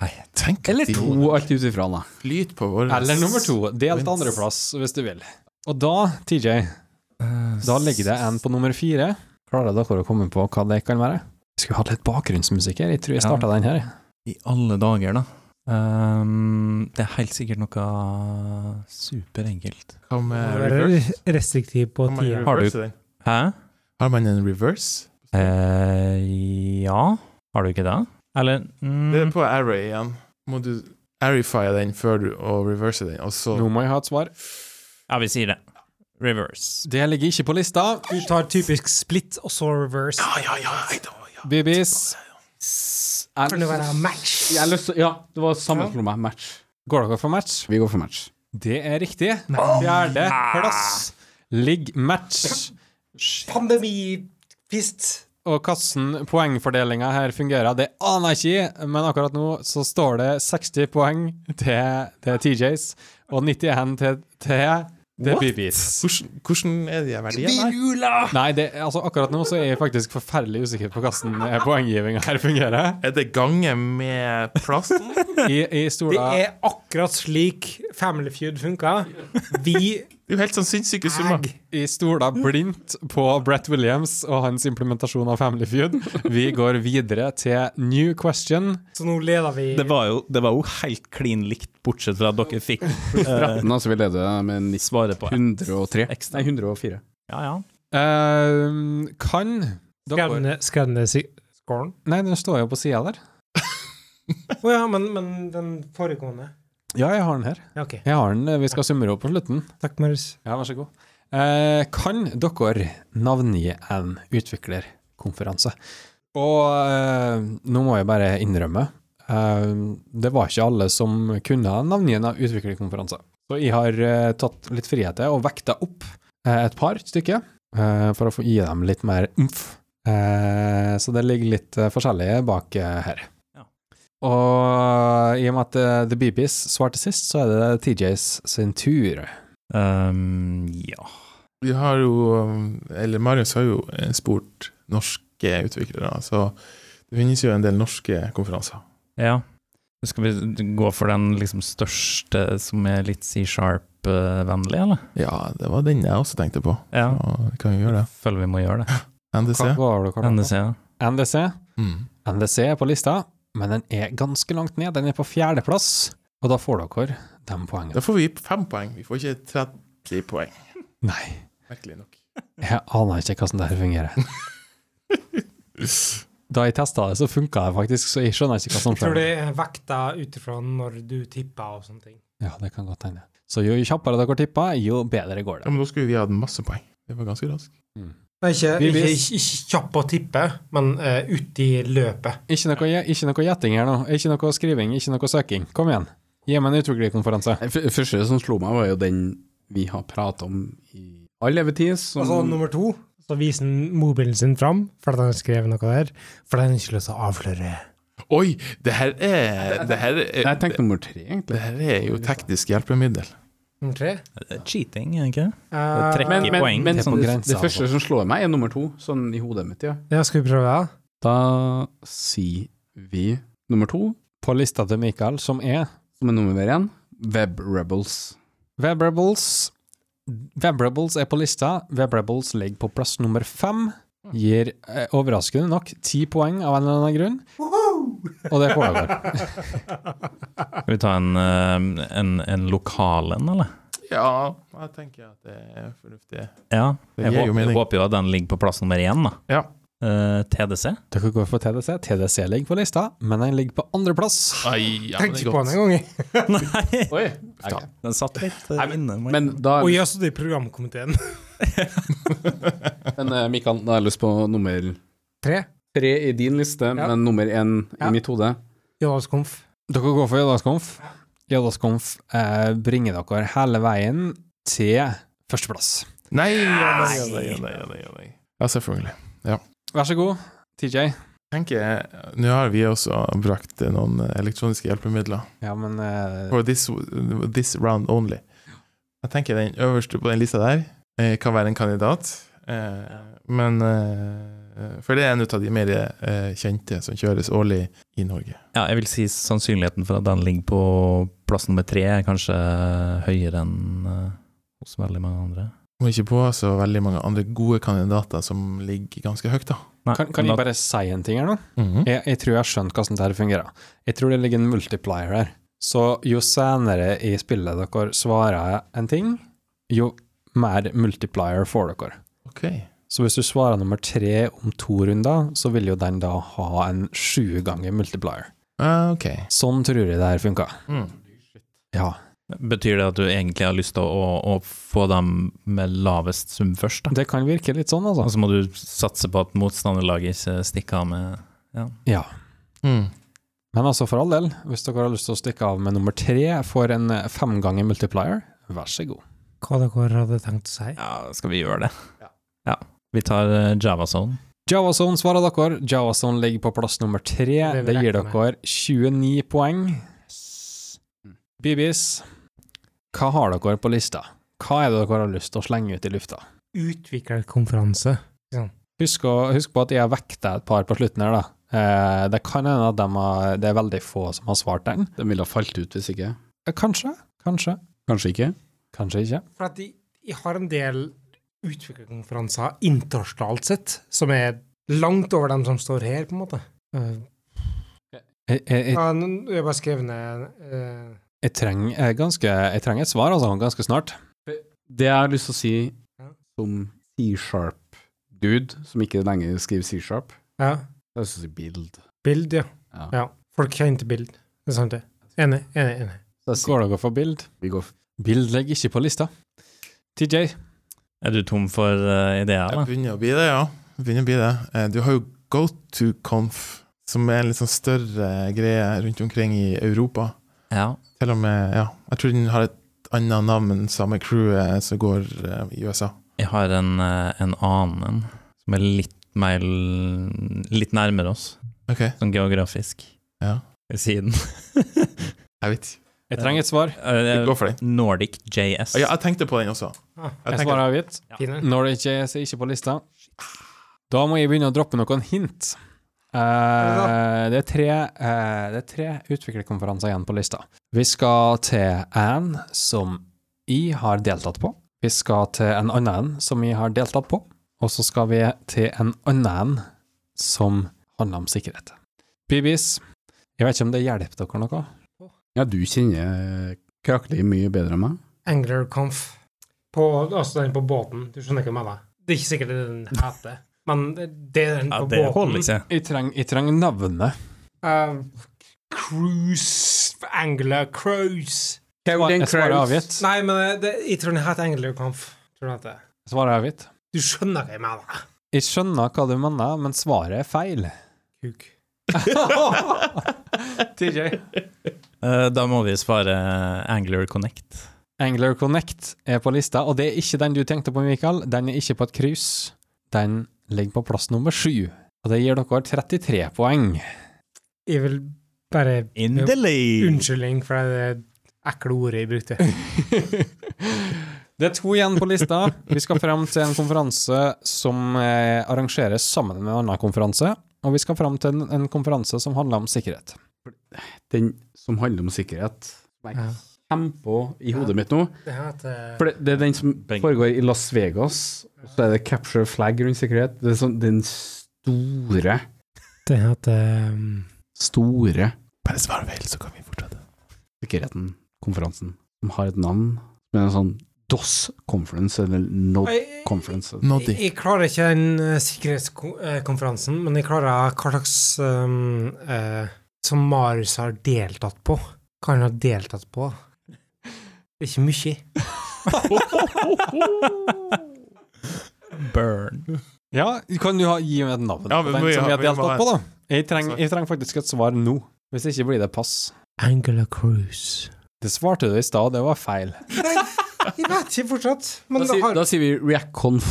Speaker 4: Nei, tenk
Speaker 5: Eller
Speaker 4: at de
Speaker 5: to, alt ut ifra, da.
Speaker 4: Flyt på vår
Speaker 2: Eller nummer to. Delt andreplass, hvis du vil. Og da, TJ, Da ligger det en på nummer fire. Klarer dere å komme på hva det kan være? Vi skulle hatt litt bakgrunnsmusikk her. Jeg tror jeg
Speaker 3: Ja.
Speaker 2: starta den her.
Speaker 3: I alle dager, da. Ehm, det er helt sikkert noe superenkelt.
Speaker 4: Hva med
Speaker 1: Må være
Speaker 4: reverse?
Speaker 1: restriktiv på
Speaker 4: Hva med
Speaker 1: tida.
Speaker 3: Har du-
Speaker 4: reverse i den?
Speaker 3: Hæ?
Speaker 4: Har man en reverse?
Speaker 3: Eh, ja Har du ikke det? Eller mm,
Speaker 4: Det er på array igjen. Må du arifye den før du og reverse den, og så
Speaker 2: Nå må jeg ha et svar.
Speaker 3: Ja, vi sier det. Reverse.
Speaker 2: Det ligger ikke på lista.
Speaker 1: Du tar typisk split og så reverse.
Speaker 4: Ja, ja, ja, jeg da, ja.
Speaker 2: Bibis.
Speaker 1: For nå være match.
Speaker 5: Jeg har lyst til Ja, det var samme for meg. Match.
Speaker 2: Går dere for match?
Speaker 5: Vi går for match.
Speaker 2: Det er riktig. Fjerde plass ligger match.
Speaker 1: Pandemipist.
Speaker 2: Og hvordan poengfordelinga her fungerer, det aner jeg ikke, men akkurat nå så står det 60 poeng til, til TJs og 91 til, til, til
Speaker 4: What?
Speaker 2: BBs.
Speaker 4: Hvordan, hvordan er de her verdiene her?
Speaker 1: Virula!
Speaker 2: Nei, det, altså akkurat nå så er jeg faktisk forferdelig usikker på hvordan eh, poenggivinga her fungerer.
Speaker 4: Er det gange med plassen?
Speaker 2: Jeg, jeg
Speaker 1: Det
Speaker 2: stoler
Speaker 1: er akkurat slik Family Feud funka. Vi
Speaker 4: Det er jo helt sånn sinnssyke summer.
Speaker 1: Egg.
Speaker 2: Jeg stoler blindt på Brett Williams og hans implementasjon av Family Feud. Vi går videre til new question.
Speaker 1: Så nå leder vi
Speaker 3: Det var, jo, det var jo helt klin likt, bortsett fra at dere fikk eh,
Speaker 5: Nå skal vi lede med nis-
Speaker 3: svaret på
Speaker 5: 103.
Speaker 3: ekstra.
Speaker 5: Nei, 104.
Speaker 3: Ja, ja.
Speaker 2: Eh, kan
Speaker 1: Skrev den
Speaker 2: dere
Speaker 1: ned- Skrev den ned si- scoren?
Speaker 2: Nei, den står jo på sida der.
Speaker 1: Å ja, men, men den foregående.
Speaker 2: Ja, jeg har den her.
Speaker 1: Ja, OK.
Speaker 2: Jeg har den, eh, Vi skal summere opp på slutten.
Speaker 1: Takk, Marius.
Speaker 2: Ja, vær så god. Eh, kan dere navngi en utviklerkonferanse? Og eh, nå må jeg bare innrømme, eh, det var ikke alle som kunne navngi en utviklerkonferanse. Så jeg har eh, tatt litt friheter og vekta opp eh, et par stykker, eh, for å få gi dem litt mer umf. Eh, så det ligger litt eh, forskjellige bak eh, her.
Speaker 3: Ja.
Speaker 2: Og i og med at eh, The BBs svarte sist, så er det TJs sin tur.
Speaker 3: Ehm, ja.
Speaker 4: Vi har jo Eller Marius har jo eh, spurt norske utviklere, så det finnes jo en del norske konferanser.
Speaker 3: Ja. Skal vi gå for den liksom største som er litt C-sharp-vennlig, eller?
Speaker 4: Ja, det var den jeg også tenkte på.
Speaker 3: Ja.
Speaker 4: Og vi kan jo gjøre det.
Speaker 3: Føler vi må gjøre det.
Speaker 4: NDC.
Speaker 2: Hva, hva har du kalt den?
Speaker 3: NDC. ja.
Speaker 2: NDC.
Speaker 4: Mm.
Speaker 2: NDC er på lista, men den er ganske langt ned. Den er på fjerdeplass, og da får dere de
Speaker 4: Da
Speaker 2: poengene.
Speaker 4: får vi fem poeng. Vi får ikke 30 poeng.
Speaker 2: Nei,
Speaker 4: Merkelig nok.
Speaker 2: jeg aner ikke hvordan det her fungerer. Da jeg testa det, så funka det faktisk, så jeg skjønner ikke hva som
Speaker 1: Jeg tror
Speaker 2: skjer.
Speaker 1: det er vekta ut ifra når du tipper og sånne ting.
Speaker 2: Ja, det kan godt hende. Så jo kjappere dere tipper, jo bedre går
Speaker 4: Ja,
Speaker 2: det.
Speaker 4: men da skulle vi hatt masse poeng. Det var ganske raskt.
Speaker 1: Nei, ikke,
Speaker 2: Vi
Speaker 1: ikke,
Speaker 2: vis-
Speaker 1: ikke, ikke kjapp å tippe, men eh, ut i løpet.
Speaker 2: Ikke noe, gje- ikke noe gjetting her nå. Ikke noe skriving, ikke noe søking. Kom igjen. Gi meg en utviklerkonferanse.
Speaker 5: Nei, f- Første som slo meg, var jo den vi har pratet om i all levetid.
Speaker 1: Og
Speaker 5: Som
Speaker 1: så Altså, nummer to, så viser han mobilen sin fram, fordi han har skrevet noe der. Fordi han ikke har lyst til å avsløre.
Speaker 4: Oi! Det her er Det her
Speaker 5: Nei, jeg
Speaker 4: er,
Speaker 5: tenkte nummer tre, egentlig.
Speaker 4: det her er jo teknisk hjelpemiddel.
Speaker 1: Nummer tre.
Speaker 3: Det er Cheating, er det ikke? det?
Speaker 1: Eh,
Speaker 3: trekker.
Speaker 1: men,
Speaker 3: Ikke poeng,
Speaker 5: men
Speaker 2: det er på
Speaker 5: det,
Speaker 2: grensa,
Speaker 5: det første
Speaker 2: altså.
Speaker 5: som slår meg, er nummer to, sånn i hodet mitt. ja.
Speaker 1: ja, skal vi prøve det?
Speaker 5: Da sier vi nummer to,
Speaker 2: På lista til Mikael, som er
Speaker 5: som er nummer én, Web Rebels.
Speaker 2: Web Rebels. Web Rebels er på lista. Web Rebels ligger på plass nummer fem. Gir eh, overraskende nok ti poeng av en eller annen grunn, og det får dere.
Speaker 3: Skal vi ta en, eh, en, en lokal en, eller?
Speaker 4: Ja, jeg tenker at det er fornuftig.
Speaker 3: Ja.
Speaker 4: Det
Speaker 3: Jeg
Speaker 4: gir jo
Speaker 3: håper,
Speaker 4: mening.
Speaker 3: håper jo at den ligger på plass nummer én, da.
Speaker 4: Ja.
Speaker 3: Eh, TDC.
Speaker 2: Dere går for TDC. TDC ligger på lista, men den ligger på andreplass.
Speaker 4: Ai, ja,
Speaker 1: Tenkte
Speaker 4: det er
Speaker 1: ikke på
Speaker 4: godt.
Speaker 1: den engang.
Speaker 3: Nei!
Speaker 5: Oi,
Speaker 3: Den satt litt eh,
Speaker 5: Nei, men-
Speaker 3: inne. må jeg-
Speaker 5: Men da
Speaker 1: Og jeg har sittet i programkomiteen.
Speaker 5: men, eh, Mikael, da har jeg lyst på nummer
Speaker 1: Tre.
Speaker 5: tre i din liste, men nummer én
Speaker 1: Ja.
Speaker 5: i mitt hode.
Speaker 1: Jonas Komf.
Speaker 2: Dere går for Jødaskonf. Jødaskonf eh, bringer dere hele veien til førsteplass.
Speaker 4: Nei, ja, nei, ja, nei, ja, nei, ja, nei, ja, nei. Ja, selvfølgelig.
Speaker 2: Vær så god, TJ.
Speaker 4: Tenker jeg, eh, Nå har vi også brakt noen eh, elektroniske hjelpemidler.
Speaker 2: Ja, men eh,
Speaker 4: For this, this round only. Jeg tenker den øverste på den lista der eh, kan være en kandidat. Eh, men eh, For det er en ut av de mer eh, kjente som kjøres årlig i Norge.
Speaker 3: Ja, jeg vil si sannsynligheten for at den ligger på plass nummer tre, er kanskje høyere enn eh, hos veldig mange andre.
Speaker 4: Må ikke på så veldig mange andre gode kandidater som ligger ganske høyt, da.
Speaker 3: Nei,
Speaker 2: kan, kan
Speaker 3: men
Speaker 2: jeg
Speaker 3: da-
Speaker 2: bare si en ting her nå?
Speaker 4: Mhm.
Speaker 2: Jeg, jeg tror jeg har skjønt hvordan dette fungerer. Jeg tror det ligger en multiplier her. Så jo senere i spillet dere svarer en ting, jo mer multiplier får dere.
Speaker 4: Ok.
Speaker 2: Så hvis du svarer nummer tre om to runder, så vil jo den da ha en sju ganger multiplier.
Speaker 4: Ah, OK.
Speaker 2: Sånn tror jeg det her funka.
Speaker 4: Mm.
Speaker 2: Ja.
Speaker 3: Betyr det at du egentlig har lyst til å, å, å få dem med lavest sum først, da?
Speaker 2: Det kan virke litt sånn,
Speaker 3: Og
Speaker 2: altså.
Speaker 3: så må du satse på at motstanderlaget ikke stikker av med
Speaker 2: Ja.
Speaker 4: Mm.
Speaker 2: Men altså, for all del, hvis dere har lyst til å stikke av med nummer tre for en eh, fem ganger multiplier, vær så god.
Speaker 1: Hva dere hadde tenkt å si?
Speaker 3: Ja, skal vi gjøre det? Ja. Vi tar eh, Javazone.
Speaker 2: Javazone svarer dere. Javazone ligger på plass nummer tre.
Speaker 1: Det vil
Speaker 2: Det
Speaker 1: jeg
Speaker 2: gir
Speaker 1: regne
Speaker 2: dere 29 poeng. Bibis, hva har dere på lista? Hva er det dere har lyst til å slenge ut i lufta?
Speaker 1: Utviklerkonferanse.
Speaker 2: Husk, å, husk på at jeg har vekta et par på slutten her, da. Eh, det kan hende at dem har, det er veldig få som har svart den.
Speaker 5: Den ville ha falt ut hvis ikke.
Speaker 2: Eh, Kanskje, kanskje,
Speaker 5: Kanskje ikke.
Speaker 2: kanskje ikke.
Speaker 1: For at de, jeg har en del utviklerkonferanser internasjonalt sett, som er langt over dem som står her, på en måte. Eh,
Speaker 2: Jeg, jeg, jeg,
Speaker 1: ja, nå- jeg har bare skrevet ned eh,
Speaker 2: jeg, trenger, eh, ganske, jeg trenger et svar, altså, ganske snart.
Speaker 5: Det jeg har lyst til å si
Speaker 1: Ja.
Speaker 5: som C-sharp-dude, som ikke lenger skriver C-sharp,
Speaker 1: Ja.
Speaker 5: jeg har lyst til å si build.
Speaker 1: Bild, ja.
Speaker 5: Ja.
Speaker 1: ja. Folk kjenner til bild. Det er sant, det. Enig, enig, enig.
Speaker 5: Så jeg sier
Speaker 2: Går dere for bild?
Speaker 5: vi går for
Speaker 2: Bild ligger ikke på lista. TJ,
Speaker 3: Er du tom for eh, ideer,
Speaker 4: Jeg
Speaker 3: da?
Speaker 4: begynner å bli det, ja. Jeg Begynner å bli det. Eh, Du har jo GoToConf, som er en litt sånn større greie rundt omkring i Europa.
Speaker 3: Ja.
Speaker 4: Til og med, ja. Jeg tror den har et annet navn enn samme crewet som går eh, i USA.
Speaker 3: Jeg har en, eh, en annen en, som er litt mer l- Litt nærmere oss,
Speaker 4: OK,
Speaker 3: sånn geografisk.
Speaker 4: Ja.
Speaker 3: Ved siden.
Speaker 4: jeg vet ikke.
Speaker 2: jeg trenger et svar.
Speaker 4: Vi
Speaker 3: Eh,
Speaker 4: går for den.
Speaker 3: Nordic JS.
Speaker 4: Ja, jeg tenkte på den også.
Speaker 1: Ah,
Speaker 4: Jeg
Speaker 2: Et
Speaker 4: tenker-
Speaker 2: svar er avgitt.
Speaker 1: fine.
Speaker 2: Når det ikke er, så er det ikke på lista. Da må jeg begynne å droppe noen hint. Eh, det, er tre, eh, det er tre utviklerkonferanser igjen på lista. Vi skal til en som jeg har deltatt på. Vi skal til en annen en som jeg har deltatt på. Og så skal vi til en annen en som handler om sikkerhet. Bibis, jeg vet ikke om det hjelper dere noe.
Speaker 5: Ja, du kjenner Krakli mye bedre enn meg.
Speaker 1: Anglerconf. På, altså den på båten. Du skjønner ikke hva jeg mener. Det er ikke sikkert det den heter, men det det er den
Speaker 3: ja,
Speaker 1: på
Speaker 3: det liksom. holder
Speaker 1: båten.
Speaker 3: ikke.
Speaker 2: Jeg trenger treng navnet.
Speaker 1: Eh, cruise Angler Cruise.
Speaker 2: Jeg svarer avgitt.
Speaker 1: Nei, men det, jeg tror den heter Anglerconf. Tror jeg det heter.
Speaker 2: Svaret er avgitt.
Speaker 1: Du skjønner hva jeg mener.
Speaker 2: Jeg skjønner hva du mener, men svaret er feil.
Speaker 1: Kuk.
Speaker 2: TJ.
Speaker 3: Eh, Da må vi svare Angler Connect.
Speaker 2: Angler Connect er på lista, og det er ikke den du tenkte på, Mikael. Den er ikke på et cruise. Den ligger på plass nummer sju, og det gir dere 33 poeng.
Speaker 1: Jeg vil bare
Speaker 3: Endelig!
Speaker 1: Unnskyldning for det ekle ordet jeg brukte.
Speaker 2: Det er to igjen på lista. Vi skal frem til en konferanse som eh, arrangeres sammen med en annen konferanse, og vi skal frem til en, en konferanse som handler om sikkerhet.
Speaker 5: Den som handler om sikkerhet, som jeg
Speaker 1: Ja.
Speaker 5: kjemper i hodet mitt nå.
Speaker 1: Det heter
Speaker 5: For det, det er den som
Speaker 3: Beng.
Speaker 5: foregår i Las Vegas, og så er det capture flag rundt sikkerhet. Det er sånn den store
Speaker 1: Det heter um,
Speaker 5: store
Speaker 4: Bare svar vel, så kan vi fortsette.
Speaker 5: sikkerheten, konferansen, som har et navn som er en sånn DOS Conference, eller NOD Conference.
Speaker 1: Jeg,
Speaker 4: Noddy.
Speaker 1: jeg klarer ikke den eh, sikkerhetskonferansen, men jeg klarer hva slags um, eh, som Marius har deltatt på. Hva han har deltatt på. Det er ikke mye.
Speaker 3: Burn.
Speaker 2: Ja, kan du ha, gi meg et navn
Speaker 4: Ja,
Speaker 2: på
Speaker 4: men
Speaker 2: den
Speaker 4: vi-
Speaker 2: som vi har
Speaker 4: vi må
Speaker 2: deltatt
Speaker 4: ha
Speaker 2: på, da? Jeg trenger, jeg trenger faktisk et svar nå. Hvis ikke blir det pass.
Speaker 1: Angela Cruise.
Speaker 2: Det svarte du i stad, det var feil.
Speaker 1: Jeg vet ikke fortsatt,
Speaker 5: Da,
Speaker 1: men det
Speaker 5: sier-
Speaker 1: har
Speaker 5: da sier vi ReactConf.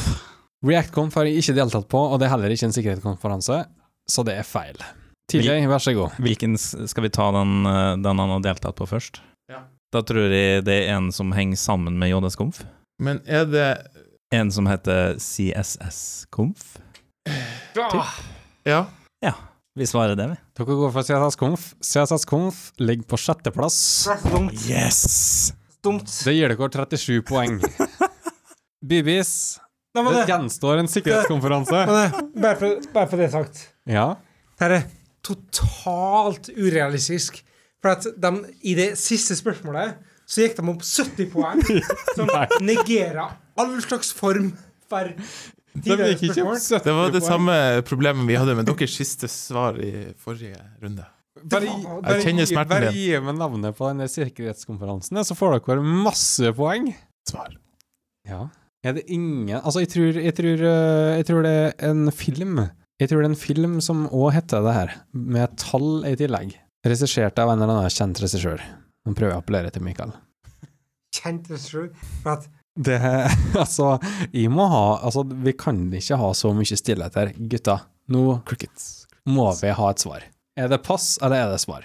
Speaker 2: ReactConf har jeg ikke deltatt på, og det er heller ikke en sikkerhetskonferanse, så det er feil. TJ, vær så god.
Speaker 3: Hvilken s- skal vi ta den, eh, den han har deltatt på først?
Speaker 4: Ja.
Speaker 3: Da tror jeg det er en som henger sammen med JS Conf.
Speaker 4: Men er det
Speaker 3: En som heter CSS Conf.
Speaker 4: Ah! Ja.
Speaker 3: Vi svarer det, vi.
Speaker 2: Dere går for CSS-konf. CSS-konf ligger på sjetteplass.
Speaker 1: dumt.
Speaker 3: Yes!
Speaker 1: dumt.
Speaker 2: Det gir dere 37 poeng. Bibis,
Speaker 1: Nei, men
Speaker 2: det
Speaker 1: det,
Speaker 2: gjenstår en sikkerhetskonferanse.
Speaker 1: men det, bare, for, bare for det sagt.
Speaker 2: Ja.
Speaker 1: Det er totalt urealistisk. For at de, i det siste spørsmålet så gikk de opp 70 poeng, som negerer all slags form for
Speaker 4: Det,
Speaker 1: Tidligere
Speaker 4: gikk ikke opp
Speaker 1: spørsmål.
Speaker 4: 70
Speaker 1: Det
Speaker 4: det var det
Speaker 1: poeng.
Speaker 4: samme problemet vi hadde med deres siste svar i forrige runde.
Speaker 2: Bare, gi-
Speaker 1: Jeg
Speaker 2: bare,
Speaker 4: kjenner
Speaker 2: gi-
Speaker 4: smerten
Speaker 2: bare
Speaker 4: din.
Speaker 2: gi meg navnet på denne sikkerhetskonferansen, så får dere masse poeng.
Speaker 4: Svar.
Speaker 2: Ja. Er det ingen Altså, jeg tror, jeg tror, eh, jeg tror det er en film Jeg tror det er en film som òg heter det her, med tall i tillegg. Regissert av en eller annen kjent regissør. Nå prøver jeg å appellere til Mikael.
Speaker 1: Kjent regissør.
Speaker 2: Det Altså, jeg må ha Altså, vi kan ikke ha så mye stillhet her. Gutta, nå
Speaker 4: Crickets.
Speaker 2: må vi ha et svar. Er det pass, eller er det svar?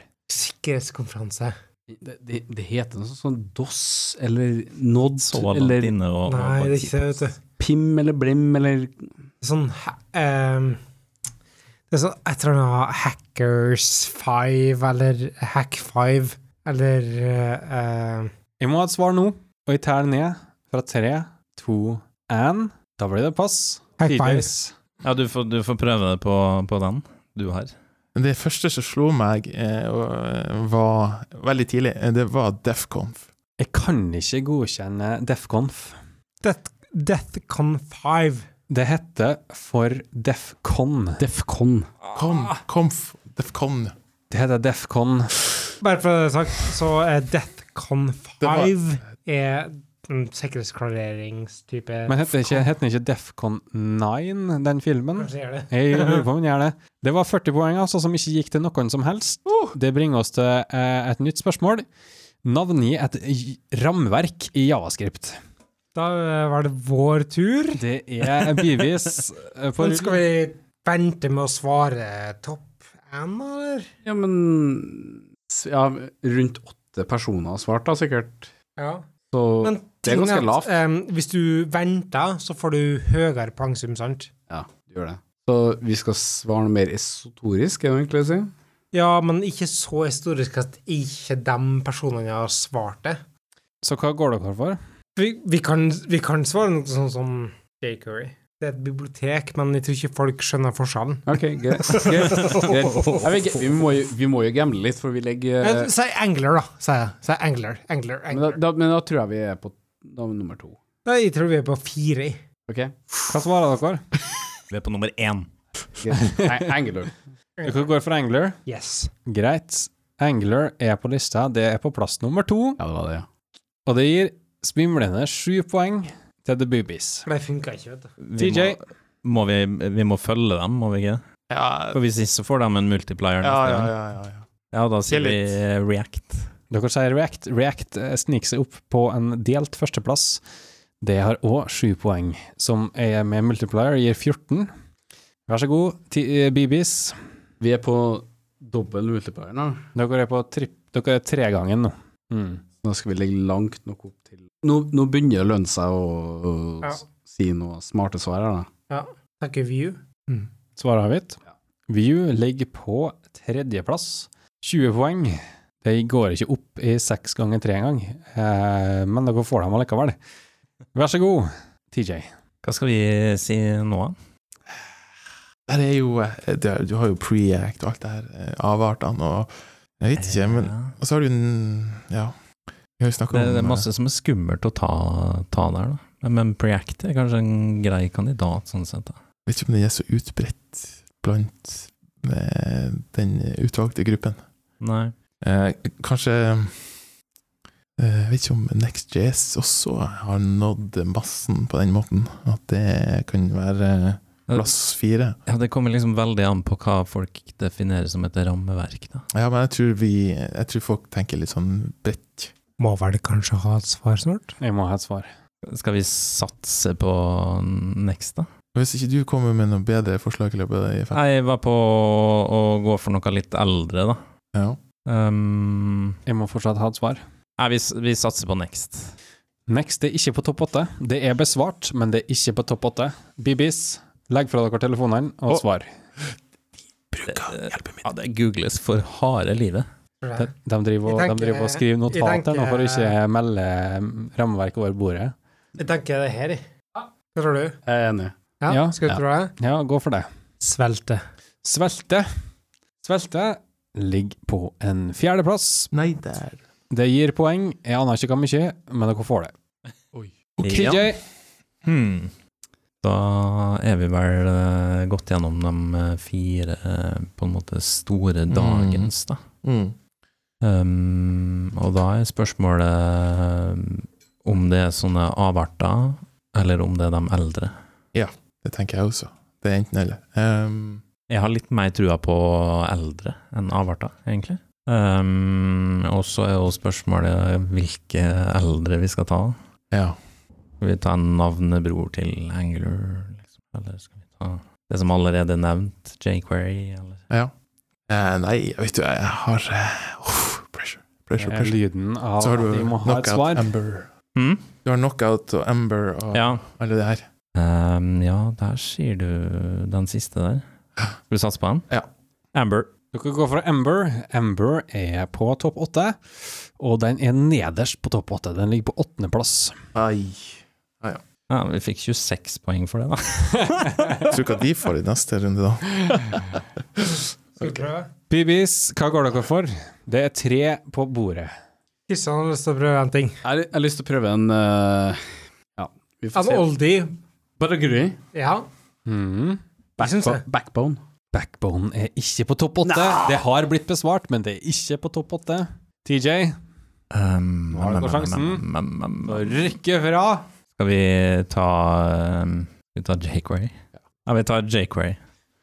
Speaker 1: Sikkerhetskonferanse.
Speaker 5: Det, det, det heter noe sånt som DOS eller NOD
Speaker 3: Så langt
Speaker 5: eller
Speaker 3: inne
Speaker 1: Nei,
Speaker 3: og, og
Speaker 1: det er
Speaker 3: bare-
Speaker 1: ikke det, vet du.
Speaker 5: PIM eller BLIM eller
Speaker 1: Sånn ehm, Det er sånn et eller annet Hackers 5 eller Hack 5 eller eh, eh,
Speaker 2: Jeg må ha et svar nå, og jeg teller ned fra tre, to, én. Da blir det pass.
Speaker 1: Hack 5.
Speaker 2: Tidligvis.
Speaker 3: Ja, du får, du får prøve det på, på den du har.
Speaker 4: Det første som slo meg, eh, og- var veldig tidlig, eh, det var Defconf.
Speaker 2: Jeg kan ikke godkjenne Defconf.
Speaker 1: Death, Deathcon 5.
Speaker 2: Det heter for Defcon.
Speaker 5: DEFCON.
Speaker 1: Ah.
Speaker 4: Kom, komf, Defcon.
Speaker 2: Det heter Defcon.
Speaker 1: Bare for å ha det sagt, så er Deathcon 5
Speaker 4: Det var-
Speaker 1: er en sikkerhetsklareringstype
Speaker 2: Men heter ikke, heter den ikke Defcon 9, den filmen?
Speaker 1: Kanskje gjør det.
Speaker 2: Jeg lurer på om den gjør det. Det var 40 poeng altså, som ikke gikk til noen som helst. Det bringer oss til eh, et nytt spørsmål. Navngi et j- rammeverk i javascript.
Speaker 1: Da eh, var det vår tur.
Speaker 2: Det er bevis eh, på
Speaker 1: Men skal vi vente med å svare topp én, eller?
Speaker 5: Ja, men s- ja, Rundt åtte personer har svart, da, sikkert.
Speaker 1: Ja.
Speaker 5: Så
Speaker 1: Men
Speaker 5: det er
Speaker 1: tingen
Speaker 5: ganske
Speaker 1: at,
Speaker 5: lavt.
Speaker 1: em, hvis du venter, så får du høyere poengsum, sant?
Speaker 5: ja, du gjør det. Så vi skal svare noe mer esotorisk, er det egentlig å si?
Speaker 1: Ja, men ikke så historisk at ikke de personene har svart det.
Speaker 2: Så hva går dere for?
Speaker 1: Vi, vi, kan, vi kan svare noe sånn som J. Curry. Det er et bibliotek, men jeg tror ikke folk skjønner forskjellen.
Speaker 5: Ok, greit. greit, greit. Jeg vet ikke, vi, må jo, vi må jo gamble litt, for vi legger
Speaker 1: Eh, Si Angler, da, sier jeg. Si Angler, Angler,
Speaker 5: men da,
Speaker 1: Angler.
Speaker 5: da, men da tror jeg vi er på da, er vi nummer to.
Speaker 1: Nei, jeg tror vi er på fire. jeg.
Speaker 5: Ok?
Speaker 2: Hva svarer dere?
Speaker 3: Vi er på nummer én.
Speaker 5: Nei, Angler.
Speaker 2: Dere går for Angler.
Speaker 1: Yes.
Speaker 2: Greit. Angler er på lista. Det er på plass nummer to.
Speaker 5: Ja, det var det, ja.
Speaker 2: Og det gir svimlende sju poeng til The Boobies.
Speaker 1: For det funka ikke, vet du.
Speaker 3: Vi
Speaker 2: TJ.
Speaker 3: Må, må vi, vi må følge dem, må vi ikke?
Speaker 4: Ja,
Speaker 3: For hvis ikke, så får de en multiplier.
Speaker 4: ja,
Speaker 3: neste
Speaker 4: ja.
Speaker 3: gang.
Speaker 4: ja, ja, ja.
Speaker 3: ja da sier vi
Speaker 4: Tillit.
Speaker 3: eh, React.
Speaker 2: Dere sier React. React eh, sniker seg opp på en delt førsteplass. Det har òg sju poeng, som er med multiplier gir 14. Vær så god, ti- eh, BBs.
Speaker 5: Vi er på dobbel multiplier nå.
Speaker 2: Dere er på tripp... Dere er tregangen nå. Mm.
Speaker 5: Nå skal vi ligge langt nok opp til Nå, nå begynner det å lønne seg å, å
Speaker 1: Ja.
Speaker 5: s- si noe smarte svar her, da.
Speaker 1: Takk, View.
Speaker 2: Svaret avgitt.
Speaker 5: Ja.
Speaker 2: View ligger på tredjeplass. 20 poeng. De går ikke opp i seks ganger tre engang, eh, men dere får dem allikevel. Vær så god, TJ.
Speaker 3: Hva skal vi si nå?
Speaker 4: Der er jo eh, det, er- Du har jo Preact og alt det her, eh, avartene og Jeg vet ikke, men
Speaker 3: Ja.
Speaker 4: Og så har du den Ja. Vi har jo snakka
Speaker 3: det,
Speaker 4: om eh,
Speaker 3: det er masse som er skummelt å ta, ta der, da. Men- Men Preact er kanskje en grei kandidat, sånn sett. da.
Speaker 4: eh, Vet ikke om det er så utbredt blant eh, den utvalgte gruppen.
Speaker 3: Nei.
Speaker 4: Eh, kanskje eh, Jeg vet ikke om NextJS også har nådd massen på den måten. At det kan være eh, plass fire.
Speaker 3: Ja, det kommer liksom veldig an på hva folk definerer som et rammeverk, da.
Speaker 4: Ja, men jeg tror, vi, jeg tror folk tenker litt sånn bredt.
Speaker 1: Må vel kanskje ha et svar snart?
Speaker 2: Jeg må ha et svar.
Speaker 3: Skal vi satse på next, da?
Speaker 4: Hvis ikke du kommer med noe bedre forslag i løpet av de fem
Speaker 3: Nei, Jeg var på å, å gå for noe litt eldre, da.
Speaker 4: ja.
Speaker 3: Um,
Speaker 2: Jeg må fortsatt ha et svar.
Speaker 3: nei, vi, s- vi satser på next.
Speaker 2: Next er ikke på topp åtte. Det er besvart, men det er ikke på topp åtte. Bibis, legg fra dere telefonene og
Speaker 4: Å.
Speaker 2: svar.
Speaker 3: Ja, det googles for harde livet.
Speaker 2: De, de driver og,
Speaker 1: Jeg
Speaker 2: de
Speaker 1: tenker-
Speaker 2: driver og skriver
Speaker 1: jeg
Speaker 2: notater nå for å
Speaker 1: tenker-
Speaker 2: ikke melde rammeverket over bordet.
Speaker 1: Jeg tenker det her, jeg. Hva tror du?
Speaker 5: Jeg er enig.
Speaker 1: Ja,
Speaker 2: Ja.
Speaker 1: Skal du
Speaker 5: Ja.
Speaker 1: tro det?
Speaker 2: Ja, gå for det.
Speaker 1: Svelte.
Speaker 2: Svelte. Svelte ligger på en fjerdeplass.
Speaker 4: Nei, der
Speaker 2: Det gir poeng. Jeg aner ikke hva mye, men dere får det.
Speaker 3: Ja.
Speaker 2: TJ,
Speaker 3: Hmm. Da er vi vel eh, gått gjennom de eh, fire eh, på en måte store
Speaker 4: Mm.
Speaker 3: dagens, da.
Speaker 4: Mm.
Speaker 3: Um, og da er spørsmålet um, om det er sånne avarter, eller om det er de eldre.
Speaker 4: Det tenker jeg også. Det er enten eller. Ehm,
Speaker 3: Jeg har litt mer trua på eldre enn avarter, egentlig. Um, og så er jo spørsmålet hvilke eldre vi skal ta.
Speaker 4: ja.
Speaker 3: Skal vi ta en navnebror til Angler, liksom? eller skal vi ta det som allerede er nevnt, Jquery, eller
Speaker 4: ja. Eh, nei, vet du, jeg har eh, uff, Pressure, pressure,
Speaker 2: Eh,
Speaker 4: pressure.
Speaker 2: Lyden av
Speaker 4: Så har
Speaker 2: at
Speaker 4: du
Speaker 2: vi må ha et
Speaker 4: knockout,
Speaker 2: svar.
Speaker 4: Ember.
Speaker 3: Hm?
Speaker 4: Du har knockout og Ember og
Speaker 3: Ja.
Speaker 4: alle det her.
Speaker 3: Um, ja, der sier du den siste der. Skal vi satse på den?
Speaker 4: Ja.
Speaker 3: Amber.
Speaker 2: Dere går for Amber. Amber er på topp åtte, og den er nederst på topp åtte. Den ligger på åttendeplass.
Speaker 4: Ai.
Speaker 3: Ja, vi fikk 26 poeng for det, da.
Speaker 4: Tror ikke at de får i neste runde, da.
Speaker 1: Skal vi prøve?
Speaker 2: BBs, hva går dere for? Det er tre på bordet.
Speaker 1: Kristian har lyst til å prøve en ting.
Speaker 5: Jeg har- jeg har lyst til å prøve en eh, Ja, vi får
Speaker 1: En
Speaker 5: se.
Speaker 1: oldie.
Speaker 5: Baraguri.
Speaker 1: Ja.
Speaker 2: Mhm.
Speaker 1: Jeg syns det.
Speaker 5: Backbone.
Speaker 2: Backbone er ikke på topp åtte. Det har blitt besvart, men det er ikke på topp åtte. TJ,
Speaker 3: Um,
Speaker 2: Nå har du
Speaker 3: mm,
Speaker 2: sjansen.
Speaker 3: mm, mm, mm, mm.
Speaker 2: rykke fra.
Speaker 3: Skal vi ta um, Skal vi ta Jquery? Ja, vi tar Jquery.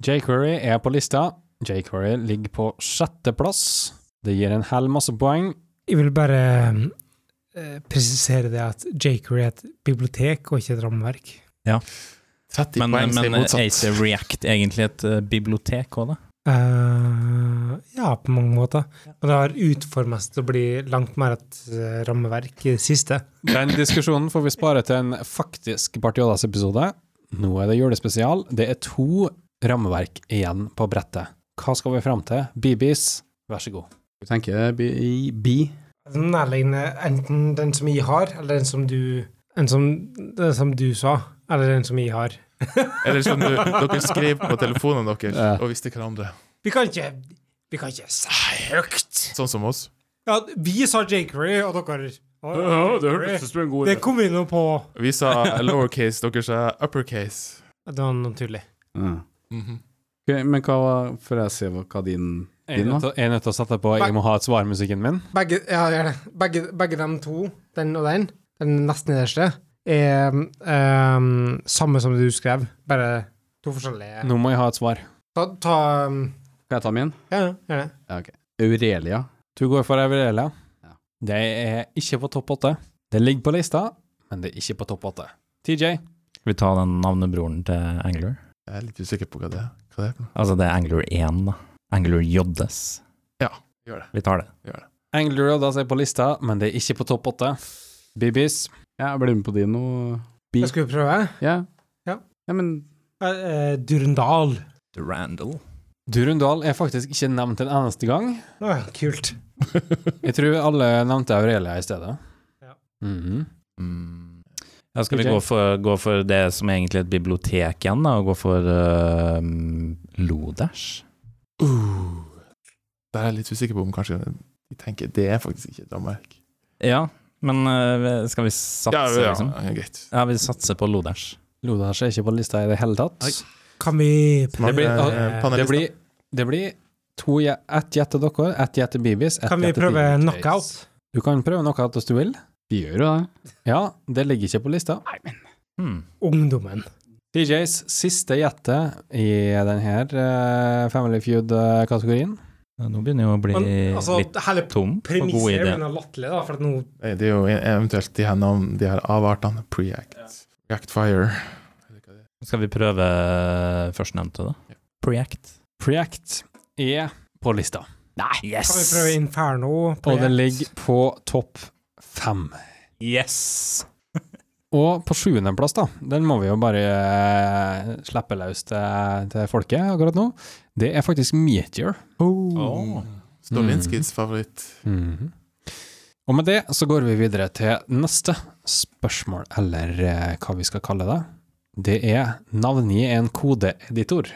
Speaker 2: Jquery er på lista. Jquery ligger på sjetteplass. Det gir en hel masse poeng.
Speaker 1: Jeg vil bare eh, presisere det at Jacory er et bibliotek og ikke et rammeverk.
Speaker 4: 30
Speaker 3: Men,
Speaker 4: poeng sier
Speaker 3: men er
Speaker 4: motsatt.
Speaker 3: ikke React egentlig et eh, bibliotek òg, da?
Speaker 1: Eh, ja, på mange måter. Men det har utformet seg til å bli langt mer et eh, rammeverk i det siste.
Speaker 2: Den diskusjonen får vi spare til en faktisk Bartiodas-episode. Nå er det julespesial. Det er to rammeverk igjen på brettet. Hva skal vi fram til? BBs, vær så god.
Speaker 5: Du tenker bi, bi.
Speaker 1: Den nærliggende enten den som jeg har, eller den som du den som, den som du sa, eller den som jeg har.
Speaker 4: Eller som du, dere skrev på telefonene deres
Speaker 5: Ja.
Speaker 4: og visste hverandre.
Speaker 1: Vi kan ikke vi kan ikke si høyt.
Speaker 4: Sånn som oss.
Speaker 1: Ja, vi sa Jacory, og dere Å, Jackery.
Speaker 5: ut som en god
Speaker 1: Det kom vi nå på.
Speaker 4: Vi sa lowercase, dere sa uppercase.
Speaker 1: Det var noe tydelig.
Speaker 3: Mhm.
Speaker 5: men hva var Før jeg ser hva, hva din
Speaker 2: Jeg er
Speaker 5: Din, da?
Speaker 2: nødt til- jeg er nødt til å sette på 'Jeg må ha et svar'-musikken min.
Speaker 1: Begge, ja, gjør det. Begge, begge de to, den og den, den nest nederste, er ehm, samme som du skrev, bare to forskjellige
Speaker 2: Nå må jeg ha et svar.
Speaker 1: Ta, ta um,
Speaker 5: Kan jeg ta min?
Speaker 1: Ja, ja, gjør det.
Speaker 5: Ja, ok. Aurelia.
Speaker 2: Du går for Aurelia.
Speaker 5: Ja.
Speaker 2: Det er ikke på topp åtte. Det ligger på lista, men det er ikke på topp åtte. TJ,
Speaker 3: Skal vi ta den navnebroren til Angler?
Speaker 4: Jeg er litt usikker på hva det er. Hva det er. for noe.
Speaker 3: Altså, det er Angler 1, da. Angler JS.
Speaker 4: Gjør det.
Speaker 3: Vi tar det.
Speaker 2: Angler Rodas er på lista, men det er ikke på topp åtte. BBs,
Speaker 5: Ja, jeg blir med på din nå. Bi.
Speaker 1: Jeg skulle prøve.
Speaker 5: Ja.
Speaker 1: Ja.
Speaker 5: ja, men
Speaker 1: Eh, Durendal.
Speaker 3: Durandal.
Speaker 2: Durundal er faktisk ikke nevnt en eneste gang.
Speaker 1: Å, ja, kult.
Speaker 2: Jeg tror alle nevnte Aurelia i stedet.
Speaker 1: Ja.
Speaker 2: Mhm.
Speaker 3: Mm. Ja, skal vi
Speaker 2: DJ?
Speaker 3: gå for, gå for det som er egentlig er et bibliotek igjen, da, og gå for uh, Lodash?
Speaker 4: Uh. Der er jeg litt usikker på om kanskje de tenker det er faktisk ikke Danmark.
Speaker 3: Ja, men eh, skal vi satse,
Speaker 4: Ja, ja,
Speaker 3: liksom?
Speaker 4: ja, greit.
Speaker 3: Ja, vi satser på Lodash.
Speaker 2: Lodas er ikke på lista i det hele tatt.
Speaker 4: Nei.
Speaker 1: Kan vi
Speaker 4: Mange,
Speaker 2: blir-
Speaker 4: eh,
Speaker 1: ah,
Speaker 4: panelister.
Speaker 2: Det blir, det blir to, je- ett gjett til dere, ett gjett til Bibis. ett
Speaker 1: Kan vi
Speaker 2: gjett til
Speaker 1: prøve
Speaker 2: TJ.
Speaker 1: knockout?
Speaker 2: Du kan prøve knockout hvis du vil.
Speaker 5: de gjør jo det.
Speaker 2: Ja, det ligger ikke på lista.
Speaker 3: Hmm.
Speaker 1: Ungdommen.
Speaker 2: DJs siste gjette i denne Family Feud-kategorien.
Speaker 3: Ja, Nå begynner jeg å bli
Speaker 1: Men, altså,
Speaker 3: litt
Speaker 1: hele
Speaker 3: tom på
Speaker 1: premisset
Speaker 3: gode
Speaker 1: er jo
Speaker 3: ideer.
Speaker 1: en latterlig, da, for at nå
Speaker 4: Nei, Det er jo eventuelt de her, navn- de her avartene. Preact. React fire.
Speaker 3: Skal vi prøve eh, førstnevnte,
Speaker 4: Ja.
Speaker 3: da? Preact.
Speaker 2: Preact er på lista,
Speaker 3: Nei, yes!
Speaker 1: kan vi prøve Inferno.
Speaker 2: og det
Speaker 1: Project.
Speaker 2: ligger på topp fem.
Speaker 3: Yes!
Speaker 2: Og på sjuendeplass, da, den må vi jo bare eh, slippe løs til, til folket akkurat nå, det er faktisk Meteor.
Speaker 3: Åh. Mhm.
Speaker 4: Stolinskis favoritt.
Speaker 2: Mhm. Og med det så går vi videre til neste spørsmål, eller eh, hva vi skal kalle det. Det er navngi en kodeeditor.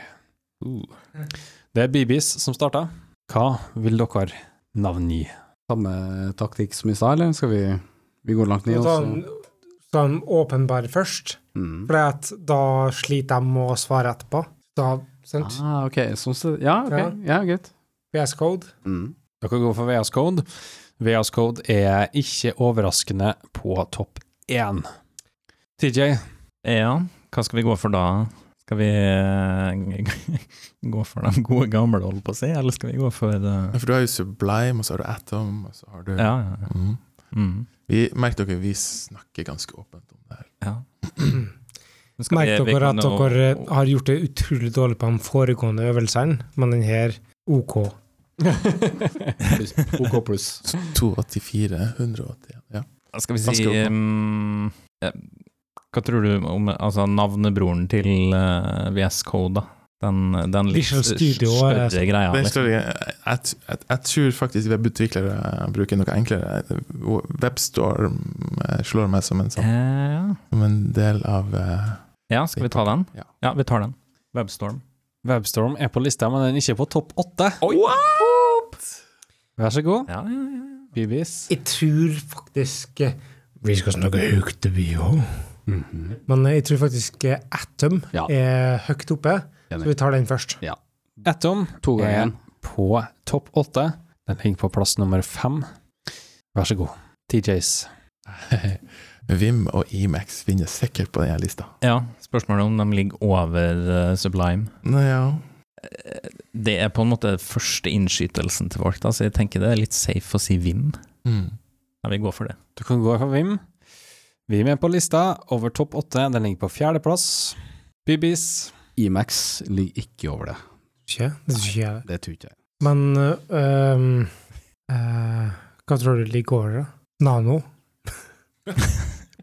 Speaker 2: Det er Bibis som starta. Hva vil dere navngi?
Speaker 5: Samme taktikk som i stad, eller skal vi Vi går langt ned,
Speaker 1: Skal vi
Speaker 5: og
Speaker 1: ta
Speaker 5: så
Speaker 1: en som sånn- åpenbar først,
Speaker 5: Mm.
Speaker 1: for at da sliter jeg med å svare etterpå. Da, sant?
Speaker 5: Ah, ok. Sånn så, ja, ok. Ja, greit.
Speaker 1: VS Code.
Speaker 5: Mm.
Speaker 2: Dere går for VS Code. VS Code er ikke overraskende på topp én. TJ,
Speaker 3: Ja, hva skal vi gå for da? Skal vi eh, gå for de gode gamle, holdt på å si, eller skal vi gå for eh,
Speaker 4: Ja, For du har jo Sublime, og så har du Atom, og så har du
Speaker 3: Ja, ja. ja.
Speaker 4: Mhm.
Speaker 3: Mm.
Speaker 4: Vi, Merk dere, vi snakker ganske åpent om det her.
Speaker 3: ja. Men skal
Speaker 1: Merk
Speaker 3: vi- vi
Speaker 1: dere
Speaker 3: kan
Speaker 1: at
Speaker 3: jo-
Speaker 1: dere har gjort det utrolig dårlig på de foregående øvelsene, men den her OK.
Speaker 5: Pluss. OK pluss.
Speaker 4: 284, 181 ja.
Speaker 3: Skal vi
Speaker 4: Hva
Speaker 3: si
Speaker 4: skal du på?
Speaker 3: mm, eh, Hva tror du om altså, navnebroren til eh, VS Code, da? Den, den litt
Speaker 1: Visual
Speaker 3: s-
Speaker 1: Studio eh, er-
Speaker 3: større greia,
Speaker 4: Den
Speaker 3: liksom.
Speaker 4: står i- jeg, jeg, jeg tror faktisk webutviklere bruker noe enklere. Webstorm eh, slår meg som en, sånn,
Speaker 3: Eh, ja.
Speaker 4: som en del av eh,
Speaker 3: ja, skal vi ta den?
Speaker 4: Ja.
Speaker 3: Ja, vi tar den. Webstorm.
Speaker 2: Webstorm er på lista, men den er ikke på topp åtte. Vær så god,
Speaker 3: Ja, ja, ja.
Speaker 2: Bibis.
Speaker 1: Jeg tror faktisk eh, Vi skal snakke høyt, vi òg.
Speaker 5: Mhm.
Speaker 1: Men eh, jeg tror faktisk Atom
Speaker 5: Ja.
Speaker 1: er høyt oppe, så
Speaker 5: Enig.
Speaker 1: vi tar den først.
Speaker 2: Atom
Speaker 5: To ganger
Speaker 2: er
Speaker 5: én.
Speaker 2: på topp åtte. Den ligger på plass nummer fem. Vær så god. TJs.
Speaker 4: Vim og Emax finnes sikkert på denne lista.
Speaker 3: ja. Spørsmålet om de ligger over eh, Sublime.
Speaker 4: Nå ja,
Speaker 3: Eh, Det er på en måte første innskytelsen til folk, da, så jeg tenker det er litt safe å si Vim.
Speaker 4: mm.
Speaker 3: Ja, vi går for det.
Speaker 2: Du kan gå for Vim. Vim er på lista, over topp åtte. Den ligger på fjerdeplass. Bibis.
Speaker 5: Imax ligger ikke over det.
Speaker 1: Ikke? Det tror ikke jeg.
Speaker 5: Det tror ikke jeg.
Speaker 1: Men øh, øhm, øh, hva tror du ligger over, da? Nano?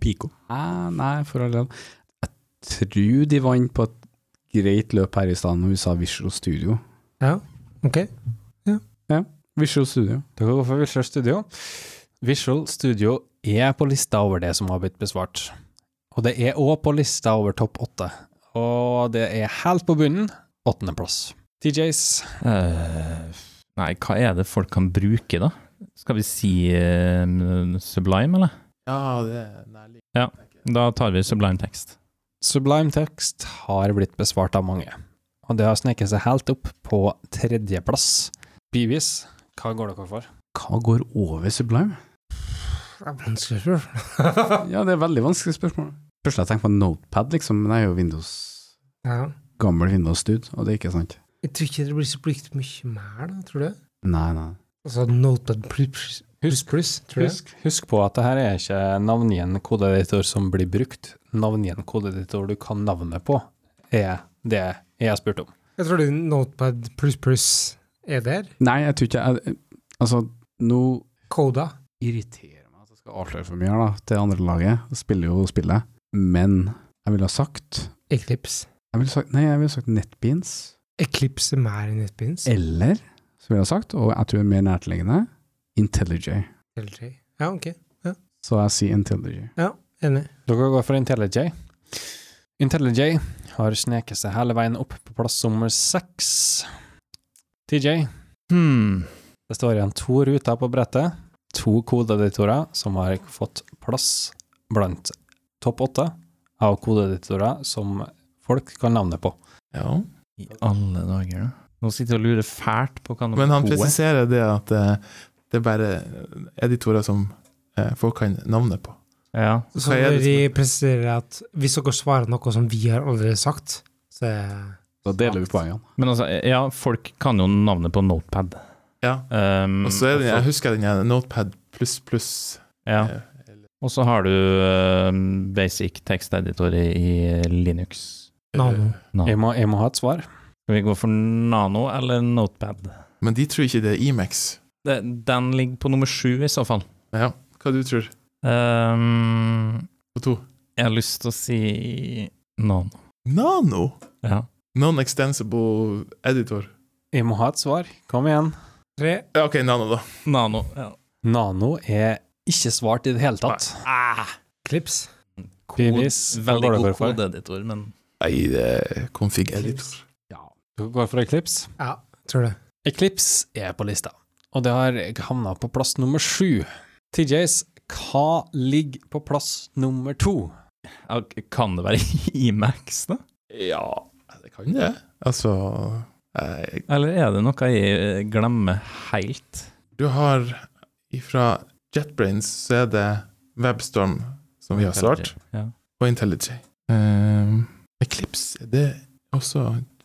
Speaker 3: Pico.
Speaker 5: Eh, nei, for all del. Jeg tror de vant på et greit løp her i stedet når vi sa Visual Studio.
Speaker 1: Ok.
Speaker 5: Visual Studio.
Speaker 2: Du kan gå for Visual Studio. Visual Studio er på lista over det som har blitt besvart. Og det er òg på lista over topp åtte. Og det er helt på bunnen. Åttendeplass. TJs.
Speaker 3: Eh, nei, hva er det folk kan bruke, da? Skal vi si eh, Sublime, eller?
Speaker 4: ja, det er nærliggende.
Speaker 3: Ja. Da tar vi Sublime Text.
Speaker 2: Sublime Text har blitt besvart av mange, og det har sneket seg helt opp på tredjeplass. Beavis, hva går dere for?
Speaker 5: Hva går over Sublime?
Speaker 1: Det er vanskelig å spørre.
Speaker 5: Ja, det er veldig vanskelig spørsmål. Først har jeg tenkt på Notepad, liksom, men jeg er jo Windows,
Speaker 1: Ja.
Speaker 5: gammel Windows-dude, og det er ikke sant.
Speaker 1: Jeg tror ikke det blir så brukt mye mer, da, tror du?
Speaker 5: Nei, nei.
Speaker 1: Altså Notepad pluss, pluss, pluss tror jeg.
Speaker 2: Husk, husk på at det her er ikke navngjen kodeeditor som blir brukt. Navngjen kodeeditor du kan navnet på, er det jeg har spurt om.
Speaker 1: Jeg tror det Notepad pluss pluss er der.
Speaker 5: Nei, jeg tror ikke jeg, Altså, nå
Speaker 1: Koda.
Speaker 5: irriterer meg at jeg skal avsløre for mye her, da, til andre laget. Jeg spiller jo spillet. Men jeg ville ha sagt
Speaker 1: Eclipse.
Speaker 5: Jeg ville sagt Nei, jeg ville sagt NetBeans.
Speaker 1: Eclipse er mer enn Netbeans.
Speaker 5: Eller, så ville jeg sagt, og jeg tror det er mer nærtliggende, IntelliJ.
Speaker 1: LJ. Ja, ok.
Speaker 5: Så jeg sier IntelliJ.
Speaker 1: Enig.
Speaker 2: Dere går for IntelliJ. IntelliJ har sneket seg hele veien opp på plass nummer seks. TJ,
Speaker 3: Hmm.
Speaker 2: Det står igjen to ruter på brettet, to kodeeditorer som har fått plass blant topp åtte av kodeeditorer som folk kan navnet på.
Speaker 4: Ja.
Speaker 3: I alle dager, da. Nå sitter jeg og lurer fælt på hva nummer
Speaker 4: Men han
Speaker 3: to er.
Speaker 4: presiserer det at eh, det er bare editorer som eh, folk kan navnet på.
Speaker 3: Ja.
Speaker 1: Så
Speaker 4: Hva er
Speaker 1: vil
Speaker 4: det som-
Speaker 1: de presisere at hvis dere svarer noe som vi har allerede sagt, så er-
Speaker 5: Da deler vi poengene.
Speaker 3: Men altså, ja, folk kan jo navnet på Notepad.
Speaker 4: Ja.
Speaker 3: Um,
Speaker 4: Mm. Og så er den, jeg
Speaker 3: folk-
Speaker 4: husker den her Notepad pluss pluss.
Speaker 3: ja.
Speaker 4: eh,
Speaker 3: Og så har du um, basic text editor i, i Linux.
Speaker 1: Nano.
Speaker 4: eh,
Speaker 3: Nano.
Speaker 2: Jeg må, jeg må ha et svar.
Speaker 3: Skal vi gå for Nano eller Notepad?
Speaker 4: Men de tror ikke det er Emax.
Speaker 3: Det, den ligger på nummer sju, i så fall.
Speaker 4: Ja, hva du tror
Speaker 3: Um,
Speaker 4: på to?
Speaker 3: Jeg har lyst til å si noen.
Speaker 4: Nano?
Speaker 3: Ja.
Speaker 4: Non-extensible editor.
Speaker 2: Jeg må ha et svar. Kom igjen.
Speaker 1: tre.
Speaker 4: Ja, OK, Nano, da.
Speaker 3: Nano. Ja.
Speaker 2: Nano er ikke svart i det hele tatt.
Speaker 3: Ah,
Speaker 1: Clips.
Speaker 2: Bevis. Hva
Speaker 3: veldig
Speaker 2: går det
Speaker 3: god
Speaker 2: for?
Speaker 3: kodeeditor, men
Speaker 4: Nei, det er config editor.
Speaker 5: Ja.
Speaker 2: Du går for Eclipse.
Speaker 1: Ja, tror det.
Speaker 2: Eclipse er på lista, og det har havna på plass nummer sju. TJs, Hva ligger på plass nummer to?
Speaker 3: Ja, Kan det være Imax, da?
Speaker 4: Ja, det kan det. Altså eh,
Speaker 3: Eller er det noe jeg eh, glemmer helt?
Speaker 4: Du har ifra JetBrains så er det Webstorm som vi har svart,
Speaker 3: Ja.
Speaker 4: og IntelliJ. Um, Eclipse, er det også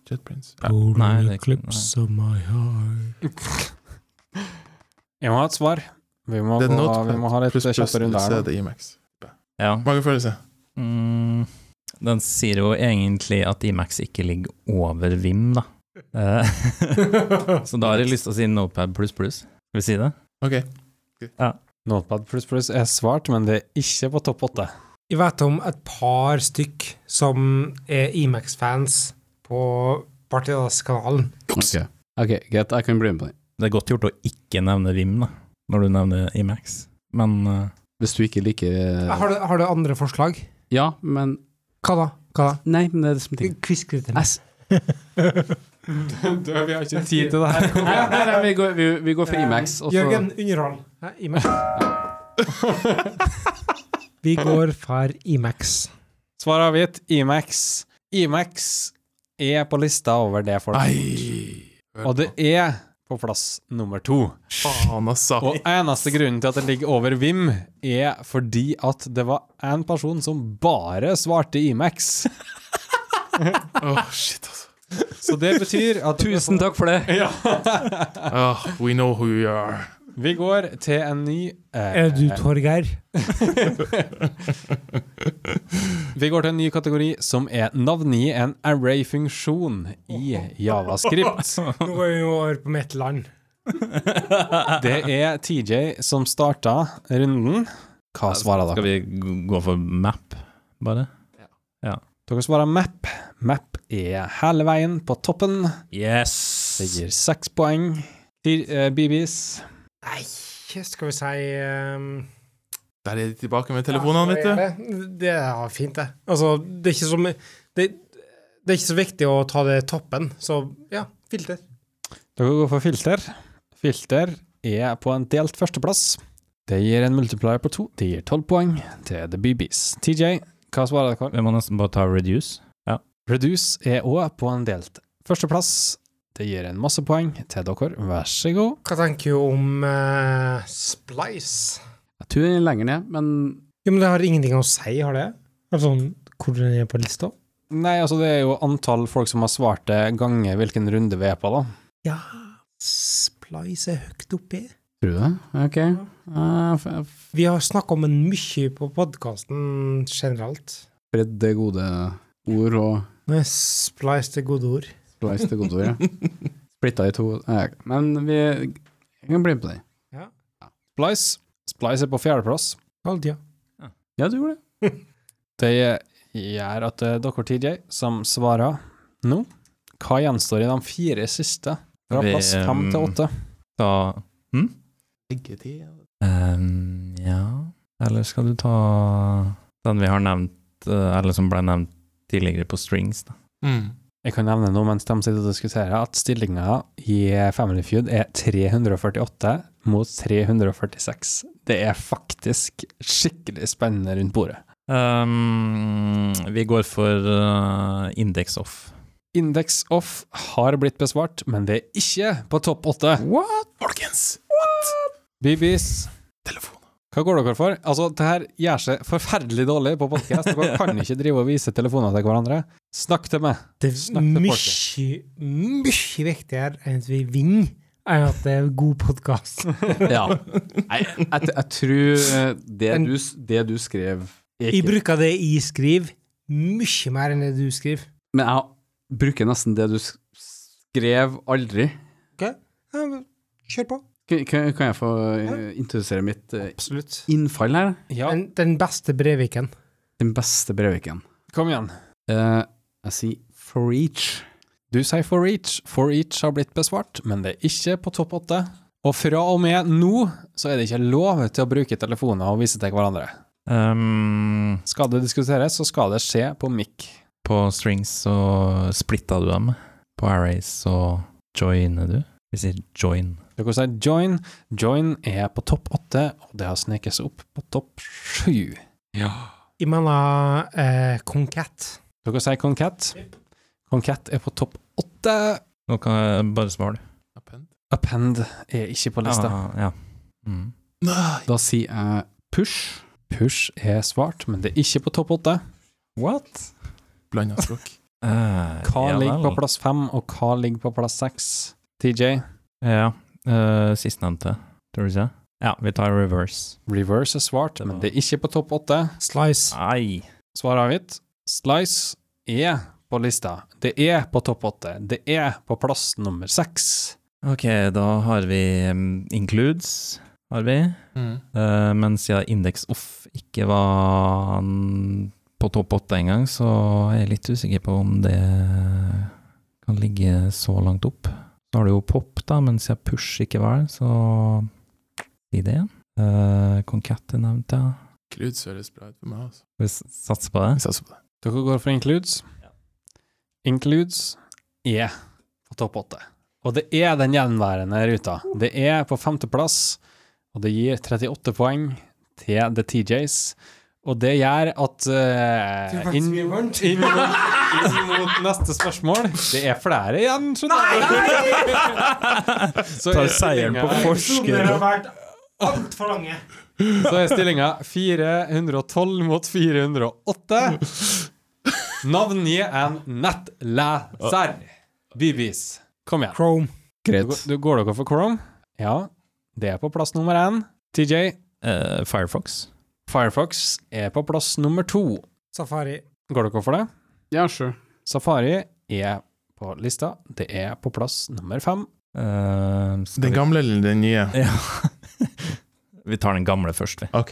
Speaker 4: JetBrains? Ja.
Speaker 3: nei, det er ikke- eclipse
Speaker 1: of my heart.
Speaker 2: Jeg må ha et svar. Vi må,
Speaker 4: Det er
Speaker 2: gå,
Speaker 4: Notepad
Speaker 2: vi må ha litt
Speaker 4: Pluss, pluss,
Speaker 2: kjappe
Speaker 4: så
Speaker 2: runder
Speaker 4: er
Speaker 2: her. nå.
Speaker 4: det Imax.
Speaker 3: ja.
Speaker 4: Magefølelse.
Speaker 3: Mm, den sier jo egentlig at Imax ikke ligger over Vim, da. Eh, så da har jeg lyst til å si Notepad pluss pluss. Skal vi si det?
Speaker 4: Ok.
Speaker 2: Notepad pluss pluss er svart, men det er ikke på topp åtte.
Speaker 1: Jeg vet om et par stykk som er Imax-fans på Partidas-kanalen.
Speaker 5: Ok, Ok, greit, jeg kan bli med på den.
Speaker 3: Det er godt gjort å ikke nevne Vim, da, når du nevner Imax. Men eh,
Speaker 5: Hvis du ikke liker eh,
Speaker 1: Har, du- har du andre forslag?
Speaker 5: Ja, men
Speaker 1: Hva da? Hva da?
Speaker 5: Nei, men det er det som er ting.
Speaker 1: Kvisk det til
Speaker 5: Jeg
Speaker 1: meg.
Speaker 5: s-
Speaker 4: vi har ikke
Speaker 2: Tid til det her.
Speaker 5: Nei, nei, nei, vi går, vi, vi går for Imax, og så
Speaker 1: Eh, Jørgen, underhold. Nei, Imax. Vi går for Imax.
Speaker 2: Svar avgitt. Imax. Imax er på lista over det folk
Speaker 4: Ai!
Speaker 2: Og det er på plass nummer to.
Speaker 4: Faen, altså.
Speaker 2: Og eneste grunnen til at det ligger over Vim, er fordi at det var en person som bare svarte Imax.
Speaker 4: Åh, shit, altså.
Speaker 2: Så det betyr at
Speaker 3: Tusen takk for det!
Speaker 4: Åh, Ah, we know who you are.
Speaker 2: vi går til en ny eh,
Speaker 1: Er du Torgeir?
Speaker 2: Vi går til en ny kategori som er navngi en array-funksjon i javascript.
Speaker 1: Nå går vi over på mitt land.
Speaker 2: Det er TJ som starta runden. Hva svarer
Speaker 3: Skal
Speaker 2: dere?
Speaker 3: vi g- gå for map, bare?
Speaker 2: Dere svarer map. Map er hele veien på toppen.
Speaker 3: Yes!
Speaker 2: Det gir seks poeng. Ti- eh, BBs
Speaker 1: Nei, skal vi si ehm,
Speaker 4: Der er de tilbake med telefonene, vet du.
Speaker 1: vet du. Det er fint, det. Altså, det er ikke så, my- det, det er ikke så viktig å ta det toppen, så ja, filter.
Speaker 2: Dere går for filter. Filter er på en delt førsteplass. Det gir en multiplier på to. Det gir tolv poeng til The BBs. TJ, hva svarer dere?
Speaker 3: Vi må nesten bare ta reduce.
Speaker 2: Reduce er òg på en delt førsteplass. Det gir en masse poeng til dere. Vær så god.
Speaker 1: Hva tenker du om eh, Splice?
Speaker 5: Jeg tror den er lenger ned, men
Speaker 1: Jo, men det har ingenting å si, har det? Altså, hvor den er på lista?
Speaker 2: Nei, altså det er jo antall folk som har svart det, ganger hvilken runde vi er på, da.
Speaker 1: Ja, Splice er høyt oppi.
Speaker 5: Tror du det? Ok. Eh, f- f-
Speaker 1: Vi har snakka om den mye på podkasten generelt.
Speaker 5: Fred er gode ord, og
Speaker 1: Nei, Splice er gode ord.
Speaker 5: Splice til gode ord, ja. Splitta i to eh, Men vi jeg kan bli med på den.
Speaker 2: Splice. Splice er på fjerdeplass.
Speaker 1: Alt, ja.
Speaker 5: Ja, du gjorde det.
Speaker 2: Det gjør at eh, dere, TJ, som svarer nå Hva gjenstår i de fire siste? Fra
Speaker 3: Vi,
Speaker 2: plass fem til
Speaker 3: ehm,
Speaker 2: åtte.
Speaker 3: Ta Ehm, ja Eller skal du ta den vi har nevnt, eh, eller som ble nevnt tidligere på strings, da?
Speaker 4: Mm.
Speaker 2: Jeg kan nevne noe mens de sitter og diskuterer, at stillinga i Family Feud er 348 mot 346. Det er faktisk skikkelig spennende rundt bordet.
Speaker 3: Ehm, vi går for uh, index off.
Speaker 2: Index off har blitt besvart, men det er ikke på topp åtte.
Speaker 4: What? Folkens!
Speaker 2: BBs,
Speaker 4: Telefon.
Speaker 2: hva går dere for? Altså, det her gjør seg forferdelig dårlig på podkast. Dere kan ikke drive og vise telefoner til hverandre. Snakk til meg.
Speaker 1: Det
Speaker 2: Snakk
Speaker 1: er
Speaker 2: til
Speaker 1: mye,
Speaker 2: folket.
Speaker 1: mye viktigere enn at vi vinner, enn at det er god podkast.
Speaker 5: Ja. Nei, jeg, t- jeg tror eh, det
Speaker 1: Men-
Speaker 5: du, s- det du skrev er
Speaker 1: Jeg
Speaker 5: ikke-
Speaker 1: bruker det jeg skriver, mye mer enn det du skriver.
Speaker 5: Men jeg bruker nesten det du s- skrev aldri.
Speaker 1: Ja, men Kjør på.
Speaker 5: Kan, kan kan jeg få eh, introdusere mitt eh,
Speaker 1: Absolutt.
Speaker 5: innfall her?
Speaker 2: Ja,
Speaker 1: Den, den beste Breviken.
Speaker 5: Den beste Breiviken.
Speaker 2: kom igjen.
Speaker 5: Eh, jeg sier for each.
Speaker 2: Du sier for each. For each har blitt besvart, men det er ikke på topp åtte. Og fra og med nå så er det ikke lov til å bruke telefoner og vise til hverandre.
Speaker 3: Ehm,
Speaker 2: Skal det diskuteres, så skal det skje på mic.
Speaker 3: på strings så splitta du dem. På arrays så joiner du. Vi sier join.
Speaker 2: Dere sier join. Join er på topp åtte, og det har sneket seg opp på topp sju.
Speaker 1: Jeg mener eh, Concat.
Speaker 2: Dere sier Concat. Concat er på topp åtte.
Speaker 3: Nå kan jeg bare svare.
Speaker 4: Append.
Speaker 2: Append er ikke på lista.
Speaker 3: Ah, ja. Mm.
Speaker 4: Nei!
Speaker 5: Da sier jeg push.
Speaker 2: Push er svart, men det er ikke på topp åtte.
Speaker 3: What?
Speaker 4: Blanda språk.
Speaker 3: Eh,
Speaker 2: Hva ligger på plass fem, og hva ligger på plass seks? TJ,
Speaker 3: Ja, uh, sistnevnte, tror du ikke? Ja, vi tar reverse.
Speaker 2: reverse er svart, men det er ikke på topp åtte.
Speaker 3: Ah.
Speaker 1: Slice.
Speaker 3: Nei.
Speaker 2: Svar avgitt. Slice er på lista. Det er på topp åtte. Det er på plass nummer seks.
Speaker 3: Ok, da har vi mm, includes, har vi.
Speaker 4: Mm.
Speaker 3: Eh, men siden indeks off ikke var mm, på topp åtte engang, så er jeg litt usikker på om det kan ligge så langt opp. Så har du jo pop, da, men siden push ikke var det, så si det igjen. Uh, Concat er nevnt, ja.
Speaker 4: Kluds høres bra ut for meg, altså.
Speaker 3: Vi s- satser på det.
Speaker 4: Vi satser på det.
Speaker 2: Dere går for includes. Includes er på topp åtte. Og det er den gjenværende ruta. Det er på femteplass, og det gir 38 poeng til The TJs. Og det gjør at eh, inn, inn, mot- inn mot neste spørsmål Det er flere igjen, skjønner du. Så
Speaker 3: Tar
Speaker 2: er
Speaker 3: seieren på
Speaker 2: stillingen-
Speaker 1: Personer har
Speaker 3: forskudd.
Speaker 1: vært altfor lange.
Speaker 2: så er stillinga 412 mot 408. Navngi en nettleser. Bibis. Kom igjen.
Speaker 1: Chrome.
Speaker 2: Du, går- du går dere for Chrome? Ja, det er på plass nummer én. TJ,
Speaker 3: Eh, Firefox.
Speaker 2: Firefox er på plass nummer to.
Speaker 1: Safari.
Speaker 2: Går dere for det?
Speaker 5: Ja, sure.
Speaker 2: Safari er på lista. Det er på plass nummer fem.
Speaker 3: Eh, skal
Speaker 4: Den
Speaker 3: vi-
Speaker 4: gamle eller den nye?
Speaker 3: Ja. vi tar den gamle først, vi.
Speaker 4: Ok.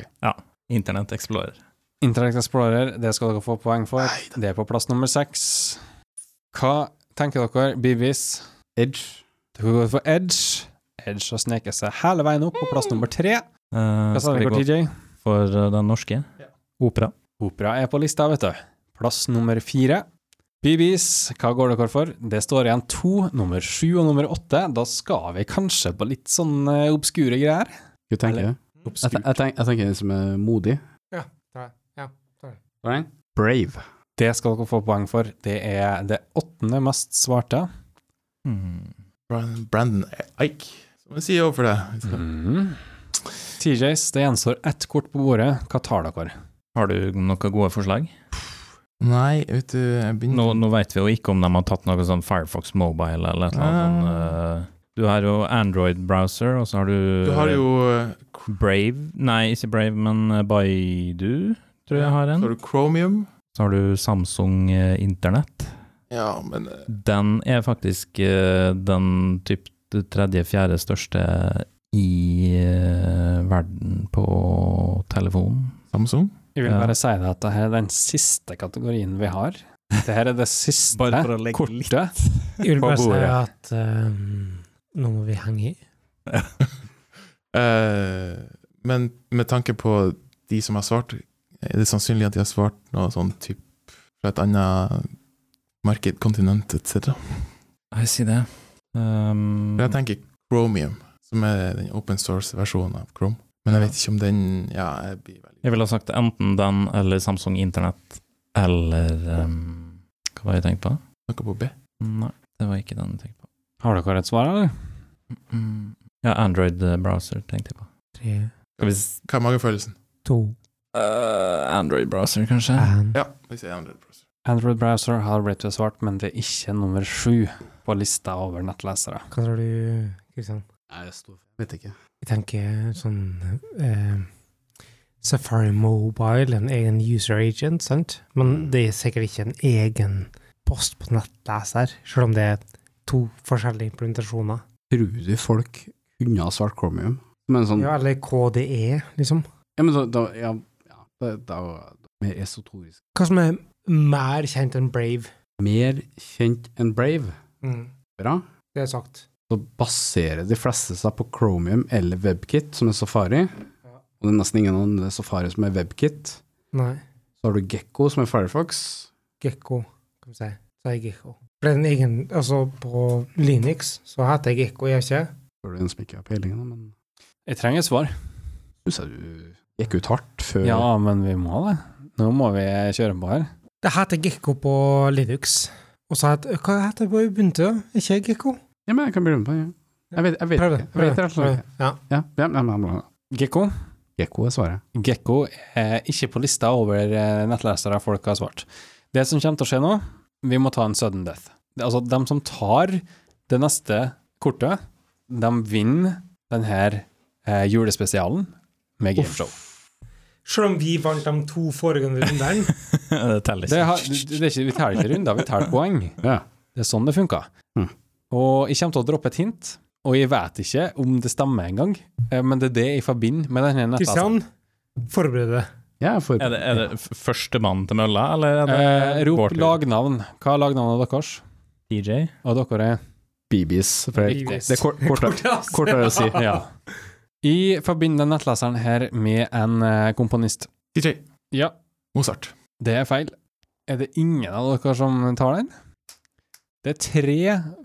Speaker 3: Internett Explorer.
Speaker 2: Interact Explorer, det skal dere få poeng for. Det er på plass nummer seks. Hva tenker dere, Bibis?
Speaker 5: Edge.
Speaker 2: Du kan gå for Edge. Edge har sneket seg hele veien opp på plass nummer tre.
Speaker 3: Eh,
Speaker 2: Hva sa
Speaker 3: skal vi
Speaker 2: dere,
Speaker 3: gå
Speaker 2: TJ?
Speaker 3: for eh, den norske? Opera.
Speaker 2: Opera er på lista, vet du. Plass nummer fire. BBs, hva går dere for? Det står igjen to, nummer sju og nummer åtte. Da skal vi kanskje på litt sånn eh, obskure greier.
Speaker 5: Skal du tenke
Speaker 2: Eller-
Speaker 5: det? Jeg, ten- jeg, tenk, jeg tenker den som er modig.
Speaker 1: Ja, ta det. Ja, ta det.
Speaker 5: Right? Brave.
Speaker 2: Det skal dere få poeng for. Det er det åttende mest svarte.
Speaker 3: Hmm.
Speaker 4: Brandon, Brandon Eik. Som en CEO for deg.
Speaker 2: Mm. TJs, det gjenstår ett kort på bordet. Hva tar dere?
Speaker 3: Har du noen gode forslag?
Speaker 4: Mm. Nei, vet du, jeg begynner
Speaker 3: Nå, nå vet vi jo ikke om de har tatt noe sånn Firefox Mobile eller et eller annet.
Speaker 2: Ah.
Speaker 3: sånn, eh, du har jo Android-browser, og så har du,
Speaker 4: Du har jo eh,
Speaker 3: Brave Nei, ikke Brave, men eh, Baidu, tror jeg har
Speaker 4: Så
Speaker 3: en.
Speaker 4: har du Chromium.
Speaker 3: Så har du Samsung eh, Internett.
Speaker 4: Ja, men eh,
Speaker 3: Den er faktisk eh, den typ tredje-fjerde største i eh, verden på telefon.
Speaker 4: Samsung?
Speaker 2: Jeg vil
Speaker 3: Ja.
Speaker 2: bare si det at dette er den siste kategorien vi har. Dette er det siste
Speaker 3: Bare for å legge
Speaker 2: kortet.
Speaker 1: Jeg vil
Speaker 2: På
Speaker 1: bare si
Speaker 2: bordet.
Speaker 1: at ehm, nå må vi henge i.
Speaker 4: Eh, men med tanke på de som har svart, er det sannsynlig at de har svart noe sånn type fra et annet marked, kontinent etc.
Speaker 3: Jeg sier det. Um,
Speaker 4: For jeg tenker Chromium, som er den open source-versjonen av Chrome. Men jeg vet ikke om den Ja, jeg blir veldig
Speaker 3: jeg ville ha sagt enten den eller Samsung Internett eller um, Hva var det jeg tenkte på?
Speaker 4: Noe på B.
Speaker 3: Nei, det var ikke den jeg tenkte på.
Speaker 2: Har dere et svar, eller?
Speaker 3: Mm. Ja, Android-browser tenkte jeg på.
Speaker 1: Tre,
Speaker 3: Skal vi s-
Speaker 4: Hva er magefølelsen?
Speaker 1: to,
Speaker 3: Eh, Android-browser, kanskje?
Speaker 1: én.
Speaker 4: Ja, vi sier Android Browser.
Speaker 2: Android Browser har blitt besvart, men det er ikke nummer sju på lista over nettlesere.
Speaker 1: Hva tror du, Kristian?
Speaker 5: Nei, jeg står Vet ikke.
Speaker 1: Jeg tenker sånn ehm, Safari Mobile, en egen user agent, sant? Men det er sikkert ikke en egen post på nettleser, selv om det er to forskjellige implementasjoner.
Speaker 5: Tror du folk kunne ha svart Chromium? Men sånn
Speaker 1: Ja, eller KDE, liksom.
Speaker 5: Ja, men da, da ja, ja, da, da, Mer esotorisk.
Speaker 1: Hva som er mer kjent enn Brave?
Speaker 5: Mer kjent enn Brave. Bra.
Speaker 1: Mm, Det er sagt.
Speaker 5: Så baserer de fleste seg på Chromium eller WebKit, som er Safari. Og det er nesten ingen andre Safari som er WebKit.
Speaker 1: Nei.
Speaker 5: Så har du Gekko, som er Firefox.
Speaker 1: Gekko, kan vi si. Så jeg Gekko. For det er en egen, altså På Linux så heter jeg Gekko, gjør jeg ikke?
Speaker 5: Spør du en som ikke har peiling, da, men
Speaker 2: Jeg trenger et svar.
Speaker 5: syns jeg du gikk ut hardt før
Speaker 2: Ja, men vi må det. Nå må vi kjøre på her.
Speaker 1: Det heter Gekko på Linux. Og så heter Hva heter det på Ubuntu? Er ikke jeg Gekko?
Speaker 5: Ja, men jeg kan bli med på det. ja. Jeg vet, jeg vet
Speaker 1: Prøv det.
Speaker 5: ikke. Jeg vet rett og slett ikke.
Speaker 1: Ja.
Speaker 5: Ja, ja, ja, ja, ja.
Speaker 2: Gekko.
Speaker 5: Gekko er svaret.
Speaker 2: Gekko er ikke på lista over eh, nettlesere folk har svart. Det som kommer til å skje nå, vi må ta en sudden death. Det- Altså, de som tar det neste kortet, de vinner denne eh, julespesialen med gameshow.
Speaker 1: Selv om vi vant de to foregående rundene.
Speaker 3: det teller
Speaker 2: Det
Speaker 3: ikke.
Speaker 2: har, det er ikke, vi teller ikke runder, vi teller poeng.
Speaker 5: Ja.
Speaker 2: Det er sånn det funker.
Speaker 5: Mm.
Speaker 2: Og jeg kommer til å droppe et hint, og jeg vet ikke om det stemmer engang, eh, men det er det jeg forbinder med denne nettleseren.
Speaker 1: Kristian, forbered deg.
Speaker 5: Jeg er for
Speaker 3: Er det, er det f- førstemann til mølla, eller er det
Speaker 2: Eh, rop
Speaker 3: vår tur?
Speaker 2: lagnavn. Hva er lagnavnet deres?
Speaker 3: DJ?
Speaker 2: Og dere er
Speaker 5: BBs. For det,
Speaker 1: BBs.
Speaker 5: det er kort, kortere, kortere å si.
Speaker 2: Ja. Jeg forbinder nettleseren her med en eh, komponist.
Speaker 4: DJ
Speaker 2: Ja,
Speaker 4: Mozart.
Speaker 2: det er feil. Er det ingen av dere som tar den? Det er tre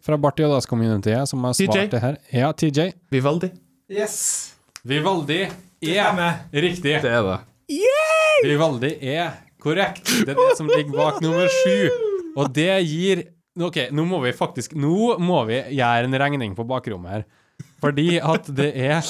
Speaker 2: fra Barth Jodas-communityet som har svart
Speaker 4: TJ.
Speaker 2: det her. Ja, TJ.
Speaker 4: Vivaldi.
Speaker 1: Yes!
Speaker 2: Vivaldi er
Speaker 1: stemmer.
Speaker 2: riktig.
Speaker 5: Det er det.
Speaker 2: Vivaldi er korrekt. Det er det som ligger bak nummer sju. Og det gir Ok, nå må vi faktisk Nå må vi gjøre en regning på bakrommet her. Fordi at det er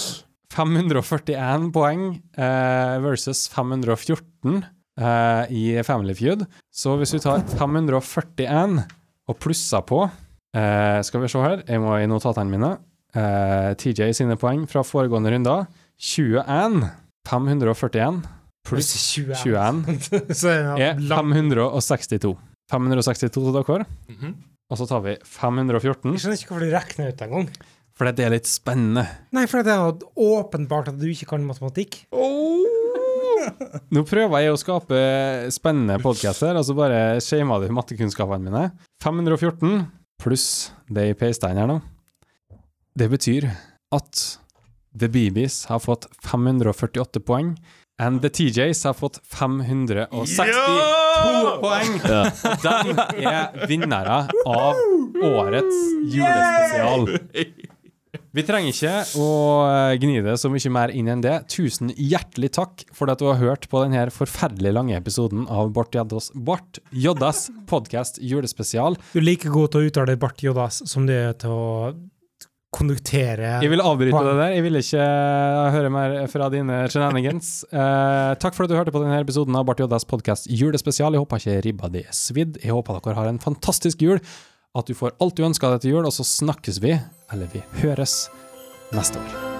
Speaker 2: 541 poeng eh, versus 514 eh, i Family Feud. Så hvis vi tar 541 og plusser på eh, Skal vi se her, jeg må i notatene mine. Eh, TJ sine poeng fra foregående runder. 21. 541
Speaker 1: Pluss 20.
Speaker 2: pluss 21
Speaker 1: så er det
Speaker 2: er
Speaker 1: lang
Speaker 2: 562. 562 til dere,
Speaker 4: Mhm.
Speaker 2: og så tar vi
Speaker 1: Jeg
Speaker 2: 514,
Speaker 1: skjønner ikke hvorfor du regner ut engang.
Speaker 2: for det er litt spennende.
Speaker 1: Nei, for det er jo åpenbart at du ikke kan matematikk.
Speaker 2: Nå prøver jeg å skape spennende podcaster, og så bare shamer du mattekunnskapene mine. 514 pluss det i pastene her nå. Det betyr at The Beebies har fått 548 poeng, and The TJs har fått 562 poeng. De er vinnere av årets julespesial. Vi trenger ikke å eh, gni det så mye mer inn enn det. Tusen hjertelig takk for at du har hørt på denne forferdelig lange episoden av Bart Joddas, Bart Joddas podcast julespesial.
Speaker 1: Du er like god til å uttale Bart Jodas som du er til å konduktere
Speaker 2: Jeg vil avbryte det der. Jeg vil ikke eh, høre mer fra dine shenanigans. Eh, takk for at du hørte på denne episoden av Bart Joddas podcast julespesial. Jeg håper ikke ribba di er svidd. Jeg håper dere har en fantastisk jul, at du får alt du ønsker deg til jul, og så snakkes vi, eller vi høres, neste år.